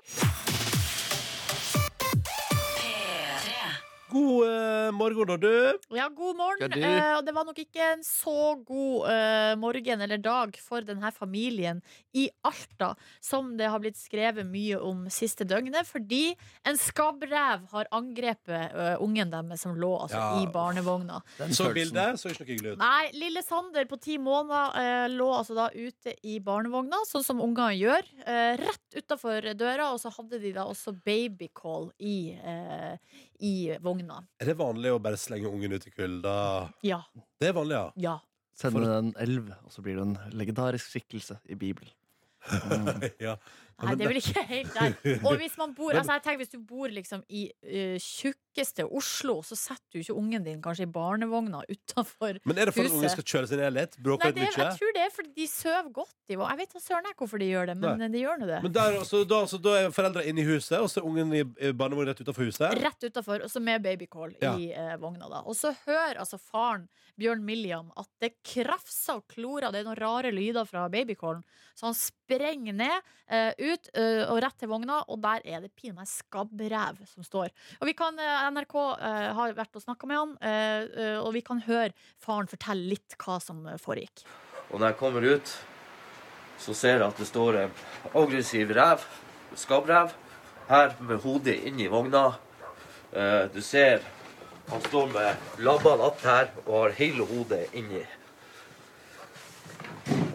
[SPEAKER 3] God eh, morgen, da, du.
[SPEAKER 5] Ja, god morgen.
[SPEAKER 3] Skal du-
[SPEAKER 5] Eh, og det var nok ikke en så god eh, morgen eller dag for denne familien i Alta, som det har blitt skrevet mye om siste døgnet, fordi en skabbrev har angrepet eh, ungen deres som lå altså,
[SPEAKER 3] Ja,
[SPEAKER 5] i barnevogna.
[SPEAKER 3] Så bildet så ikke noe hyggelig ut.
[SPEAKER 5] Nei, lille Sander på ti måneder eh, lå altså da ute i barnevogna, sånn som unger gjør. Eh, rett utafor døra, og så hadde de da også babycall i, eh, i vogna.
[SPEAKER 3] Er det vanlig å bare slenge ungen ut i kulda?
[SPEAKER 5] Ja.
[SPEAKER 3] Det er vanlig, ja.
[SPEAKER 5] ja.
[SPEAKER 2] Sender du en elv, og så blir du en legendarisk skikkelse i Bibelen.
[SPEAKER 3] ja.
[SPEAKER 5] Nei, det er vel ikke helt der. Og hvis man bor
[SPEAKER 2] Men-
[SPEAKER 5] altså jeg tenker, hvis du bor liksom i eh, tjukkeste Oslo, så setter du ikke ungen din kanskje i barnevogna utafor huset.
[SPEAKER 3] Men er det for at ungen skal kjøre sin egen lett? Bråke
[SPEAKER 5] Nei,
[SPEAKER 3] litt
[SPEAKER 5] det, er-
[SPEAKER 3] mye?
[SPEAKER 5] jeg tror det er fordi de sover godt. De, og jeg vet da søren jeg hvorfor de gjør det, men
[SPEAKER 3] Nei.
[SPEAKER 5] de gjør nå det.
[SPEAKER 3] Men der, så, da, så da er foreldra inne i huset, og så er ungen i i barnevogn rett utenfor huset?
[SPEAKER 5] Rett utafor, og så med babycall i eh, vogna. da Og så hører altså faren, Bjørn Milliam, at det krafser og klorer. Det er noen rare lyder fra babycallen. Så han sprenger ned, eh, ut eh, og rett til vogna, og der er det pinadø en skabbrev som står. Og vi kan, eh, NRK eh, har vært og snakka med han, eh, eh, og vi kan høre faren fortelle litt hva som eh, foregikk.
[SPEAKER 20] Og når jeg kommer ut, så ser jeg at det står en aggressiv rev, skabbrev, her med hodet inn i vogna. Eh, Du ser han står med labbene att her og har hele hodet inni.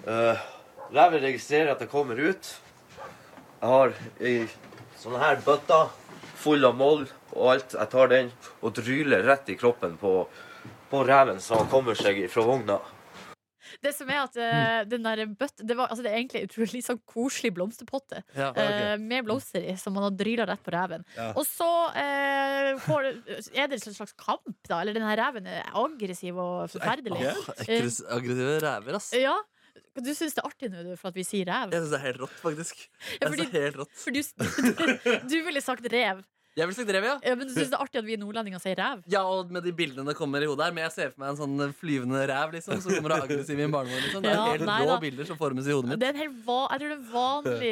[SPEAKER 20] Eh, Reven registrerer at jeg kommer ut. Jeg har ei sånn her bøtte full av moll og alt. Jeg tar den og dryler rett i kroppen på, på reven så han kommer seg fra vogna.
[SPEAKER 5] Det som er at eh, den der bøtt, det, var, altså, det er egentlig en utrolig sånn koselig blomsterpotte
[SPEAKER 2] Ja, ok.
[SPEAKER 5] eh, med blomster i, som man har dryla rett på reven.
[SPEAKER 2] Ja.
[SPEAKER 5] Og så eh, får, er det en slags kamp, da. Eller den her reven er aggressiv og forferdelig.
[SPEAKER 2] Åh, aggress- Aggressive ræver, ass.
[SPEAKER 5] Eh, ja. Du syns det er artig nå du, for at vi sier rev?
[SPEAKER 2] Jeg syns det er helt rått, faktisk.
[SPEAKER 5] Ja,
[SPEAKER 2] Jeg synes det er helt rått.
[SPEAKER 5] For du, du ville sagt rev.
[SPEAKER 2] Jeg vil si drev, ja.
[SPEAKER 5] Ja, men du syns det er artig at vi nordlendinger sier rev?
[SPEAKER 2] Ja, og med de bildene det kommer i hodet her. Men jeg ser for meg en sånn flyvende ræv liksom, som kommer og er aggressiv i en barnevogn. Liksom. Det er
[SPEAKER 5] Ja,
[SPEAKER 2] helt
[SPEAKER 5] nei
[SPEAKER 2] rå
[SPEAKER 5] da.
[SPEAKER 2] bilder som formes i hodet mitt.
[SPEAKER 5] Det er en helt va jeg tror det er en vanlig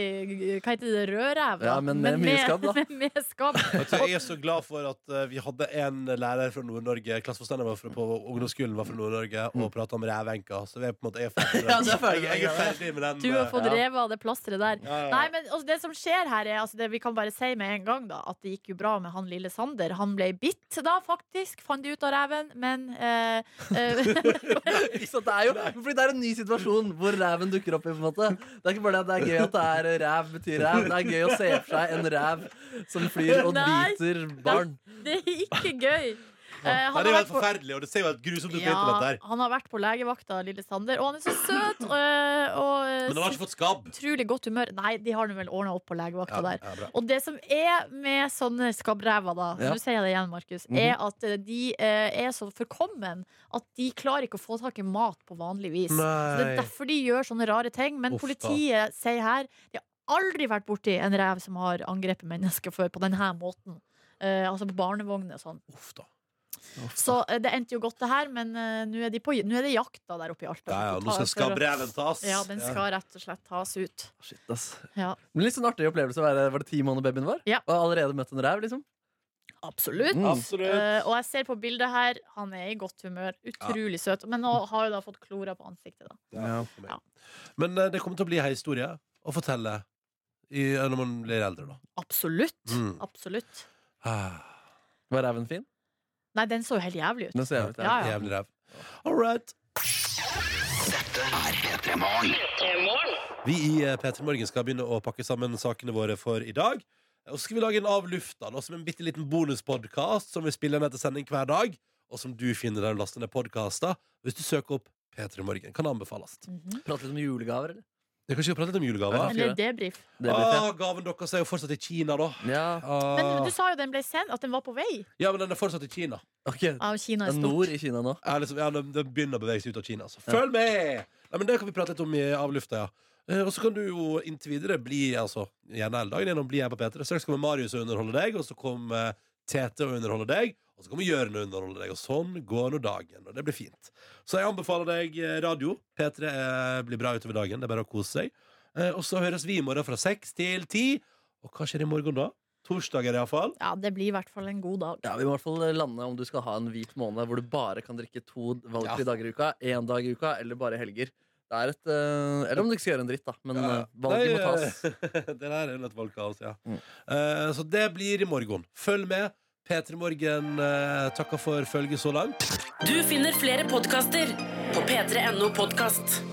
[SPEAKER 5] Hva heter det? Rødrev? da.
[SPEAKER 3] Ja, men med mye skabb, da.
[SPEAKER 5] Men med skabb.
[SPEAKER 3] Vet du, jeg er så glad for at eh, vi hadde en lærer fra Nord-Norge Klasseforstanderen vår fra- på ungdomsskolen var fra Nord-Norge og prata om revenka. Så vi er på en måte, jeg, er ferdig med den.
[SPEAKER 2] Mm. Ja, det er ferdig.
[SPEAKER 3] jeg, jeg er ferdig med den.
[SPEAKER 5] Du har
[SPEAKER 3] eh,
[SPEAKER 5] fått revet av det plasteret der.
[SPEAKER 3] Ja, ja, ja.
[SPEAKER 5] Nei, men altså, Det som skjer her, er altså, det vi kan bare si med en gang da at det gikk jo bra med han lille Sander. Han ble bitt da, faktisk, fant de ut av reven, men eh, eh,
[SPEAKER 2] Ikke sant? det er jo, fordi det er en ny situasjon hvor ræven dukker opp. i på en måte Det er ikke bare det at det er gøy at det er ræv betyr ræv. Det er gøy å se for seg en ræv som flyr og
[SPEAKER 5] Nei.
[SPEAKER 2] biter barn.
[SPEAKER 5] Det er ikke gøy. Eh,
[SPEAKER 3] Nei, det er jo
[SPEAKER 5] han har
[SPEAKER 3] helt
[SPEAKER 5] vært på-
[SPEAKER 3] forferdelig, og det ser jo helt grusomt ut på internett
[SPEAKER 5] Ja,
[SPEAKER 3] der.
[SPEAKER 5] han har vært på legevakta, lille Sander, og han er så søt. eh, og, eh,
[SPEAKER 3] Men han har ikke fått skabb.
[SPEAKER 5] utrolig godt humør. Nei, de har nå vel ordna opp på legevakta
[SPEAKER 3] Ja,
[SPEAKER 5] der.
[SPEAKER 3] ja, bra.
[SPEAKER 5] og det som er med sånne skabbrever, da,
[SPEAKER 2] Ja.
[SPEAKER 5] nå sier jeg det igjen, Markus, er
[SPEAKER 2] Mhm.
[SPEAKER 5] at eh, de eh, er så forkommen at de klarer ikke å få tak i mat på vanlig vis. Så det er
[SPEAKER 2] Nei.
[SPEAKER 5] derfor de gjør sånne rare ting. Men
[SPEAKER 2] Uff da.
[SPEAKER 5] politiet sier her de har aldri vært borti en rev som har angrepet mennesker før på denne måten. Eh, altså på barnevogner og sånn. Så eh, det endte jo godt, det her, men eh, nå er, de på- nå er det jakt da, der oppe i Alta.
[SPEAKER 3] Ja, ja,
[SPEAKER 5] Vi
[SPEAKER 3] nå skal
[SPEAKER 5] ta- for å-
[SPEAKER 3] skabbreven tas.
[SPEAKER 5] Ja, den
[SPEAKER 2] Ja.
[SPEAKER 5] skal rett og slett tas ut.
[SPEAKER 2] Shit, ass.
[SPEAKER 5] Ja,
[SPEAKER 2] Men Litt sånn artig opplevelse å være Var det ti måneder babyen var? Og allerede møtt en ræv, liksom?
[SPEAKER 5] absolutt.
[SPEAKER 2] Mm. Absolutt.
[SPEAKER 5] Eh, og jeg ser på bildet her, han er i godt humør. Utrolig søt. Men nå har jo da fått klora på ansiktet, da.
[SPEAKER 3] Ja. Men eh, det kommer til å bli ei historie å fortelle i, eh, når man blir eldre, da.
[SPEAKER 5] Absolutt.
[SPEAKER 3] Mm.
[SPEAKER 5] Absolutt. Ah,
[SPEAKER 2] Var ræven fin?
[SPEAKER 5] Nei, den så jo helt jævlig ut.
[SPEAKER 2] Den ser jævlig ut,
[SPEAKER 5] ja, ja.
[SPEAKER 3] Jævlig ræv. All right. Vi i eh, P3 Morgen skal begynne å pakke sammen sakene våre for i dag. Og så skal vi lage en av lufta, da, som en bitte liten bonuspodkast som vi spiller ned til sending hver dag, og som du finner der du laster ned podkaster hvis du søker opp P3 Morgen. Kan anbefales.
[SPEAKER 5] Mm.
[SPEAKER 2] Prate litt om julegaver, eller?
[SPEAKER 3] Jeg kan ikke prate litt om julegaver.
[SPEAKER 5] Eller debrief.
[SPEAKER 3] Ah, gaven deres er jo fortsatt i Kina, da. Ah.
[SPEAKER 5] Men du sa jo den ble sendt, at den var på vei.
[SPEAKER 3] Ja, men den er fortsatt i Kina.
[SPEAKER 5] Ja, Kina Ah, er stort. Nord
[SPEAKER 2] i Kina nå.
[SPEAKER 3] Ja, liksom, ja, den, den begynner å bevege seg ut av Kina. Så følg med! Nei, men Det kan vi prate litt om i avlufta, ja. Eh, og så kan du jo inntil videre bli altså, gjerne hele dagen gjennom bli her på P3. Straks kommer Marius og underholde deg, og så kommer eh, Tete og underholde deg, og så kommer Jørn og underholde deg. Og sånn går nå dagen, og det blir fint. Så jeg anbefaler deg eh, radio. P3 eh, blir bra utover dagen. Det er bare å kose seg. Eh, og så høres vi i morgen fra seks til ti. Og hva skjer i morgen da? Torsdager, iallfall.
[SPEAKER 5] Ja, det blir i hvert fall en god dag.
[SPEAKER 2] Ja, Vi må i hvert fall lande om du skal ha en hvit måned hvor du bare kan drikke to valgfrie dager i uka, én dag i uka eller bare helger. Det er et, eh, eller om du ikke skal gjøre en dritt, da. Men eh, valget må tas. Mm.
[SPEAKER 3] det der er jo et valgkaos, ja. Eh, så det blir i morgen. Følg med. P3 Morgen eh, takker for følget så langt.
[SPEAKER 6] Du finner flere podkaster på p3.no podkast.